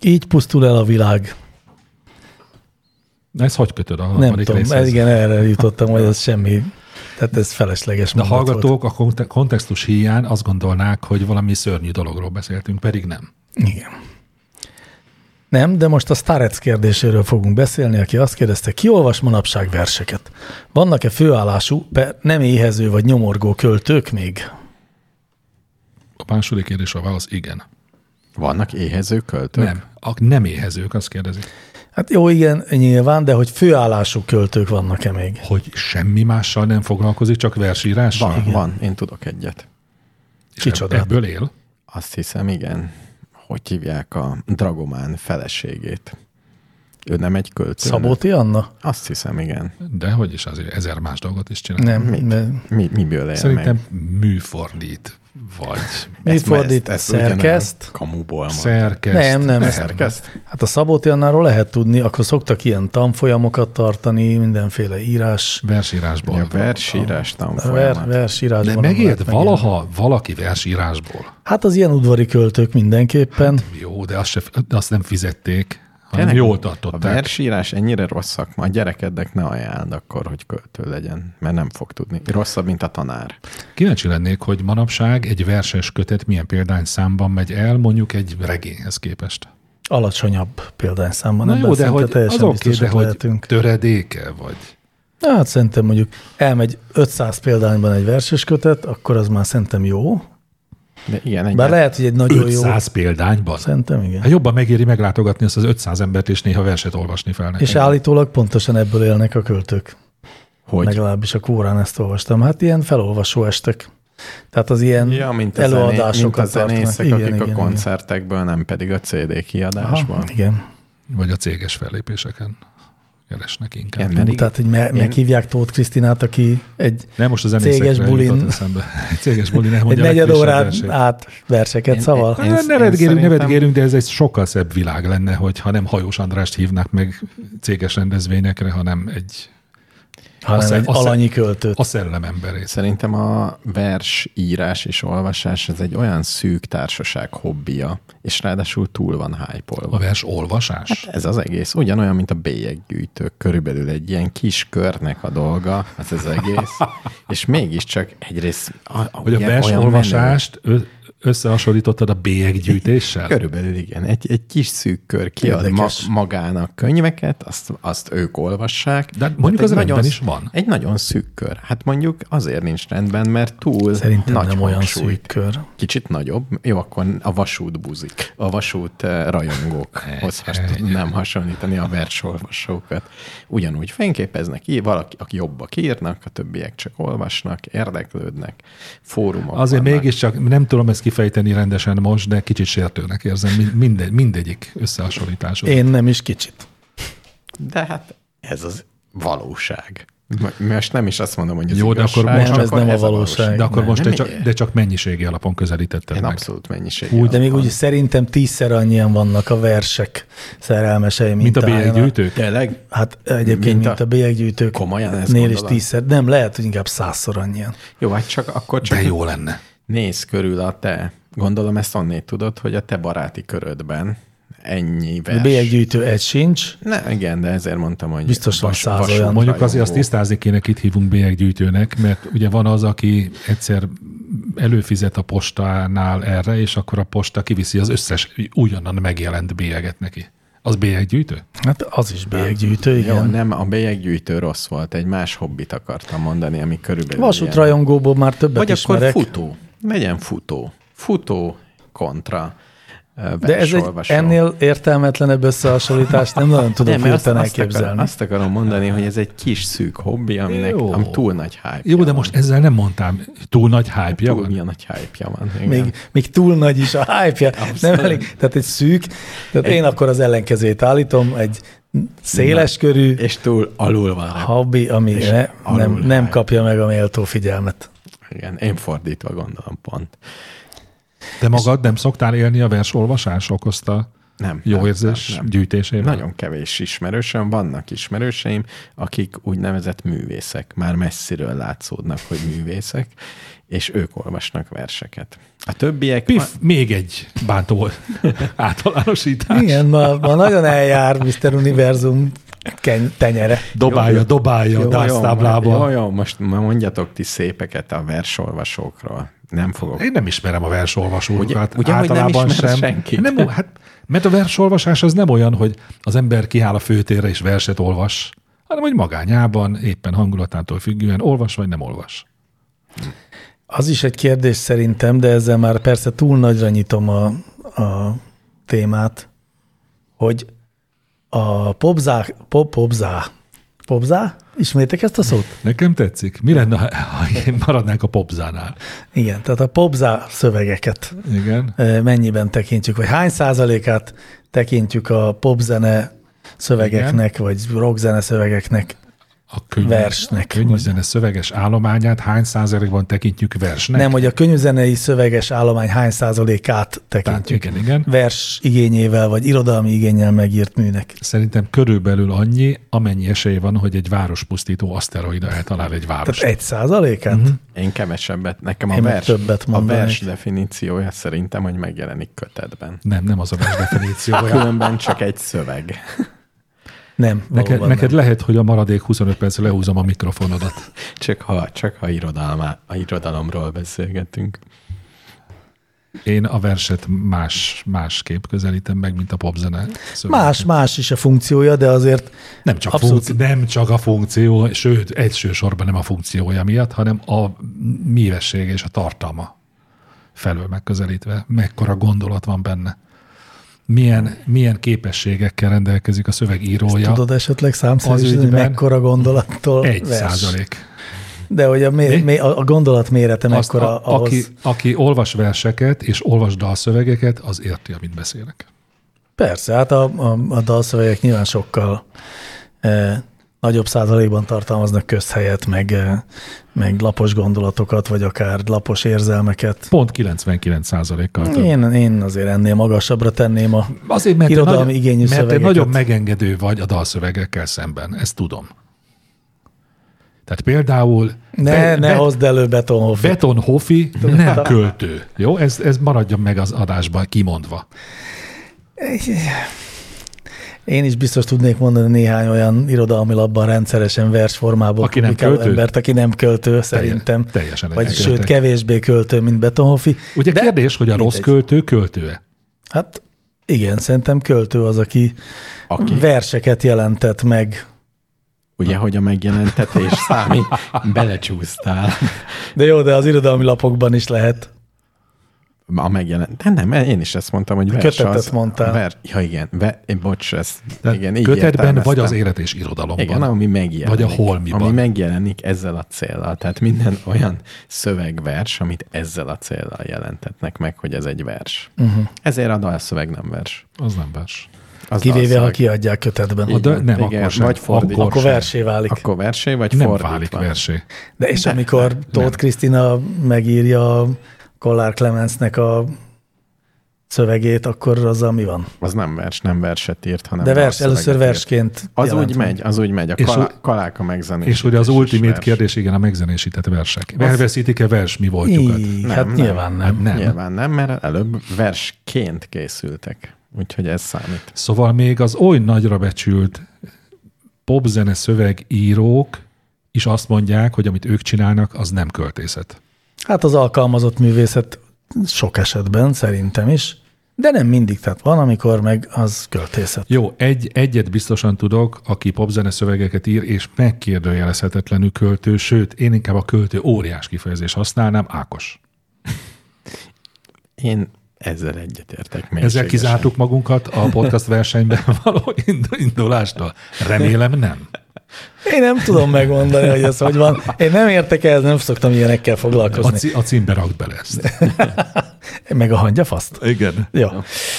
B: Így pusztul el a világ.
C: Ez hogy kötöd a
B: Nem
C: harmadik
B: tudom,
C: részhez?
B: ez, igen, erre jutottam, hogy ez semmi, tehát ez felesleges
C: De a
B: mondat volt.
C: hallgatók a konte- kontextus hiány azt gondolnák, hogy valami szörnyű dologról beszéltünk, pedig nem.
B: Igen. Nem, de most a Starec kérdéséről fogunk beszélni, aki azt kérdezte, ki olvas manapság verseket? Vannak-e főállású, per nem éhező vagy nyomorgó költők még?
C: A második kérdés a válasz igen.
D: Vannak éhező költők?
C: Nem. A nem éhezők azt kérdezik,
B: Hát jó, igen, nyilván, de hogy főállású költők vannak-e még?
C: hogy semmi mással nem foglalkozik, csak versírással.
D: Van, van. Én tudok egyet.
C: És eb-
B: Kicsodát.
C: Ebből él.
D: Azt hiszem, igen. Hogy hívják a Dragomán feleségét? Ő nem egy költő? nem?
B: Szabóti Anna?
D: Azt hiszem, igen.
C: De hogy is azért ezer más dolgot is csinál.
B: Nem.
D: Mit?
B: mert-
D: Mi, miből él
C: Szerintem
D: meg?
C: műfordít, vagy
B: Mit
D: ma-
B: fordít?
D: ugyanaz
B: Szerkeszt?
D: Kamuból van.
C: szerkeszt.
B: Nem, nem. ezt-
D: Szerkeszt?
B: Hát a Szabóti Annáról lehet tudni, akkor szoktak ilyen tanfolyamokat tartani, mindenféle írás,
C: Versírásból.
D: A versírás
B: ver,
D: tanfolyamat.
B: versírás.
C: De megért valaha valaki versírásból.
B: Hát az ilyen udvari költők mindenképpen.
C: Jó, de azt, se, de azt nem fizették, hanem
D: Tényleg?
C: jól
D: A
C: tartották.
D: versírás ennyire rossz szakma, a gyerekednek ne ajánld akkor, hogy költő legyen, mert nem fog tudni. Rosszabb, mint a tanár.
C: Kíváncsi lennék, hogy manapság egy verses kötet milyen példány számban megy el, mondjuk egy regényhez képest.
B: alacsonyabb példányszámban.
C: Na
B: Ebben
C: jó, de
B: szinte
C: hogy az
B: teljesen
C: oké,
B: biztosak
C: de hogy
B: lehetünk.
C: töredéke vagy.
B: Na, Hát szerintem mondjuk elmegy 500 példányban egy verses kötet, akkor az már szerintem jó.
D: De igen, egy
B: Bár lehet, hogy egy nagyon
C: 500 példányban.
B: jó. Szerintem igen.
C: Hát jobban megéri meglátogatni azt az 500 embert, és néha verset olvasni fel nekik.
B: És állítólag pontosan ebből élnek a költők.
D: hogy
B: Legalábbis a kórán ezt olvastam. Hát ilyen felolvasó estek. Tehát az ilyen
D: ja, mint a, zené, mint a
B: előadásokat
D: zenészek,
B: tartanak.
D: akik a koncertekből, nem pedig a CD kiadásból.
B: Aha, igen.
C: Vagy a céges fellépéseken keresnek inkább.
D: Igen,
C: Igen.
D: mert
B: Pedig Tehát, hogy me- meghívják Tóth Krisztinát, aki egy,
C: Nem most az
B: Céges
C: zenészekre
B: bulin.
C: jutott eszembe. Céges bulin
B: egy
C: elmondja a
B: negyed
C: legfrissebb
B: órán
C: versét.
B: át verseket
D: Én-
B: szaval.
D: én-
C: Ne Hát nevetgélünk,
D: szerintem-
C: nevetgélünk, de ez egy sokkal szebb világ lenne, hogy ha nem Hajós Andrást hívnák meg céges rendezvényekre, hanem egy
B: hanem
C: Azt-
B: egy
C: azt-
B: alanyi költőt.
C: a szellem emberét.
D: Szerintem a vers írás és olvasás ez egy olyan szűk társaság hobbija, és ráadásul túl van
C: A
D: hype-olva.
C: vers olvasás.
B: Hát,
D: Ez az egész ugyanolyan, mint a bélyeggyűjtők. Körülbelül egy ilyen kis körnek a dolga, ez az egész. És mégiscsak egyrészt... A, a,
C: Hogy a
D: ilyen-
C: vers
D: olyan
C: olvasást ö- összehasonlítottad a bélyeggyűjtéssel?
D: menő. Körülbelül igen. Egy, egy kis szűk kör kiad ma,
B: Érdekes.
D: magának könyveket, azt, azt ők olvassák.
C: De mondjuk
D: egy
C: az rendben
D: nagyon,
C: is van.
D: Egy nagyon szűk kör. Hát mondjuk azért nincs rendben, mert túl
B: Szerintem
D: nagy
B: nem olyan
D: hangsúlyt.
B: szűk kör.
D: Kicsit nagyobb. Jó, akkor a vasút buzik. A vasút eh, rajongókhoz has- tudnám hasonlítani a versolvasókat. Ugyanúgy fényképeznek, ír, valaki, aki jobbak írnak, a többiek csak olvasnak, érdeklődnek, fórumok
C: Azért
D: vannak.
C: mégiscsak nem tudom ezt kifejteni rendesen most, de kicsit sértőnek érzem mind- mindegy, mindegyik összehasonlításod.
B: Én nem is kicsit.
D: De hát ez az valóság. M- Most nem is azt mondom, hogy ez
C: Jó, de akkor
D: igazság,
C: most-
D: csak
B: Nem, ez nem
D: ez
B: a valóság.
C: De akkor
D: Nem,
C: most
D: nem
C: te csak,
D: miért?
C: de csak mennyiségi alapon közelítetted
D: Én
C: meg.
D: abszolút mennyiség.
C: Úgy,
B: De még úgy szerintem tízszer annyian vannak a versek szerelmesei, mint,
C: Mint a
B: álljanak.
C: bélyeggyűjtők?
D: Tényleg?
B: Hát egyébként,
D: Mint
B: mint a,
D: a-
B: mint a bélyeggyűjtők
D: Komolyan ezt
B: nél is
D: gondolod?
B: tízszer. Nem, lehet, hogy inkább százszor annyian.
D: Jó, hát csak akkor csak
C: De jó lenne.
D: néz körül a te, gondolom ezt onnét tudod, hogy a te baráti körödben ennyi vers.
B: A bélyeggyűjtő egy sincs.
D: Ne, igen, de ezért mondtam, hogy
B: Biztos van száz olyan.
D: vasút
C: Mondjuk azért azt
D: rajongó.
C: tisztázni kéne, kit hívunk bélyeggyűjtőnek, mert ugye van az, aki egyszer előfizet a postánál erre, és akkor a posta kiviszi az összes újonnan megjelent bélyeget neki. Az bélyeggyűjtő?
B: Hát az is bélyeggyűjtő,
D: Jó,
B: igen.
D: nem, a bélyeggyűjtő rossz volt, egy más hobbit akartam mondani, ami körülbelül ilyen.
B: Vasútrajongóból már többet
D: Vagy
B: ismerek.
D: akkor futó. Legyen futó. Futó kontra ö,
B: de ez egy
D: versolvasó.
B: ennél értelmetlenebb összehasonlítást nem nagyon tudok
D: Nem,
B: hirtelen
D: mert azt, azt, akar,
B: elképzelni.
D: azt akarom mondani, hogy ez egy kis szűk hobbi, aminek
C: Jó.
D: ami túl nagy hype
C: Jó, de most ezzel nem mondtam. Túl nagy hype
D: túl
C: van?
D: milyen nagy hype van. Igen.
B: még, még túl nagy is a hype nem elég, tehát egy szűk, tehát én akkor az ellenkezőjét állítom, egy széles körű
D: És túl alul van. a-
B: hobbi, ami ne,
D: alul
B: nem, nem
D: hype.
B: kapja meg a méltó figyelmet.
D: Igen, én fordítva gondolom pont.
C: Te magad nem szoktál élni a versolvasás okozta
D: Nem.
C: Jó
D: nem,
C: érzés
D: nem, nem.
C: gyűjtésében?
D: Nagyon kevés ismerősöm, vannak ismerőseim, akik úgynevezett művészek, már messziről látszódnak, hogy művészek, és ők olvasnak verseket. A többiek...
C: Pif, még egy bántó általánosítás.
B: Igen, ma, ma nagyon eljár Mr. Univerzum ken- tenyere.
C: Dobálja,
D: Jó, jó.
C: dobálja a
D: Jó, jó, jó,
C: dásztáblába.
D: jó, most ma mondjatok ti szépeket a versolvasókról. Nem fogok.
C: Én nem ismerem a versolvasókat.
D: Ugye- ugye, hogy nem
C: általában
D: ismered
C: sem.
D: senkit?
C: Nem, ó, hát, mert a versolvasás az nem olyan, hogy az ember kiáll a főtérre és verset olvas, hanem hogy magányában, éppen hangulatától függően olvas vagy nem olvas.
B: Az is egy kérdés szerintem, de ezzel már persze túl nagyra nyitom a, a témát, hogy a popzá, pop, popzá, popzá, ismétek ezt a szót?
C: Nekem tetszik. Mi lenne, ha- ha én maradnánk a popzánál?
B: Igen, tehát a popzá szövegeket
C: Igen.
B: ö, mennyiben tekintjük, vagy hány százalékát tekintjük a popzene szövegeknek, Igen. vagy rockzene szövegeknek.
C: A könyv,
B: Versnek.
C: A könyvzene szöveges állományát hány százalékban tekintjük versnek?
B: Nem, hogy a könyvzenei szöveges állomány hány százalékát
C: Tehát
B: tekintjük
C: igen, igen.
B: vers igényével, vagy irodalmi igényel megírt műnek.
C: Szerintem körülbelül annyi, amennyi esély van, hogy egy várospusztító aszteroida eltalál egy várost.
B: Tehát egy százalékát?
C: Mhm.
B: Uh-huh.
D: Én kevesebbet, nekem a,
B: Én meg
D: vers,
B: többet
D: a
B: mondanék.
D: vers definíciója szerintem, hogy megjelenik kötetben.
C: Nem, nem az a vers definíció. olyan.
D: Különben csak egy szöveg.
B: Nem,
C: Neked,
B: valóban
C: neked
B: nem.
C: lehet, hogy a maradék 25 percre lehúzom a mikrofonodat.
D: Csak ha, csak ha irodalmá, a irodalomról beszélgetünk.
C: Én a verset más, másképp közelítem meg, mint a popzene. szöveget.
B: Más, más is a funkciója, de azért
C: Nem csak,
B: Abszolút.
C: funkció, nem csak a funkció, sőt, egyső sorban nem a funkciója miatt, hanem a mívesség és a tartalma felől megközelítve, mekkora gondolat van benne. Milyen, milyen képességekkel rendelkezik a szöveg írója?
B: tudod esetleg számszerűsíteni, hogy
C: ügyben
B: mekkora gondolattól
C: Egy
B: vers.
C: százalék.
B: De hogy a, mé-
C: Mi?
B: mé- a a gondolat mérete
C: Azt,
B: mekkora
C: a,
B: ahhoz.
C: aki, aki olvas verseket és olvas dalszövegeket, az érti, amit beszélek.
B: Persze, hát a, a, a dalszövegek nyilván sokkal e, nagyobb százalékban tartalmaznak közhelyet, meg, e, meg lapos gondolatokat, vagy akár lapos érzelmeket.
C: Pont 99%-kal több.
B: Én, én azért ennél magasabbra tenném a...
C: Azért, mert
B: Irodalmi
C: te
B: igényű
C: nagyon, mert te
B: szövegeket.
C: nagyon megengedő vagy a dalszövegekkel szemben, ezt tudom. Tehát például
B: Ne,
C: Be-
B: ne
C: Be-
B: hozd elő Betonhoff.
C: Beton Hofi nem költő. Jó, ez, ez maradjon meg az adásban kimondva.
B: Én is biztos tudnék mondani néhány olyan irodalmi labban rendszeresen versformában
C: Aki nem
B: publikáló
C: költő?
B: embert, aki nem költő, szerintem.
C: teljesen
B: Vagy
C: egyetértek.
B: sőt, kevésbé költő, mint Betonhoffi.
C: Ugye De kérdés, hogy a rossz
B: mindegy.
C: költő költőe?
B: Hát igen, szerintem költő az, aki,
D: Aki?
B: aki verseket jelentett meg.
D: Ugye, hogy a megjelentetés számít, belecsúsztál.
B: De jó, de az irodalmi lapokban is lehet.
D: A megjelent. De nem, én is ezt mondtam, hogy vers
B: Kötetet
D: az,
B: mondtál.
D: Ver, ja, igen, ve, én bocs, ez,
C: Tehát
D: igen, így
C: kötetben vagy
D: értelmeztem.
C: az élet és irodalomban.
D: Igen, ami megjelenik.
C: Vagy a holmiban.
D: Ami megjelenik ezzel a céllal. Tehát minden olyan szövegvers, amit ezzel a céllal jelentetnek meg, hogy ez egy vers.
B: Mhm.
D: Uh-huh. Ezért a dalszöveg nem vers.
C: Az nem vers.
D: Az
B: Kivéve, ha
D: dalszöveg.
B: kiadják kötetben.
C: A
B: Így,
C: de, nem,
D: igen,
C: akkor sem.
D: vagy fordítva.
B: akkor versé válik. Akkor,
D: Akkor versé, vagy
C: nem
D: fordítva.
C: válik versé.
B: de és de, amikor Tóth Krisztina megírja Kollár Clemensnek a szövegét, akkor azzal mi van?
D: Az nem vers, nem verset írt, hanem
B: De vers,
D: dalszöveget
B: először
D: írt.
B: versként
D: Az
B: jelent
D: úgy
B: meg.
D: megy, az úgy megy. A
C: És
D: kalá,
C: u-
D: kaláka megzenél.
C: És ugye az ultimate kérdés, igen, a megzenésített versek. Elveszítik-e vers mi voltjukat?
B: Így,
D: Nem,
B: hát
D: nem.
B: nyilván nem.
C: Hát nem.
D: Nyilván nem, mert előbb versként készültek. Úgyhogy ez számít.
C: Szóval még az oly nagyra becsült popzene szövegírók is azt mondják, hogy amit ők csinálnak, az nem költészet.
B: Hát az alkalmazott művészet sok esetben szerintem is, de nem mindig, tehát van, amikor meg az költészet.
C: Jó, egy, egyet biztosan tudok, aki popzene szövegeket ír, és megkérdőjelezhetetlenül költő, sőt, én inkább a költő óriás kifejezést használnám, Ákos.
D: Én ezzel egyetértek.
C: Ezzel
D: mélységesen.
C: kizártuk magunkat a podcast versenyben való ind- indulástól. Remélem nem.
B: Én nem tudom megmondani, hogy ez hogy van. Én nem értek ehhez, nem szoktam ilyenekkel
C: A,
B: foglalkozni.
C: ci- a címbe rakd bele ezt.
B: Meg a hangyafaszt.
C: Igen.
B: Jó.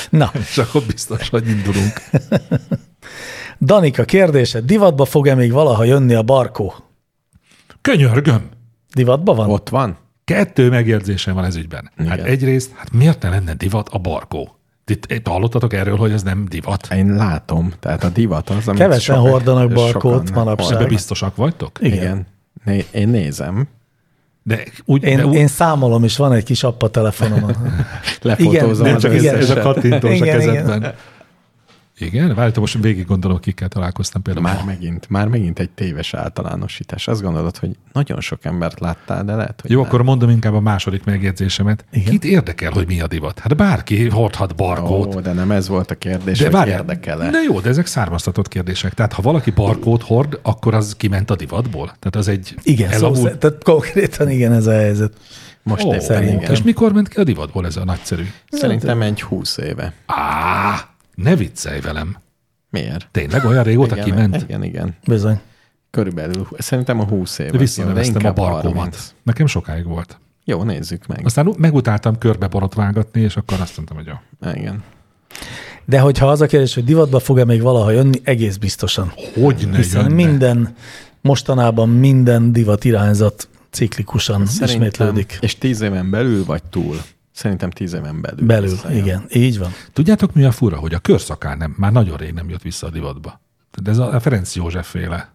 B: Na,
C: És akkor biztos, hogy indulunk.
B: Danika kérdése, divatba fog-e még valaha jönni a barkó?
C: Könyörgöm!
B: Divatba van?
D: Ott van?
C: Kettő megjegyzésem van ez ügyben. Hát
D: Igen.
C: egyrészt, hát miért ne lenne divat a barkó? Itt, itt hallottatok erről, hogy ez nem divat?
D: Én látom, tehát a divat az, amit
B: Kevesen
D: sokan-
B: hordanak
D: sokan
B: barkót
C: Ebben
B: manapság.
C: biztosak vagytok?
B: Igen.
D: Igen. Né- Én nézem.
C: De úgy, de
B: Én,
C: úgy
B: én számolom, és van egy kis app a telefonomon.
D: Lefotózom
B: de
C: nem
D: az
C: csak ez,
B: igen.
C: ez a
D: összeset.
C: kattintós a
B: Igen, igen.
C: kezedben. Igen, igen? várjátok, most végig gondolom, kikkel találkoztam például.
D: Már megint, már megint egy téves általánosítás. Azt gondolod, hogy nagyon sok embert láttál, de lehet, hogy
C: Jó,
D: nem.
C: akkor mondom inkább a második megjegyzésemet. Igen? Kit érdekel, hogy mi a divat? Hát bárki hordhat barkót.
D: Ó, de nem ez volt a kérdés,
C: de
D: hogy
C: várjál,
D: érdekel-e.
C: De jó, de ezek származtatott kérdések. Tehát ha valaki barkót hord, akkor az kiment a divatból? Tehát az egy
B: Igen, szó,
C: elavult...
B: szerint- tehát konkrétan igen ez a helyzet.
D: Most
C: Ó,
D: értem, igen.
C: és mikor ment ki a divatból ez a nagyszerű?
D: Szerintem egy húsz éve.
C: Á, ne viccelj velem.
D: Miért?
C: Tényleg olyan régóta
D: igen,
C: kiment?
D: Igen, igen.
B: Bizony.
D: Körülbelül, szerintem a 20 év.
C: De visszaneveztem a barkómat. Nekem sokáig volt.
D: Jó, nézzük meg.
C: Aztán ú- megutáltam körbe borotválgatni, és akkor azt mondtam, hogy jó.
D: Igen.
B: De hogyha az a kérdés, hogy divatba fog-e még valaha jönni, egész biztosan.
C: Hogy ne
B: Hiszen
C: jönne?
B: minden, mostanában minden divat irányzat ciklikusan
D: Szerintem,
B: ismétlődik.
D: És 10 éven belül vagy túl? Szerintem 10 éven belül.
B: Belül,
D: Visszajön.
B: igen. Így van.
C: Tudjátok, mi a fura, hogy a körszakál nem, már nagyon rég nem jött vissza a divatba. Tehát ez a a Ferenc József féle.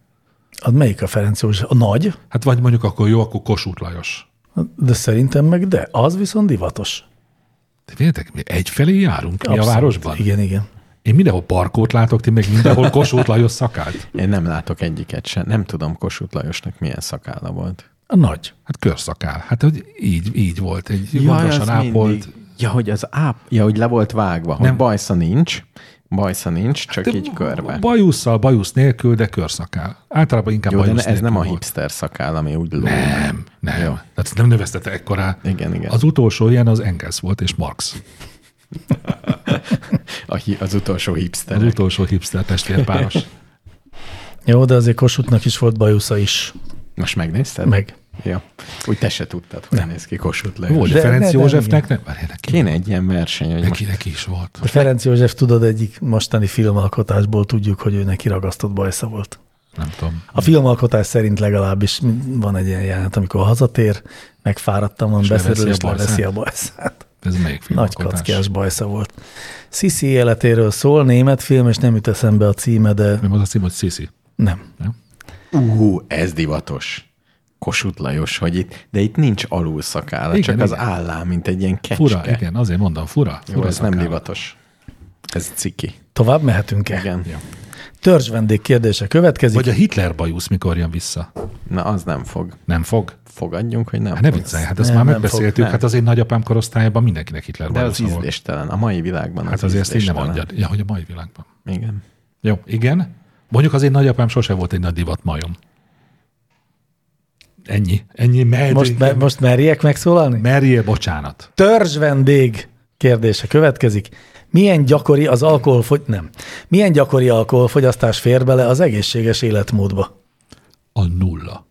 B: Az melyik a Ferenc József? A nagy?
C: Hát vagy mondjuk akkor jó, akkor Kossuth Lajos.
B: De szerintem meg de. Az viszont divatos.
C: De véltek, mi egyfelé járunk mi a városban?
B: Igen, igen.
C: Én mindenhol parkót látok, ti meg mindenhol Kossuth Lajos szakált.
D: Én nem látok egyiket sem. Nem tudom Kossuth Lajosnak milyen szakálla volt.
B: A nagy.
C: Hát körszakál. Hát hogy így, így volt. Egy gondosan ápolt.
D: mindig. Ja, hogy az áp, ja, hogy le volt vágva, nem. hogy
C: Nem. Hát,
D: bajsza nincs, bajsza nincs, csak így
C: De
D: körbe.
C: Bajusszal, bajusz nélkül, de körszakál. Általában inkább
D: Jó, de
C: bajusz
D: ne- ez
C: nélkül
D: nem a
C: volt.
D: hipster szakáll, ami úgy lóg.
C: Nem, nem. Jó. Tehát nem növesztette ekkorá.
D: Igen, igen.
C: Az utolsó ilyen az Engels volt, és Marx.
D: A hi- az utolsó
C: Az
D: hipster.
C: utolsó hipster testvérpáros.
B: Jó, de azért Kossuthnak is volt bajusza is.
D: Most megnézted?
B: Meg.
D: Ja. Úgy te se tudtad, hogy néz ki Kossuth Lajos.
C: Volt, de
B: De-
C: Ferenc
B: de- de-
C: Józsefnek nem? Várj, neki,
D: Kéne egy ilyen verseny, hogy most
C: neki, neki is volt.
B: A Ferenc József, tudod, egyik mostani filmalkotásból tudjuk, hogy ő neki ragasztott bajsza volt.
C: Nem tudom.
B: A filmalkotás szerint legalábbis van egy ilyen jelenet, amikor hazatér, megfáradtam, van beszerül, és
C: leveszi a
B: leveszi a
C: bajszát.
B: bajszát.
C: Ez melyik film?
B: Nagy
C: alkotás?
B: kackás bajsza volt. Sisi életéről szól, német film, és nem jut eszembe a címe, de
C: Nem az a cím, hogy Sisi.
B: nem.
D: Ú, ez divatos. Kossuth Lajos, hogy itt, de itt nincs alulszakála,
C: Igen,
D: csak az
C: igen.
D: állá, mint egy ilyen kecske.
C: Fura, igen, azért mondom, fura.
D: Jó,
C: fura
D: ez nem
C: szakáll.
D: divatos. Ez ciki.
B: Tovább mehetünk-e?
D: Igen.
C: Ja.
B: Törzs vendég kérdése következik.
C: Vagy a Hitler bajusz mikor jön vissza?
D: Na, az nem fog.
C: Nem fog?
D: Fogadjunk, hogy nem
C: Hát ne
D: fog.
C: viccelj, hát ezt
B: Nem,
C: már
B: nem
C: megbeszéltük,
D: fog, nem.
C: hát az én nagyapám korosztályában mindenkinek Hitler
D: De az
C: bajusza volt.
D: ízléstelen. A mai világban
C: Hát
D: az
C: azért ezt így nem
D: ízléstelen.
C: adjad. Ja, hogy a mai világban.
D: Igen.
C: Jó, igen. Mondjuk az én nagyapám sose volt egy nagy divatmajom. Ennyi. Ennyi. Merjél,
B: most, me, most merjek megszólalni?
C: merjél bocsánat.
B: Törzs vendég kérdése következik. Milyen gyakori az alkoholfogy... Nem. Milyen gyakori alkoholfogyasztás fér bele az egészséges életmódba?
C: A nulla.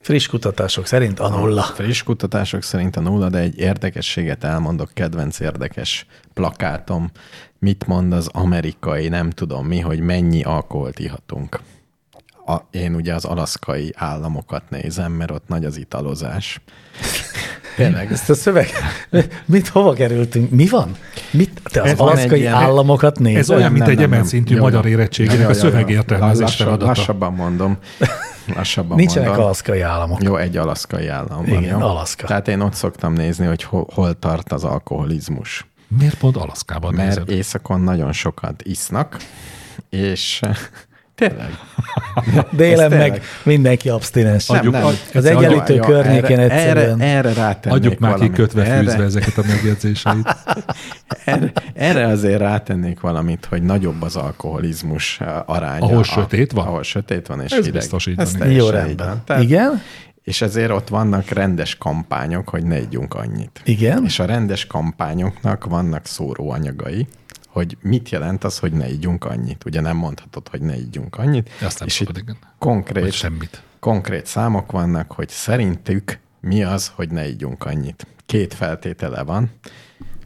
B: Friss kutatások szerint a nulla.
D: Friss kutatások szerint a nulla, de egy érdekességet elmondok, kedvenc érdekes plakátom. Mit mond az amerikai, nem tudom mi, hogy mennyi alkoholt ihatunk. A, én ugye az alaszkai államokat nézem, mert ott nagy az italozás. Tényleg,
B: Ezt a szöveg... Mit, hova kerültünk? Mi van? Mit, te az
D: Ez van egy
B: alaszkai
D: ilyen-
B: államokat nézed?
C: Ez olyan, mint
D: nem,
C: egy
D: nem, nem.
C: emelszintű
D: Jó,
C: magyar
D: jó.
C: érettségének a szövegértelmezés
D: Lassan,
C: feladata.
D: lassabban mondom. Lassabban
B: Nincsenek
D: mondom.
B: alaszkai államok.
D: Jó, egy alaszkai állam van.
B: Igen,
D: jó?
B: Alaszka.
D: Tehát én ott szoktam nézni, hogy hol, hol tart az alkoholizmus.
C: Miért pont Alaszkában
D: Mert
C: nézed?
D: éjszakon nagyon sokat isznak, és eh, tényleg.
B: Délen
D: ez tényleg.
B: meg mindenki abstinens.
C: Adjuk-
D: nem,
C: ad-
B: az
C: adjuk-
B: egyenlítő
D: Ja,
B: környékén
D: erre,
B: egyszerűen.
D: Erre, erre rátennék
C: Adjuk már ki
D: valamit. Hát,
C: kötve
D: erre,
C: fűzve ezeket a megjegyzéseit.
D: Erre, erre azért rátennék valamit, hogy nagyobb az alkoholizmus eh, aránya.
C: Ahol
D: a-
C: sötét van?
D: Ahol sötét van és
C: Ez
D: hideg.
C: biztos így van, igen.
D: teljesen
B: Jó
D: így
B: rendben.
D: van. Tehát-
B: Igen?
D: És ezért ott vannak rendes kampányok, hogy ne együnk annyit.
B: Igen.
D: És a rendes kampányoknak vannak szóróanyagai, hogy mit jelent az, hogy ne ígyunk annyit. Ugye nem mondhatod, hogy ne ígyunk annyit.
C: Azt nem
D: és
C: szabad,
D: itt
C: igen. Vagy
D: konkrét,
C: semmit.
D: konkrét számok vannak, hogy szerintük mi az, hogy ne ígyunk annyit. Két feltétele van.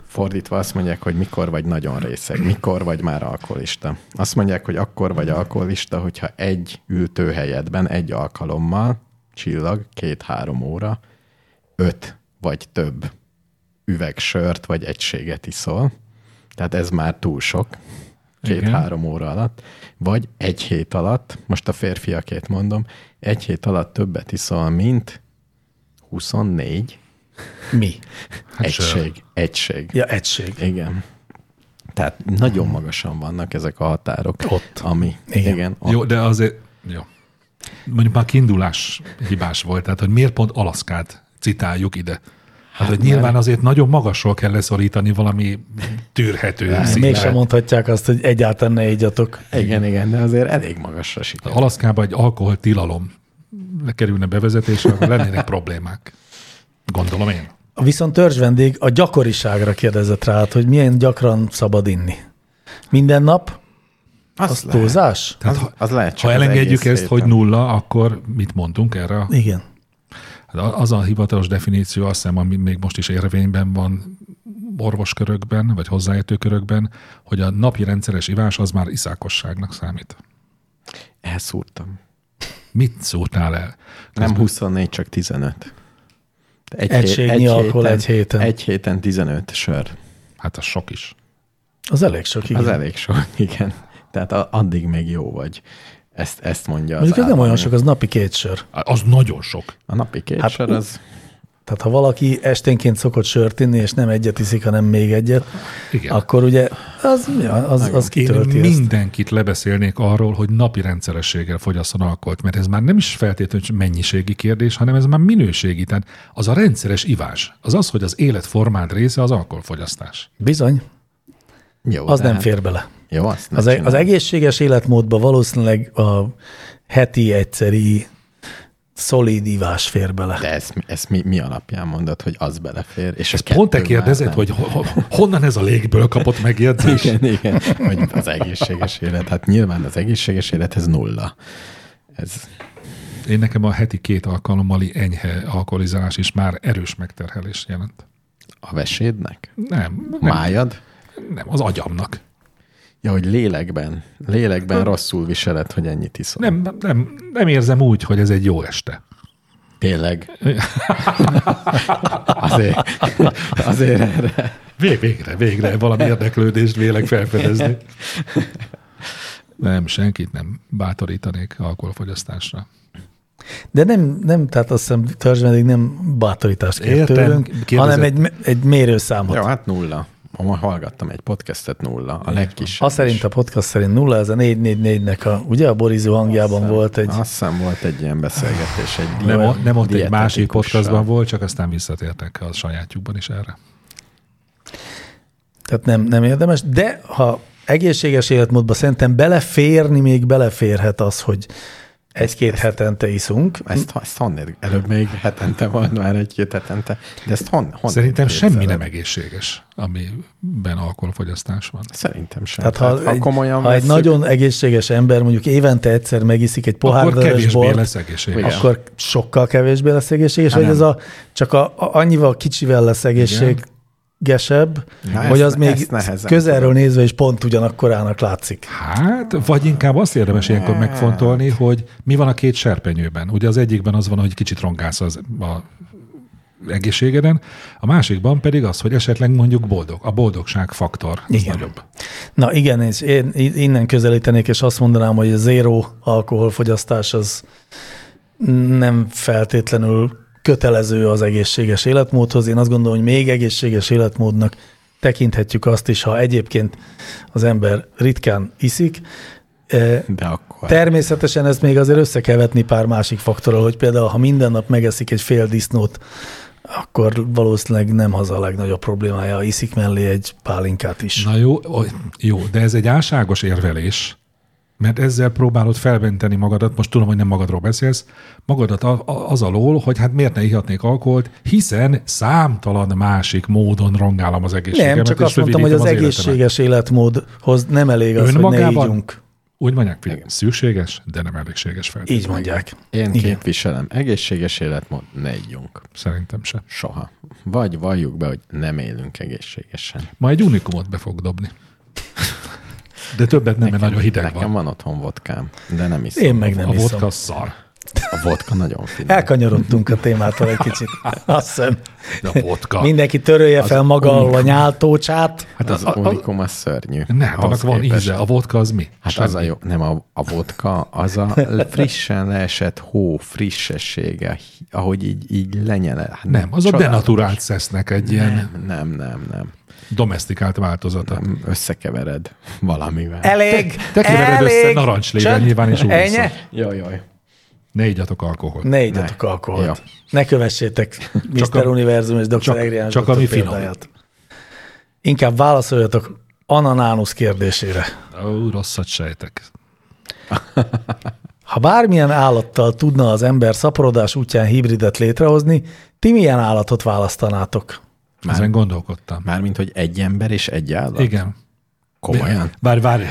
D: Fordítva azt mondják, hogy mikor vagy nagyon részeg, mikor vagy már alkoholista. Azt mondják, hogy akkor vagy alkoholista, hogyha egy ültőhelyedben egy alkalommal, csillag, két-három óra, öt vagy több üveg sört vagy egységet iszol, Tehát ez már túl sok,
C: Igen.
D: két-három óra alatt, vagy egy hét alatt, most a férfiakét mondom, egy hét alatt többet iszol, mint 24
B: Mi?
C: Hát sör.
D: egység. Egység.
B: Ja, egység.
D: Igen. Tehát
C: Mm.
D: nagyon magasan vannak ezek a határok.
B: Ott.
D: Ami,
B: Igen.
D: igen. igen ott.
C: Jó, de azért, jó. Mondjuk már kiindulás hibás volt, tehát hogy miért pont Alaszkát citáljuk ide. Hát, hogy nyilván azért nagyon magasról kell leszorítani valami tűrhető
B: Mégsem
C: szintre.
B: mondhatják azt, hogy egyáltalán ne igyatok.
D: Igen, igen, de azért elég magasra sikerült.
C: Alaszkában egy alkoholtilalom kerülne bevezetésre, akkor lennének problémák. Gondolom én.
B: Viszont törzs vendég a gyakoriságra kérdezett rá, hát, hogy milyen gyakran szabad inni. Minden nap? Az
D: lehet.
B: túlzás?
C: Tehát,
D: Az-
C: ha,
D: az lehet csak
C: ha
D: az
C: elengedjük
D: egész
C: ezt,
D: héten.
C: hogy nulla, akkor mit mondtunk erre? a-
B: Igen.
C: Hát a- az a hivatalos definíció, azt hiszem, ami még most is érvényben van orvoskörökben, vagy hozzáértő körökben, hogy a napi rendszeres ivás az már iszákosságnak számít.
D: Elszúrtam.
C: Mit szúrtál el?
D: Nem 24, csak 15. Egy
B: Egységnyi alkohol egy héten.
D: Egy héten 15 sör.
C: Hát az sok is.
B: Az elég sok, igen.
D: Igen. Az elég sok, igen. Tehát a, addig még jó vagy. Ezt, ezt mondja
B: Mondjuk ez
D: az
B: nem olyan
D: állam.
B: sok, az napi két sör.
C: Az nagyon sok.
D: A napi két
B: Hát,
D: hát, sör az...
B: Tehát ha valaki esténként szokott sört inni, és nem egyet iszik, hanem még egyet,
C: Igen.
B: akkor ugye az, ja, az, az kitölti
C: Én
B: ezt.
C: mindenkit lebeszélnék arról, hogy napi rendszerességgel fogyasszon alkoholt, mert ez már nem is feltétlenül csak mennyiségi kérdés, hanem ez már minőségi. Tehát az a rendszeres ivás, az az, hogy az életformád része az alkoholfogyasztás.
B: Bizony,
D: Jó,
B: az
D: de
B: nem
D: hát-
B: fér bele.
D: Jó, azt ne
B: Az, e- az
D: csinálj.
B: egészséges életmódban valószínűleg a heti egyszeri szolid ivás fér bele.
D: De ezt, ezt mi, mi alapján mondod, hogy az belefér? És ez
C: Pont te kérdezed, hogy ho- ho- honnan ez a légből kapott megjegyzés?
D: Igen, igen, hogy az egészséges élet. Hát nyilván az egészséges élet, ez nulla. Ez,
C: Én nekem a heti két alkalommal enyhe alkoholizálás is már erős megterhelés jelent.
D: A vesédnek?
C: Nem, nem,
D: Májad?
C: nem az agyamnak.
D: Ja, hogy lélekben. Lélekben rosszul viseled, hogy ennyit iszol.
C: Nem, nem, nem érzem úgy, hogy ez egy jó este.
D: Tényleg. azért, azért erre.
C: Vég- Végre, végre valami érdeklődést vélek felfedezni. Nem, senkit nem bátorítanék alkoholfogyasztásra.
B: De nem, nem tehát azt hiszem törzsvendég nem bátorítást kér
C: Értem,
B: tőlünk,
C: kérdezett.
B: hanem egy, me- egy mérőszámot.
D: Jó, hát nulla. Ma hallgattam egy podcastet, nulla. A legkisebb.
B: Azt szerint a podcast szerint nulla, ez a 444-nek a, ugye a borizó hangjában volt egy,
D: Azt hiszem volt egy ilyen beszélgetés. Egy
C: Nem, o- nem ott egy másik
D: dietetikussal.
C: podcastban volt, csak aztán visszatértek a sajátjukban is erre.
B: tehát nem, nem érdemes, de ha egészséges életmódba szerintem beleférni, még beleférhet az, hogy egy-két hetente iszunk.
D: Ezt, ezt honnét? Előbb még hetente volt, már egy-két hetente. De ezt hon, honnét
C: Szerintem
D: képzeled?
C: semmi nem egészséges, amiben alkoholfogyasztás van.
D: Szerintem sem.
B: Tehát Hát ha,
D: Hát, ha
B: egy,
D: komolyan
B: ha egy
D: vesszük,
B: nagyon egészséges ember mondjuk évente egyszer megiszik egy pohár
C: Akkor
B: vörös
C: kevésbé
B: bort,
C: lesz egészséges.
D: Igen. Hát
B: akkor sokkal kevésbé lesz egészséges, vagy ez a, csak a, a, annyival kicsivel lesz egészségesebb,
D: Na,
B: hogy
D: ezt-
B: az még
D: ezt nehezen
B: közelről nézve is pont ugyanakkorának látszik.
C: Hát, vagy inkább azt érdemes ilyenkor megfontolni, hogy mi van a két serpenyőben. Ugye az egyikben az van, hogy kicsit rongálsz az a egészségeden, a másikban pedig az, hogy esetleg mondjuk boldog. A boldogság faktor az
B: Igen.
C: nagyobb.
B: Na igen, és én innen közelítenék, és azt mondanám, hogy a zéró alkoholfogyasztás az nem feltétlenül kötelező az egészséges életmódhoz. Én azt gondolom, hogy még egészséges életmódnak tekinthetjük azt is, ha egyébként az ember ritkán iszik. Eh,
D: De akkor.
B: Természetesen ezt még azért össze kell vetni pár másik faktorral, hogy például, ha minden nap megeszik egy fél disznót, akkor valószínűleg nem az a legnagyobb problémája, ha iszik mellé egy pálinkát is.
C: Na jó, o- jó, de ez egy álságos érvelés, mert ezzel próbálod felmenteni magadat, most tudom, hogy nem magadról beszélsz, magadat a- a- az alól, hogy hát miért ne ihatnék alkoholt, hiszen számtalan másik módon rongálom az egészségemet.
B: Nem, csak
C: és
B: azt mondtam, hogy az,
C: rövidítem
B: egészséges
C: életemet.
B: életmódhoz nem elég az, hogy ne
C: Önmagában?
B: ígyunk.
C: Úgy mondják, hogy szükséges, de nem elégséges feltétlenül.
B: Így mondják.
D: Én
B: Igen.
D: képviselem. Egészséges életmód, ne ígyunk.
C: Szerintem se.
D: Soha. Vagy valljuk be, hogy nem élünk egészségesen.
C: Ma egy unikumot be fog dobni. De többet nem, mert nagyon hideg
D: Nekem
C: van.
D: van otthon vodkám, de nem iszom.
B: Én meg nem
C: a
B: iszom.
C: vodka szar.
D: A vodka nagyon finom.
B: Elkanyarodtunk a témától egy kicsit. Azt hiszem.
C: De a vodka.
B: Mindenki törölje fel maga alól a nyáltócsát.
D: Hát az, az unikum, az szörnyű.
C: Nem, hát annak
D: Ahhoz
C: van
D: képest-
C: íze. A vodka az mi?
D: Hát az a jó, nem a, a vodka, az a frissen leesett hó frissessége, hi- ahogy így, így lenyele. Hát
C: Nem, az a
D: csodálatos.
C: denaturált szesznek egy ilyen
D: Nem, nem, nem, nem.
C: domestikált változata.
D: Összekevered valamivel.
B: Elég!
C: Tekevered össze narancslével
B: Csönd!
C: nyilván, és úsz.
B: Ennyi?
D: Jaj, jaj.
C: Ne igyatok alkoholt.
B: Ne igyatok alkoholt.
D: Jó.
B: Ne kövessétek
C: Csak
B: Mr.
C: a-
B: Univerzum és Dr.
C: csak-
B: Egrián
C: csak
B: Zsolt
C: ami
B: a
C: finom.
B: példáját. Inkább válaszoljatok Ananánusz kérdésére.
C: Ó, rosszat sejtek.
B: Ha bármilyen állattal tudna az ember szaporodás útján hibridet létrehozni, ti milyen állatot választanátok?
C: Ezen gondolkodtam.
D: Mármint, hogy egy ember és egy állat?
C: Igen.
D: Komolyan?
C: Bár várj,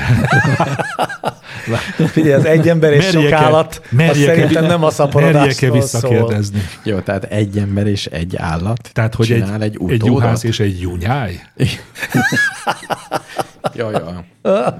B: Figyelj, az egy ember és sok
C: merjek-e-
B: állat, az
C: merjek-e-
B: szerintem nem a
C: merjek-e
B: szaporodásról szól.
C: visszakérdezni?
D: Jó, tehát egy ember és egy állat
C: Tehát, hogy
D: csinál
C: egy,
D: egy,
C: egy juhász
D: utódot?
C: és egy junyáj?
D: Jó, jó.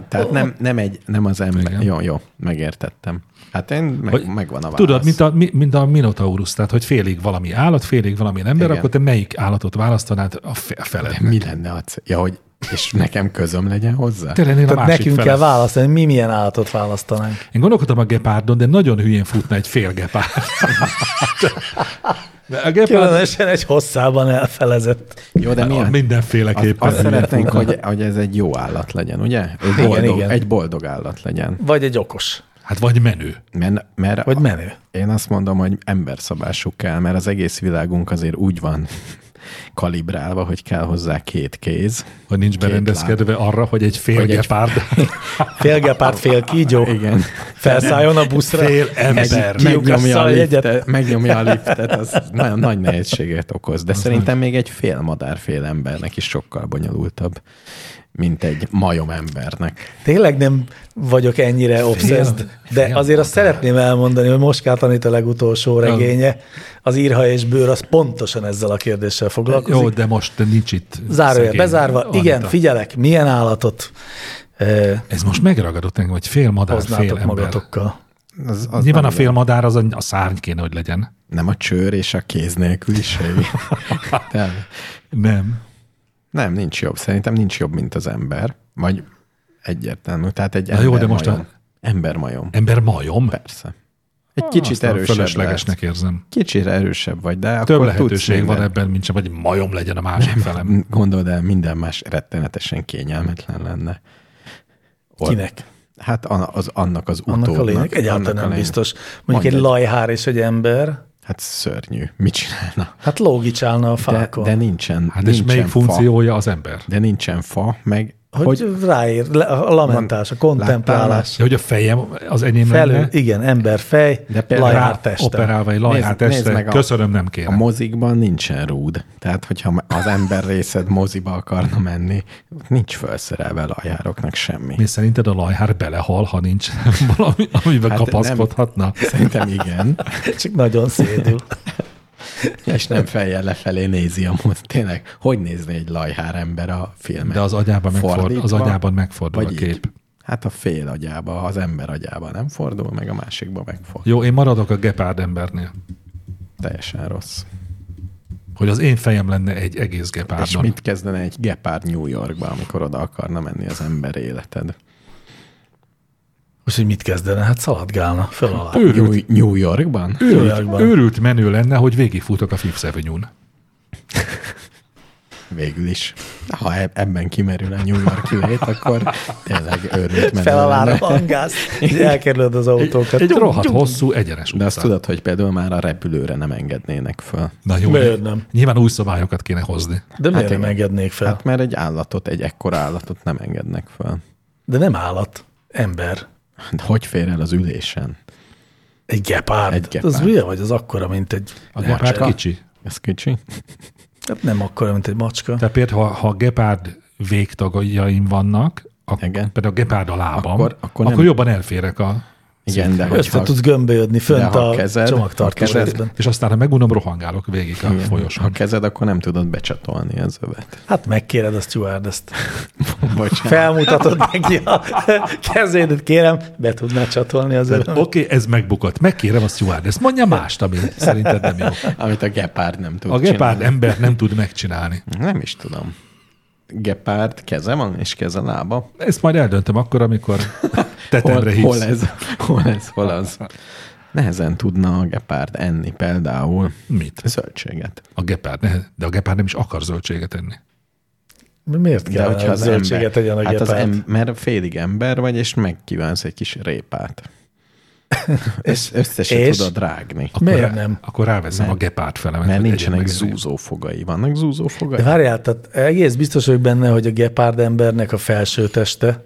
D: Tehát nem, nem, egy, nem az ember.
C: Igen.
D: Jó, jó, megértettem. Hát én, meg,
C: Hogy-
D: megvan a válasz.
C: Tudod, mint a, mi- mint a minotaurus, tehát hogy félig valami állat, félig valami ember,
D: Igen.
C: akkor te melyik állatot választanád a fe- a felednek?
D: Mi lenne a cél? Ja, hogy és nekem közöm legyen hozzá?
C: Te lennél a
B: Tehát
C: másik
B: nekünk
C: fele.
B: kell választani, mi milyen állatot választanánk.
C: Én gondolkodtam a gepárdon, de nagyon hülyén futna egy fél gepárd. De a gepárd
B: Különösen egy hosszában elfelezett.
D: Jó, de milyen? Azt,
C: mindenféleképpen
D: azt
C: hülye
D: szeretnénk,
C: futna.
D: hogy, hogy ez egy jó állat legyen, ugye? Egy boldog,
B: igen.
D: Egy boldog állat legyen.
B: Vagy egy okos.
C: Hát vagy menő.
D: Mert, mert
B: Vagy menő.
D: Én azt mondom, hogy emberszabású kell, mert az egész világunk azért úgy van kalibrálva, hogy kell hozzá két kéz.
C: Hogy nincs berendezkedve arra, hogy egy fél
D: Hogy egy-
C: gepárd,
B: Félgepárt, fél kígyó.
D: Igen.
B: Felszálljon a buszra.
C: fél ember.
B: Egy-
C: Meg-
D: Megnyomja a,
B: Kiugrasszal
D: liftet,
B: egyet.
D: megnyomja a liftet, az nagyon nagy nehézséget okoz. De szerintem még egy fél madár, fél embernek is sokkal bonyolultabb, mint egy majom embernek.
B: Tényleg nem vagyok ennyire obszeszt, de
C: fél
B: azért azt
C: madár.
B: szeretném elmondani, hogy Moskát Anita legutolsó regénye, az írha és bőr, az pontosan ezzel a kérdéssel foglalkozik.
C: Jó, de most nincs itt.
B: Zárója
C: szegény
B: bezárva,
C: Anita.
B: igen, figyelek, milyen állatot eh,
C: Ez most megragadott engem, hogy fél madár, fél
B: hoznátok
C: ember.
B: magatokkal.
D: Az, az
C: Nyilván a
D: nem-
C: fél madár az a, a szárny kéne, hogy legyen.
D: Nem a csőr és a kéz nélküliség. nem.
C: Nem.
D: nem, nincs jobb. Szerintem nincs jobb, mint az ember. Vagy egyértelmű. Tehát egy
C: Na
D: ember
C: jó, de most a-
D: majom. Embermajom.
C: Ember majom?
D: Persze.
B: Ah.
D: Egy kicsit
C: Aztán
D: erősebb
C: Fölöslegesnek
D: lehet.
C: érzem.
D: Kicsit erősebb vagy, de
C: Több
D: akkor
C: lehetőség
D: tudsz
C: van
D: mindent.
C: ebben, mint sem, hogy majom legyen a másik felem.
D: Gondold el, minden más rettenetesen kényelmetlen lenne. Or-
B: Kinek?
D: Hát an- az, annak az utódnak.
B: Annak a lényeg? Egyáltalán
D: annak a
B: nem
D: lényeg.
B: biztos.
D: Mondj
B: Mondjuk egy
D: egy.
B: lajhár és egy ember,
D: Hát szörnyű. Mit csinálna?
B: hát lógicsálna a
D: De,
B: fákon.
D: de nincsen,
C: Hát és
D: nincsen
C: melyik
D: fa.
C: funkciója az ember?
D: De nincsen fa, meg
B: hogy,
D: hogy
B: hogy ráér, le- a lamentás, a kontemplálás.
C: Ja, hogy a fejem az enyém
B: Felül,
C: lenne,
B: igen, ember fej,
D: De például
B: lajhár
C: rá
B: teste.
C: operálva egy lajhát
D: Nézd- nézd
C: testre.
D: meg a-
C: Köszönöm, nem
D: a
C: kérem.
D: mozikban nincsen rúd. Tehát, hogyha az ember részed moziba akarna menni, ott nincs felszerelve lajároknak semmi.
C: Mi szerinted a lajhár belehal, ha nincs valami, amiben
D: Hát
C: hát
D: nem.
C: kapaszkodhatna?
D: Szerintem igen.
B: Csak nagyon szédül.
D: És nem fejjel lefelé nézi a mozit. Tényleg, hogy nézni egy lajhár ember a filmet?
C: De az agyában, megfordul, az
D: Fordítva,
C: agyában megfordul a
D: vagy így?
C: kép.
D: Hát a fél agyába, az ember agyába nem fordul, meg a másikba megfordul.
C: Jó, én maradok a gepárd embernél.
D: Teljesen rossz.
C: Hogy az én fejem lenne egy egész
D: És
C: gepárdon.
D: mit kezdene egy gepárd New Yorkba, amikor oda akarna menni az ember életed?
B: Most, hogy mit kezdene? Hát szaladgálna, föl alá.
C: Őrült,
D: New, New Yorkban?
B: Újjakban.
C: őrült, őrült menő lenne, hogy végigfutok a Fifth Avenue-n.
D: Végül is. Ha eb- ebben kimerül a New York lét, akkor tényleg őrült menő
B: Fel alára
D: lenne.
B: hangálsz, így elkerülöd az autókat.
C: Egy rohadt hosszú, egyenes
D: De azt
C: utca.
D: tudod, hogy például már a repülőre nem engednének föl.
C: Na jó,
B: Miért
C: de
B: nem?
C: Nyilván új szabályokat kéne hozni.
B: De miért nem
D: igen.
B: engednék fel?
D: Hát mert egy állatot, egy ekkora állatot nem engednek föl.
B: De nem állat, ember.
D: De hogy fér el az ülésen?
B: Egy gepárd.
D: Egy
B: Egy
D: gepárd.
B: Az hülye vagy, az akkora, mint egy
C: A gepárd
B: macska.
C: kicsi.
D: Ez kicsi?
B: Hát nem akkora, mint egy macska.
C: Tehát például, ha, ha a gepárd végtagjaim vannak, ak-
D: Igen.
C: például a gepárd a lábam,
D: Akkor-
C: akkor,
D: akkor
C: akkor,
D: nem-
C: akkor jobban elférek a
D: Igen, de
B: Össze
D: hogyha...
B: tudsz gömbölyödni fönt
D: de ha
B: a
D: kezed-
B: csomagtartó
D: ha kezed-
B: részben.
C: És aztán, ha megunom, rohangálok végig a
D: Igen, Ha
C: folyosón.
D: kezed, akkor nem tudod becsatolni az övet.
B: Hát megkéred a stewardess-t.
D: Bocsánat.
B: Felmutatod neki a kezédet, kérem, be tudnád csatolni az
C: Oké,
B: örömet.
C: okay, ez megbukott. Megkérem a stewardess. Mondja mást, ami szerinted nem jó.
D: Amit a gepárd nem tud
C: A gepárd
D: csinálni.
C: ember nem tud megcsinálni.
D: Nem is tudom. Gepárd keze van, és keze lába.
C: Ezt majd eldöntöm akkor, amikor tetemre
D: Hol,
C: hívsz.
D: hol ez? Hol ez? Hol az? Nehezen tudna a gepárd enni például
C: Mit?
D: zöldséget.
C: A gepárd. Ne, de a gepárd nem is akar zöldséget enni.
B: Miért kell a zöldséget egyen a
D: hát az
B: gepárd?
D: em, mert félig ember vagy, és megkívánsz egy kis répát. és összesen
B: és? hát
D: tudod rágni.
B: Miért
C: rá-
B: nem?
C: Akkor ráveszem a gepárd felemet.
D: Mert
C: hogy
D: nincsenek
C: egyen meg enni.
D: zúzó fogai. Vannak zúzó fogai?
B: De várjál, tehát egész biztos vagyok benne, hogy a gepárd embernek a felső teste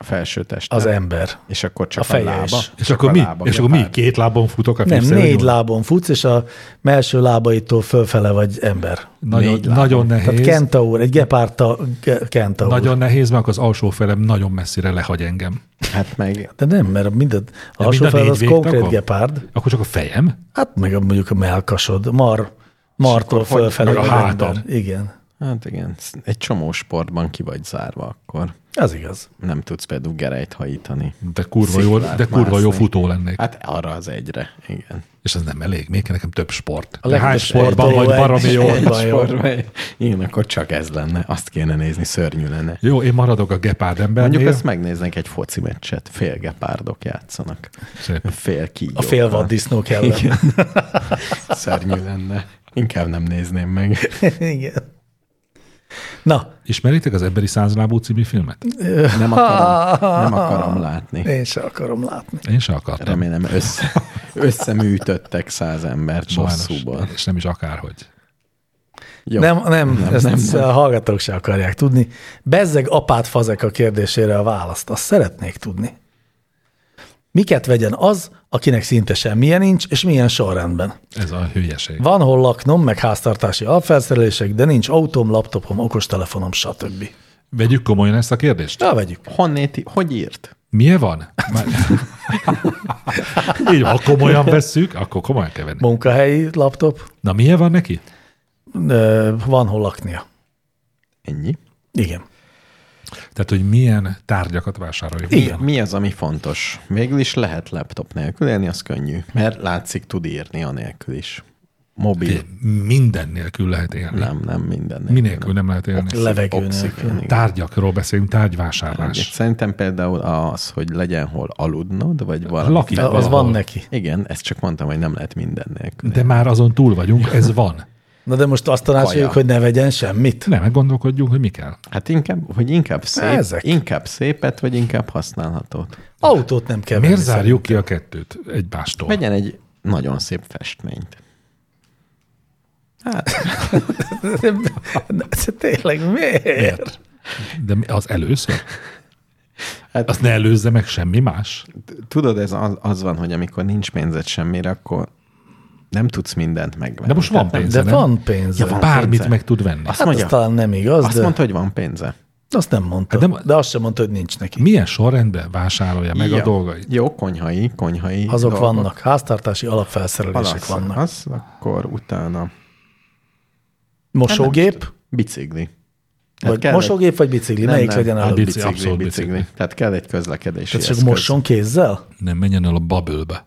D: a felső test.
B: az ember.
D: És akkor csak
B: A
D: a,
B: feje
D: lába.
B: is.
C: És akkor,
D: a
C: mi,
D: lába
C: és akkor mi?
D: gepárd.
C: Két lábon futok a
B: Nem,
C: fűszerre,
B: négy
C: nyolc?
B: lábon futsz, és a melső lábaitól fölfele vagy ember.
C: Nagyon,
D: Négy lábon.
C: nagyon
B: Tehát
C: nehéz.
B: kentaur, egy gepárta ge- kentaur.
C: Nagyon nehéz, mert akkor az alsó felem nagyon messzire lehagy engem.
D: Hát meg
B: De nem, mert minden, a alsó
C: mind a
B: fel
C: négy
B: az
C: végtagom?
B: konkrét gepárd,
C: Akkor csak a fejem?
B: hát meg a- mondjuk a melkasod, mar, martól
D: hogy-
B: fölfelé.
C: meg a
B: vagy
C: hátam.
B: ember. Igen,
D: Hát igen, egy csomó sportban ki vagy zárva, akkor
B: az igaz.
D: nem tudsz például gerejt hajítani.
C: De kurva, jó,
D: Sziklát
C: de kurva jó
D: mászni.
C: futó lennék.
D: Hát arra az egyre, igen.
C: És ez nem elég, még kell nekem több sport.
B: A
C: De hány
B: legtöbb
C: sportban
B: sportoló
C: vagy
B: egy-
C: baromi jó?
B: egy- van, jó.
D: Sportban, igen, akkor csak ez lenne, azt kéne nézni, szörnyű lenne.
C: Jó, én maradok a gepárd embernél.
D: Mondjuk ezt megnéznek egy foci meccset, fél gepárdok játszanak,
C: Szép.
D: fél kígyók.
B: A fél vaddisznó kell.
D: Igen. Szörnyű lenne. Inkább nem nézném meg.
B: Igen. Na,
C: Ismeritek az Emberi Százlábú című filmet?
D: Nem akarom, nem akarom látni.
B: én se akarom látni.
C: Én se akartam.
D: Remélem össze, összeműtöttek száz embert
C: Sajnos.
D: bosszúból.
C: És nem is akárhogy.
D: Jó.
B: Nem, nem, nem, ezt
D: nem,
B: nem, nem. a hallgatók se akarják tudni. Bezzeg apát fazek a kérdésére a választ, azt szeretnék tudni. Miket vegyen az, akinek szinte semmilyen nincs, és milyen sorrendben?
C: Ez a hülyeség.
B: Van hol laknom, meg háztartási alfelszerelések, de nincs autóm, laptopom, okostelefonom, stb.
C: Vegyük komolyan ezt a kérdést.
B: Na, vegyük.
D: Honnét, hogy írt?
C: Milyen van? Már... Így, ha komolyan vesszük, akkor komolyan kell venni.
B: Munkahelyi laptop,
C: Na, milyen van neki?
B: ö, van hol laknia.
D: Ennyi.
B: Igen.
C: Tehát, hogy milyen tárgyakat vásároljuk.
D: Mi, mi az, ami fontos? Végül is lehet laptop nélkül élni, az könnyű. Mert látszik, tud írni anélkül is. Mobil.
C: Figyelj, Minden nélkül lehet élni.
D: Nem, nem minden. nélkül.
C: Minélkül nem lehet élni.
B: Levegő nélkül.
D: Oxigén, igen.
C: Tárgyakról beszélünk, tárgyvásárlás.
D: Szerintem például az, hogy legyen hol aludnod, vagy valami.
C: Lakik
B: Az
C: valahol.
B: van neki.
D: Igen, ezt csak mondtam, hogy nem lehet minden nélkül.
C: De már azon túl vagyunk, ez van.
B: Na de most azt tanácsoljuk,
D: Kaja.
B: hogy ne vegyen semmit.
C: Nem, hát gondolkodjunk, hogy mi kell.
D: Hát inkább, hogy inkább, szép,
B: Ezek.
D: inkább szépet, vagy inkább használhatót.
B: Autót nem kell
C: Miért
B: venni
C: zárjuk ki a kettőt egymástól?
D: Vegyen egy nagyon szép festményt. Hát,
B: szerintem. Na, Tényleg miért?
C: Miért? De mi- az először?
D: Hát-
C: Azt ne előzze meg semmi más.
D: tudod, ez az, az van, hogy amikor nincs pénzed semmire, akkor nem tudsz mindent megvenni.
C: De most van
D: Tehát
C: pénze,
B: De
C: nem?
B: van pénze.
C: Ja,
B: van.
C: van Bármit
D: pénze.
C: meg tud venni.
D: Hát, Azt
B: Hát
D: mondja,
B: az talán nem igaz,
D: nem, azt
B: de
D: mondta, hogy van pénze.
B: azt nem mondta.
C: Hát
B: De,
C: de-
B: de azt sem mondta, hogy nincs neki.
C: Milyen sorrendben vásárolja meg
D: ja.
C: a dolgait?
D: Jó, konyhai, konyhai.
B: Azok
D: dolgok. Hát
B: vannak. Háztartási alapfelszerelések
D: Palasz,
B: vannak.
D: Az, akkor utána
B: Mosógép,
D: bicikli. Tehát
B: vagy
D: hát kell egy-
B: mosógép, vagy bicikli?
D: Nem,
B: Melyik
D: nem,
B: legyen
D: hát
B: előbb?
C: bici-
D: bicikli,
C: abszolút
D: bicikli,
C: bicikli.
D: bicikli. Tehát kell egy közlekedési
B: Tehát csak
D: eszköz.
B: mosson kézzel?
C: Nem menjen el a babölbe.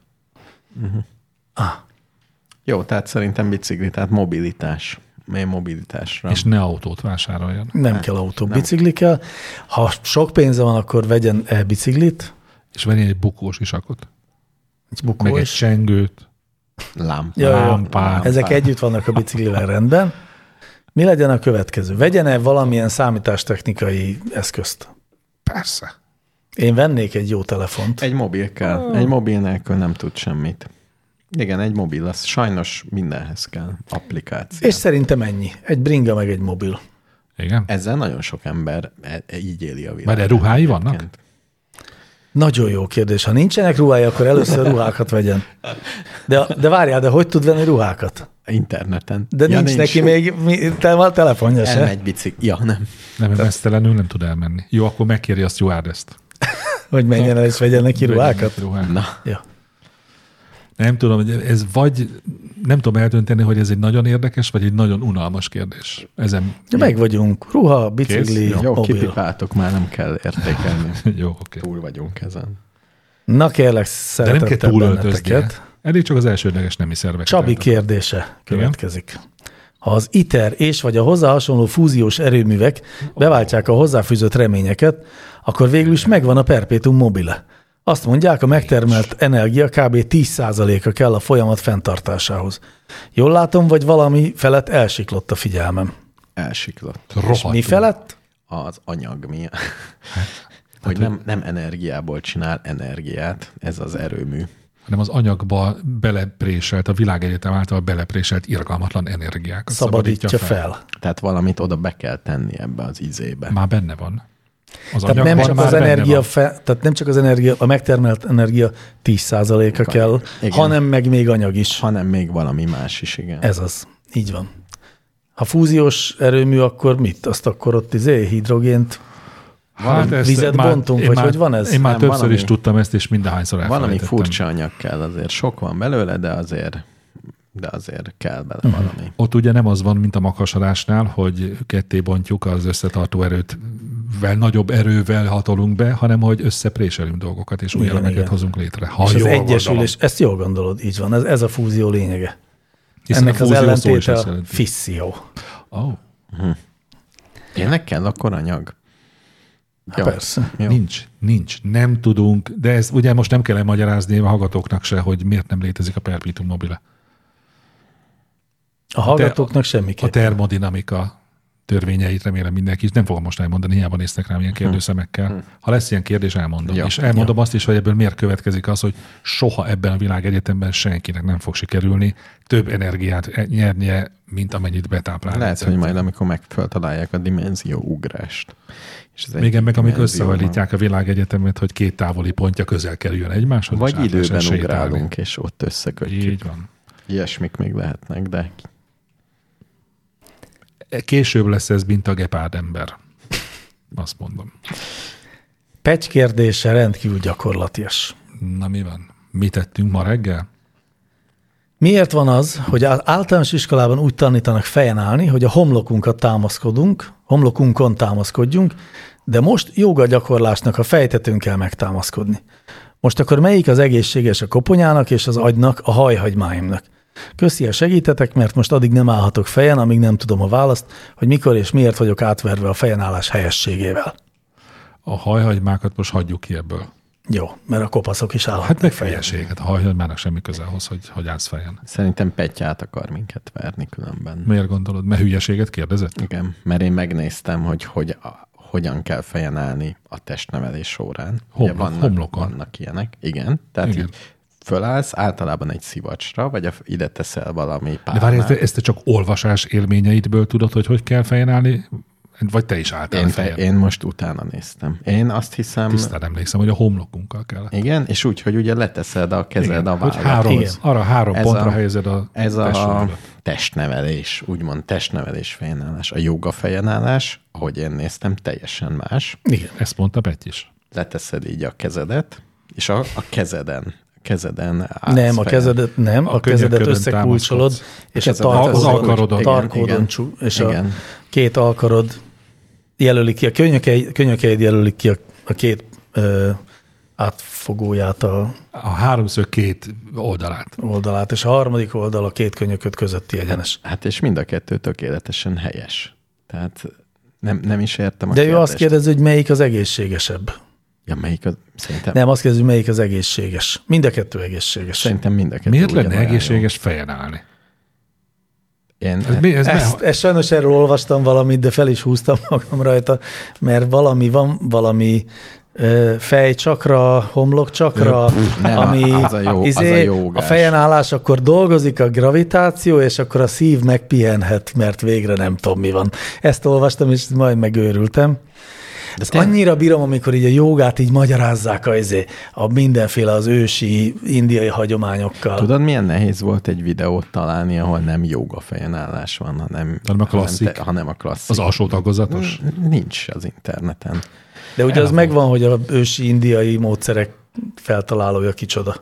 D: Jó, tehát szerintem bicikli, tehát mobilitás. Milyen mobilitásra?
C: És ne autót vásároljon.
B: Nem kell autó, bicikli kell. Ha sok pénze van, akkor vegyen e biciklit,
C: És venjen egy bukós isakot.
B: egy
C: Meg
B: bukó
C: egy
B: is.
C: csengőt.
D: lámpa.
B: Ja, ja, ja.
C: lámpát.
B: Ezek együtt vannak a biciklivel rendben. Mi legyen a következő? Vegyen-e valamilyen számítástechnikai eszközt?
C: Persze.
B: Én vennék egy jó telefont.
D: Egy mobil kell.
B: Ah.
D: Egy mobil nélkül nem tud semmit. Igen, egy mobil az sajnos mindenhez kell. Applikáció.
B: És
D: És
B: szerintem ennyi. Egy bringa meg egy mobil.
C: Igen?
D: ezzel nagyon sok ember e- e- így éli a
C: Már
D: világot.
C: de ruhái vannak?
D: egyébként.
B: Nagyon jó kérdés. Ha nincsenek ruhái, akkor először ruhákat vegyen. De, de várjál, de hogy tud venni ruhákat?
D: Interneten.
B: De ja, nincs, nincs neki még mi, te, a telefonja se.
D: Elmegy bicikli. Ja, nem.
C: Nem, mesztelenül nem tud elmenni. Jó, akkor megkéri a stewardess-t.
B: hogy menjen el és vegyen neki ruhákat?
C: Ruhák.
D: Na,
B: Ja.
C: Nem tudom, hogy ez vagy, nem tudom eldönteni, hogy ez egy nagyon érdekes, vagy egy nagyon unalmas kérdés. Ezen
B: Ja, Meg vagyunk. Ruha, bicikli,
C: Kész?
B: Kész?
C: Jó,
D: jó,
B: mobil.
D: kipipáltok, már nem kell értékelni.
C: jó, oké. Okay.
D: Túl vagyunk ezen.
B: Na kérlek,
C: De nem kell hát.
B: szeretettel
C: túlöltöznie.
B: benneteket.
C: Elég csak az elsődleges nemi szervek.
B: Csabi
C: Tehát-
B: kérdése következik. Ha az ITER és vagy a hozzá hasonló fúziós erőművek beváltják a hozzáfűzött reményeket, akkor végül is megvan a perpétum mobile. Azt mondják, a megtermelt energia kb. 10%-a kell a folyamat fenntartásához. Jól látom, vagy valami felett elsiklott a figyelmem.
D: Elsiklott.
C: Rohadtul.
B: Mi felett?
D: Az anyag mi?
C: Hát,
D: Hogy nem, nem energiából csinál energiát, ez az erőmű.
C: hanem az anyagba belepréselt, a világegyetem által belepréselt irgalmatlan energiákat
B: Szabadítja, fel. fel.
D: Tehát valamit oda be kell tenni ebbe az izébe.
C: Már benne van. Az
B: Tehát
C: anyagban
B: nem, csak
C: már
B: az
C: benne
B: energia
C: van.
B: fe, tehát nem csak az energia, a megtermelt energia 10%-a kell,
D: Igen.
B: hanem meg még anyag is.
D: Hanem még valami más is, igen.
B: Ez az. Így van. Ha fúziós erőmű, akkor mit? Azt akkor ott izé, hidrogént?
C: Hát ezt
B: vizet
C: már-
B: bontunk,
C: én
B: vagy
C: már-
B: hogy van ez?
C: Én már
D: Nem,
C: többször
D: valami-
C: is tudtam ezt, és mindenhányszor elfelejtettem.
D: Valami furcsa anyag kell azért. Sok van belőle, de azért, de azért kell bele
C: Mhm.
D: valami.
C: Ott ugye nem az van, mint a makasarásnál, hogy ketté bontjuk az összetartó erőt, vel nagyobb erővel hatolunk be, hanem hogy összepréselünk dolgokat, és új
B: Igen,
C: elemeket
B: igen.
C: hozunk létre. Ha
B: és az
C: Ah, jól
B: egyesülés,
C: gondolom.
B: ezt jól gondolod, így van. Ez, ez a fúzió lényege.
C: Hiszen
B: Ennek
C: a
B: az
C: fúzió szó is
B: ellentéte
C: ezt
B: a
C: jelenti.
B: fisszió.
C: Ó,
D: Tényleg kell akkor anyag?
B: Hát persze.
D: Jó.
C: Nincs, nincs. Nem tudunk, de ez ugye most nem kell elmagyarázni a hallgatóknak se, hogy miért nem létezik a perpetuum mobile.
B: A hallgatóknak semmiképp.
C: A termodinamika törvényeit remélem mindenki is. Nem fogom most elmondani, hiába néztek rám ilyen kérdőszemekkel. Ha lesz ilyen kérdés, elmondom.
D: Hm. Ja.
C: És elmondom azt is, hogy ebből miért következik az, hogy soha ebben a világegyetemben senkinek nem fog sikerülni több energiát nyernie, mint amennyit betáplál.
D: Lehet, hogy
C: hát.
D: majd amikor megföltalálják a dimenzió ugrást. És az
C: Még
D: egyik
C: meg, amik
D: dimenzióban-
C: összehajlítják a világegyetemet, hogy két távoli pontja közel kerüljön egymáshoz. és
D: Vagy
C: át
D: időben
C: lehessen sétálni.
D: ugrálunk, és ott összekötjük.
C: Így van.
D: Ilyesmik még lehetnek, de
C: Később lesz ez, mint a gepárd ember. Azt mondom.
B: Pecs kérdése rendkívül gyakorlatias.
C: Na mi van? Mit tettünk ma reggel?
B: Miért van az, hogy á- általános iskolában úgy tanítanak fejen állni, hogy a homlokunkat támaszkodunk, homlokunkon támaszkodjunk, de most joga gyakorlásnak a fejtetőn kell megtámaszkodni. Most akkor melyik az egészséges a koponyának és az agynak, a hajhagymáimnak? Köszi, ha segítetek, mert most addig nem állhatok fejen, amíg nem tudom a választ, hogy mikor és miért vagyok átverve a fejenállás helyességével.
C: A hajhagymákat most hagyjuk ki ebből.
B: Jó, mert a kopaszok is állhatnak
C: Hát meg
B: fejen.
C: fejesség. Hát a hajhagymának semmi köze ahhoz, hogy, hogy állsz fejen.
D: szerintem Petty át akar minket verni különben.
C: Miért gondolod? Mert hülyeséget kérdezett?
D: Igen, mert én megnéztem, hogy, hogy a, hogyan kell fejen állni a testnevelés órán.
C: Homlok-
D: vannak,
C: homlokon.
D: vannak ilyenek. Igen, tehát
C: Igen.
D: Igen. így fölállsz általában egy szivacsra, vagy a, ide teszel valami
C: De várj, ezt,
D: pálmát.
C: ezt te csak olvasás élményeidből tudod, hogy hogy kell fejen állni? Vagy te is álltál
D: Én,
C: fejen?
D: te, én most utána néztem. Én azt hiszem,
C: Tisztán emlékszem, hogy a homlokunkkal kell.
D: igen, és úgy, hogy ugye leteszed a kezed a
C: hogy
D: vállat.
C: három,
B: Igen.
C: arra három
D: Ez
C: pontra
D: a-
C: helyezed a
D: Ez a
C: testőrödet.
D: testnevelés, úgymond testnevelés fejenállás. A joga fejenállás, ahogy én néztem, teljesen más.
B: Igen.
C: Ezt mondta Petty is.
D: leteszed így a kezedet, és a, a kezeden, kezeden állsz
B: Nem, a
D: fel.
B: kezedet nem, Hát, a, kezedet
C: könyöködön
B: összekulcsolod, és a
D: Kezedet
B: tarkodon,
C: összekulcs- alkarodon. Igen,
B: tarkodon
D: igen.
B: csú, és igen. a
D: Igen.
B: két alkarod jelöli ki, a könyökeid, könyökeid jelölik ki a, a két ö, átfogóját a
C: A háromszög két oldalát.
B: oldalát, és a harmadik oldal a két könyököd közötti egyenes.
D: Hát és mind a kettő tökéletesen helyes. Tehát nem, nem is értem a
B: De ő azt
D: kérdést.
B: kérdezi, hogy melyik az egészségesebb.
D: Ja, melyik az, szerintem, nem.
B: Nem, azt kérdezi, hogy melyik az egészséges. Mind a kettő egészséges.
D: szerintem mind a kettő
C: Miért lenne
D: ugyanolyan jó.
C: egészséges fejen állni?
D: Én,
C: Ez, mi, ez
B: Ezt,
C: ne,
B: ezt sajnos erről olvastam valamit, de fel is húztam magam rajta, mert valami van, valami ö, fejcsakra, homlokcsakra,
D: nem,
B: ami
D: az a jó- az a
B: izé,
D: jó
B: a
D: ugás.
B: fejen állás, akkor dolgozik a gravitáció, és akkor a szív megpihenhet, mert végre nem tudom mi van. Ezt olvastam, és majd megőrültem. De ezt annyira bírom, amikor így a jogát így magyarázzák a, izé, a mindenféle az ősi indiai hagyományokkal.
D: Tudod, milyen nehéz volt egy videót találni, ahol nem joga fejenállás van, hanem,
C: Hanem a klasszik.
D: Hanem, te, hanem a klasszik.
C: Az alsó tagozatos?
D: Nincs az interneten.
B: De ugye az megvan, hogy a ősi indiai módszerek feltalálója kicsoda.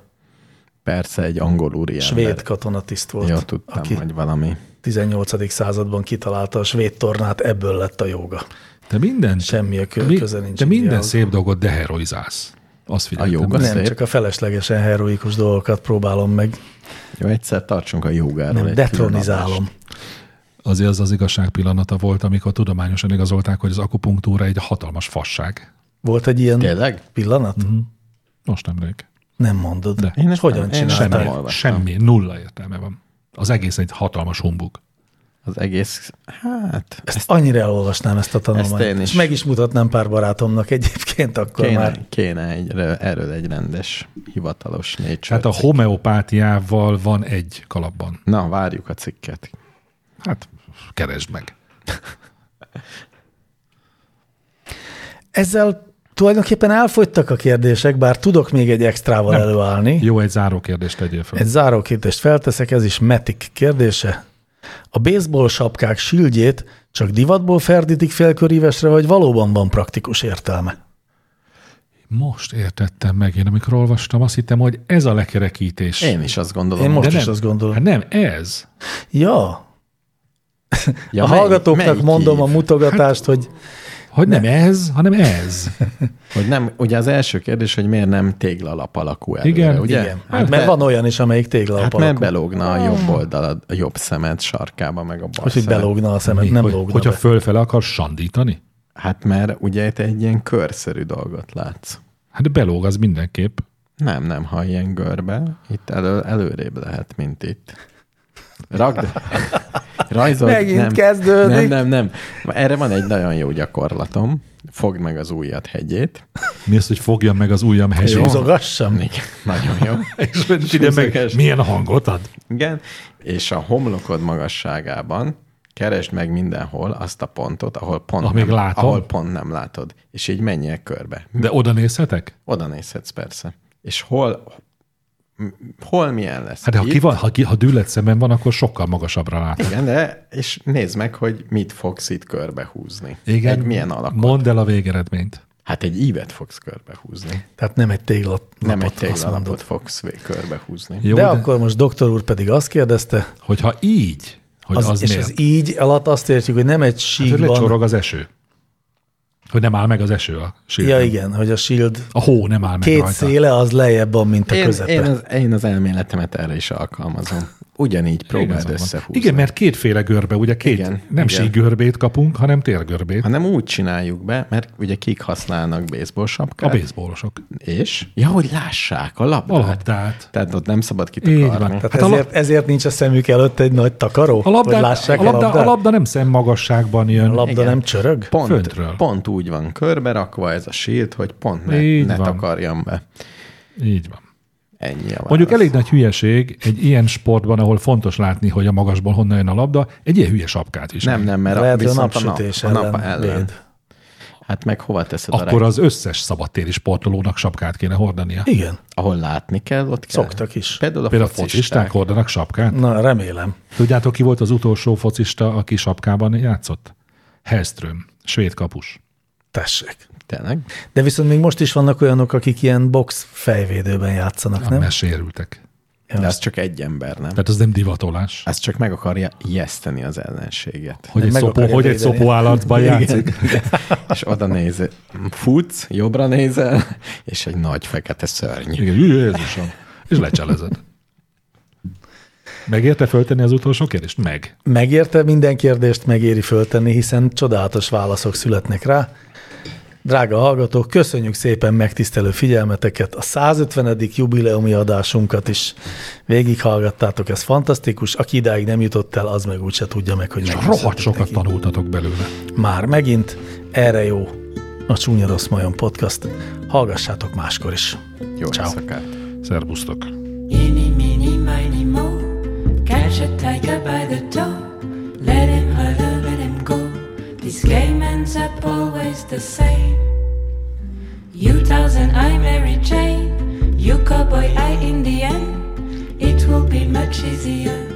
D: Persze egy angol úriember.
B: Svéd katonatiszt volt,
D: Jó, tudtam,
B: aki
D: hogy valami.
B: 18. században kitalálta a svéd tornát, ebből lett a joga.
C: Te minden,
B: Semmi a kö-
C: mi-
B: köze nincs.
C: te minden
B: Indiához.
C: szép dolgot deheroizálsz. Azt figyeltem.
D: A joga.
C: Nem.
B: Nem,
D: szép.
B: csak a feleslegesen heroikus dolgokat próbálom meg.
D: Jó, egyszer tartsunk a jogáról
B: Nem,
D: egy külön
B: detronizálom.
D: adást.
C: Azért az az igazság pillanata volt, amikor tudományosan igazolták, hogy az akupunktúra egy hatalmas fasság.
B: Volt egy ilyen
D: Tényleg? Mhm.
B: pillanat?
C: Most nemrég.
B: Nem mondod. De.
D: Én ezt
B: Hogyan
D: nem- én ezt nem
B: csináltál?
D: olvastam.
C: Semmi, nulla értelme van. Az egész egy hatalmas humbug.
D: Az egész, hát,
B: Ezt annyira elolvasnám ezt a tanulmányt.
D: Ezt én
B: És
D: is.
B: meg is mutatnám pár barátomnak egyébként, akkor Kéne. már
D: kéne, kéne egy, erről egy rendes, hivatalos négy
B: Hát
C: Tehát Hát a homeopátiával van egy kalapban.
D: Na, várjuk a cikket.
C: Hát, keresd meg.
B: Ezzel tulajdonképpen elfogytak a kérdések, bár tudok még egy extrával Nem. előállni.
C: Jó, egy záró kérdést tegyél fel.
B: Egy záró kérdést felteszek, ez is Metik kérdése. A baseball sapkák sildjét csak divatból ferdítik félkörívesre, vagy valóban van praktikus értelme?
C: Most értettem meg, én amikor olvastam, azt hittem, hogy ez a lekerekítés.
D: Én is azt gondolom.
B: Én most
C: De
B: is
C: nem.
B: azt gondolom.
C: Hát nem, ez.
B: Ja,
D: ja,
B: a
D: melyik-
B: hallgatóknak
D: melyik
B: mondom
D: hív?
B: a mutogatást, hogy
C: Hogy nem, nem ez, hanem ez.
D: Hogy nem, ugye az első kérdés, hogy miért nem téglalap alakú előre,
C: Igen,
D: ugye?
B: igen. Hát,
D: Hát,
B: mert
D: mert
B: van olyan is, amelyik téglalap
D: Hát mert
B: alakú.
D: belógna a jobb oldalad, a jobb szemed sarkába, meg a bal
B: Hogy, hogy
D: szemed.
B: belógna a szemed, nem
C: hogy,
B: lógna
C: hogyha
B: be.
C: fölfele akar sandítani?
D: Hát mert ugye te egy ilyen körszerű dolgot látsz.
C: Hát belóg az mindenképp.
D: Nem, nem, ha ilyen görbe, itt elő, előrébb lehet, mint itt. Rakd, rajzold,
B: Megint
D: nem,
B: kezdődik.
D: Nem, nem, nem. Erre van egy nagyon jó gyakorlatom. Fogd meg az ujjad hegyét.
C: Mi az, hogy fogjam meg az ujjam
B: És
C: hegyét?
B: húzogassam?
D: Igen, nagyon jó.
C: És hogy ide meg,
D: Húzogass.
C: milyen hangot ad?
D: Igen, és a homlokod magasságában keresd meg mindenhol azt a pontot, ahol pont,
C: Amíg
D: nem,
C: látom.
D: ahol pont nem látod. És így menjél körbe.
B: Hm.
C: De oda nézhetek?
D: Oda nézhetsz persze. És hol, m- hol milyen lesz?
C: Hát de ha,
D: Itt-
C: ki van, ha, ki, ha dűlet szemben van, akkor sokkal magasabbra lát.
D: Igen, de és nézd meg, hogy mit fogsz itt körbehúzni. Egy milyen alak.
C: Mondd el a végeredményt.
D: Hát egy ívet fogsz körbehúzni.
B: Tehát nem egy téglalapot,
D: Nem egy
B: azt mondod.
D: téglalapot fogsz vé- körbehúzni.
C: Jó,
B: De,
C: de,
B: de akkor most doktor úr pedig azt kérdezte,
C: hogyha így, hogy
B: az,
C: az,
B: az és
C: miért? Hát,
B: az így alatt azt értjük, hogy nem egy
C: Hogy
B: síkban.
C: lecsorog az eső. Hogy nem áll meg az eső a sílben.
B: ja igen, hogy a shield
C: A hó nem áll meg
B: két
C: rajta.
B: széle az lejjebb van, mint a
D: Én,
B: közepe.
D: én, az, én az elméletemet erre is alkalmazom. Ugyanígy
C: Igazad
D: próbáld
C: van.
D: összehúzni.
C: Igen, mert kétféle görbe, ugye két, igen,
D: Igen,
C: nem
D: igen.
C: sígörbét kapunk, hanem térgörbét.
D: hanem úgy csináljuk be, mert ugye kik használnak baseball
C: A
D: sapkát.
C: baseballosok.
D: és? Ja, hogy lássák a labdát.
C: A labdát.
D: Tehát ott nem szabad
C: Így van.
D: kitakarni.
B: Tehát
C: Hát a
B: ezért, ezért nincs a szemük előtt egy nagy takaró,
C: A
B: hogy
C: labda,
B: lássák
C: a, labda, a
B: labdát?
C: labda nem szemmagasságban jön.
B: A labda
D: Igen.
B: nem csörög?
D: Pont,
C: föntről.
D: pont úgy van körbe rakva ez a sírt, hogy pont ne,
C: Így
D: ne
C: van.
D: takarjam be.
C: Így van.
D: Ennyi a
C: Mondjuk
D: válasz.
C: elég nagy hülyeség egy ilyen sportban, ahol fontos látni, hogy a magasból honnan jön a labda, egy ilyen hülye sapkát is.
D: Nem, nem, mert
B: Lehet, hogy a
D: viszont nap-
B: napsütés
D: a nap
B: ellen, véd.
D: Hát meg hova teszed
C: Akkor
D: a reg-
C: az összes szabadtéri sportolónak sapkát kéne hordania.
B: Igen,
D: ahol látni kell, ott kell.
B: Szoktak is.
D: Például a
C: Például a focisták
D: focisták.
C: hordanak sapkát.
B: na remélem.
C: Tudjátok, ki volt az utolsó focista, aki sapkában játszott? Hellström, svéd kapus.
B: Tessék.
D: Tényleg?
B: De viszont még most is vannak olyanok, akik ilyen box fejvédőben játszanak, nem?
C: Nem? Mert sérültek.
D: De az csak egy ember, nem?
C: Tehát az nem divatolás.
D: Ez csak meg akarja ijeszteni az ellenséget.
C: Hogy egy,
B: meg
C: szopó,
B: akarja
C: hogy egy
B: védeni.
C: szopó állatban játszik.
D: És oda néz, futsz, jobbra nézel, és egy nagy fekete szörny.
C: Igen, jö, Jézusom. És lecselezed. Megérte föltenni az utolsó kérdést? Meg.
B: Megérte minden kérdést, megéri föltenni, hiszen csodálatos válaszok születnek rá. Drága hallgatók, köszönjük szépen megtisztelő figyelmeteket, a 150. jubileumi adásunkat is végighallgattátok, ez fantasztikus, aki idáig nem jutott el, az meg úgyse tudja meg, hogy
C: És
B: megköszöntük
C: rohadt sokat
B: neki.
C: tanultatok belőle.
B: Már megint, erre jó a Csúnya Rossz Majom Podcast. Hallgassátok máskor is.
D: Jó
B: Ciao.
D: éjszakát!
C: Szerbusztok.
F: Eeny, meeny, miny, moe. Catch a tiger by the toe. Let him holler, let him go. These gay men's up always the the same. You thousand, I Mary Jane. You cowboy, I Indian. It will be much easier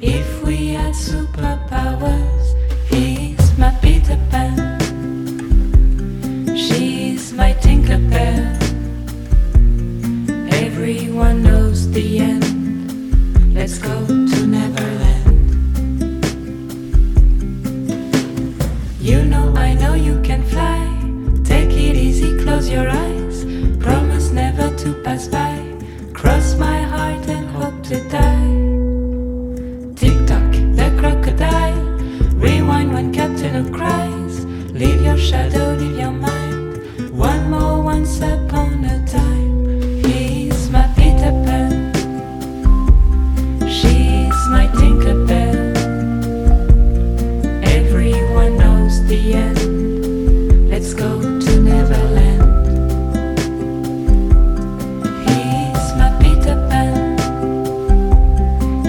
F: if we had superpowers. He's my Peter Pan. She's my Tinkerbell. Everyone knows the end. Let's go to Neverland. You know, I know you can fly. Take it easy, close your eyes. Promise never to pass by. Cross my heart and hope to die. Tick tock, the crocodile. Rewind when Captain Hook cries. Leave your shadow, leave your mind. One more once upon a time. He's my Peter Pan. She's my Tinkerbell. Everyone knows the end. Let's go to Neverland. He's my Peter Pan.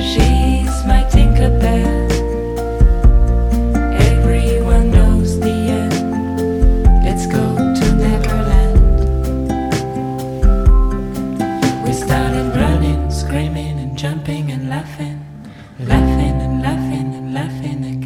F: She's my Tinkerbell. Everyone knows the end. Let's go to Neverland. We started running, screaming and jumping and laughing, laughing and laughing and laughing again.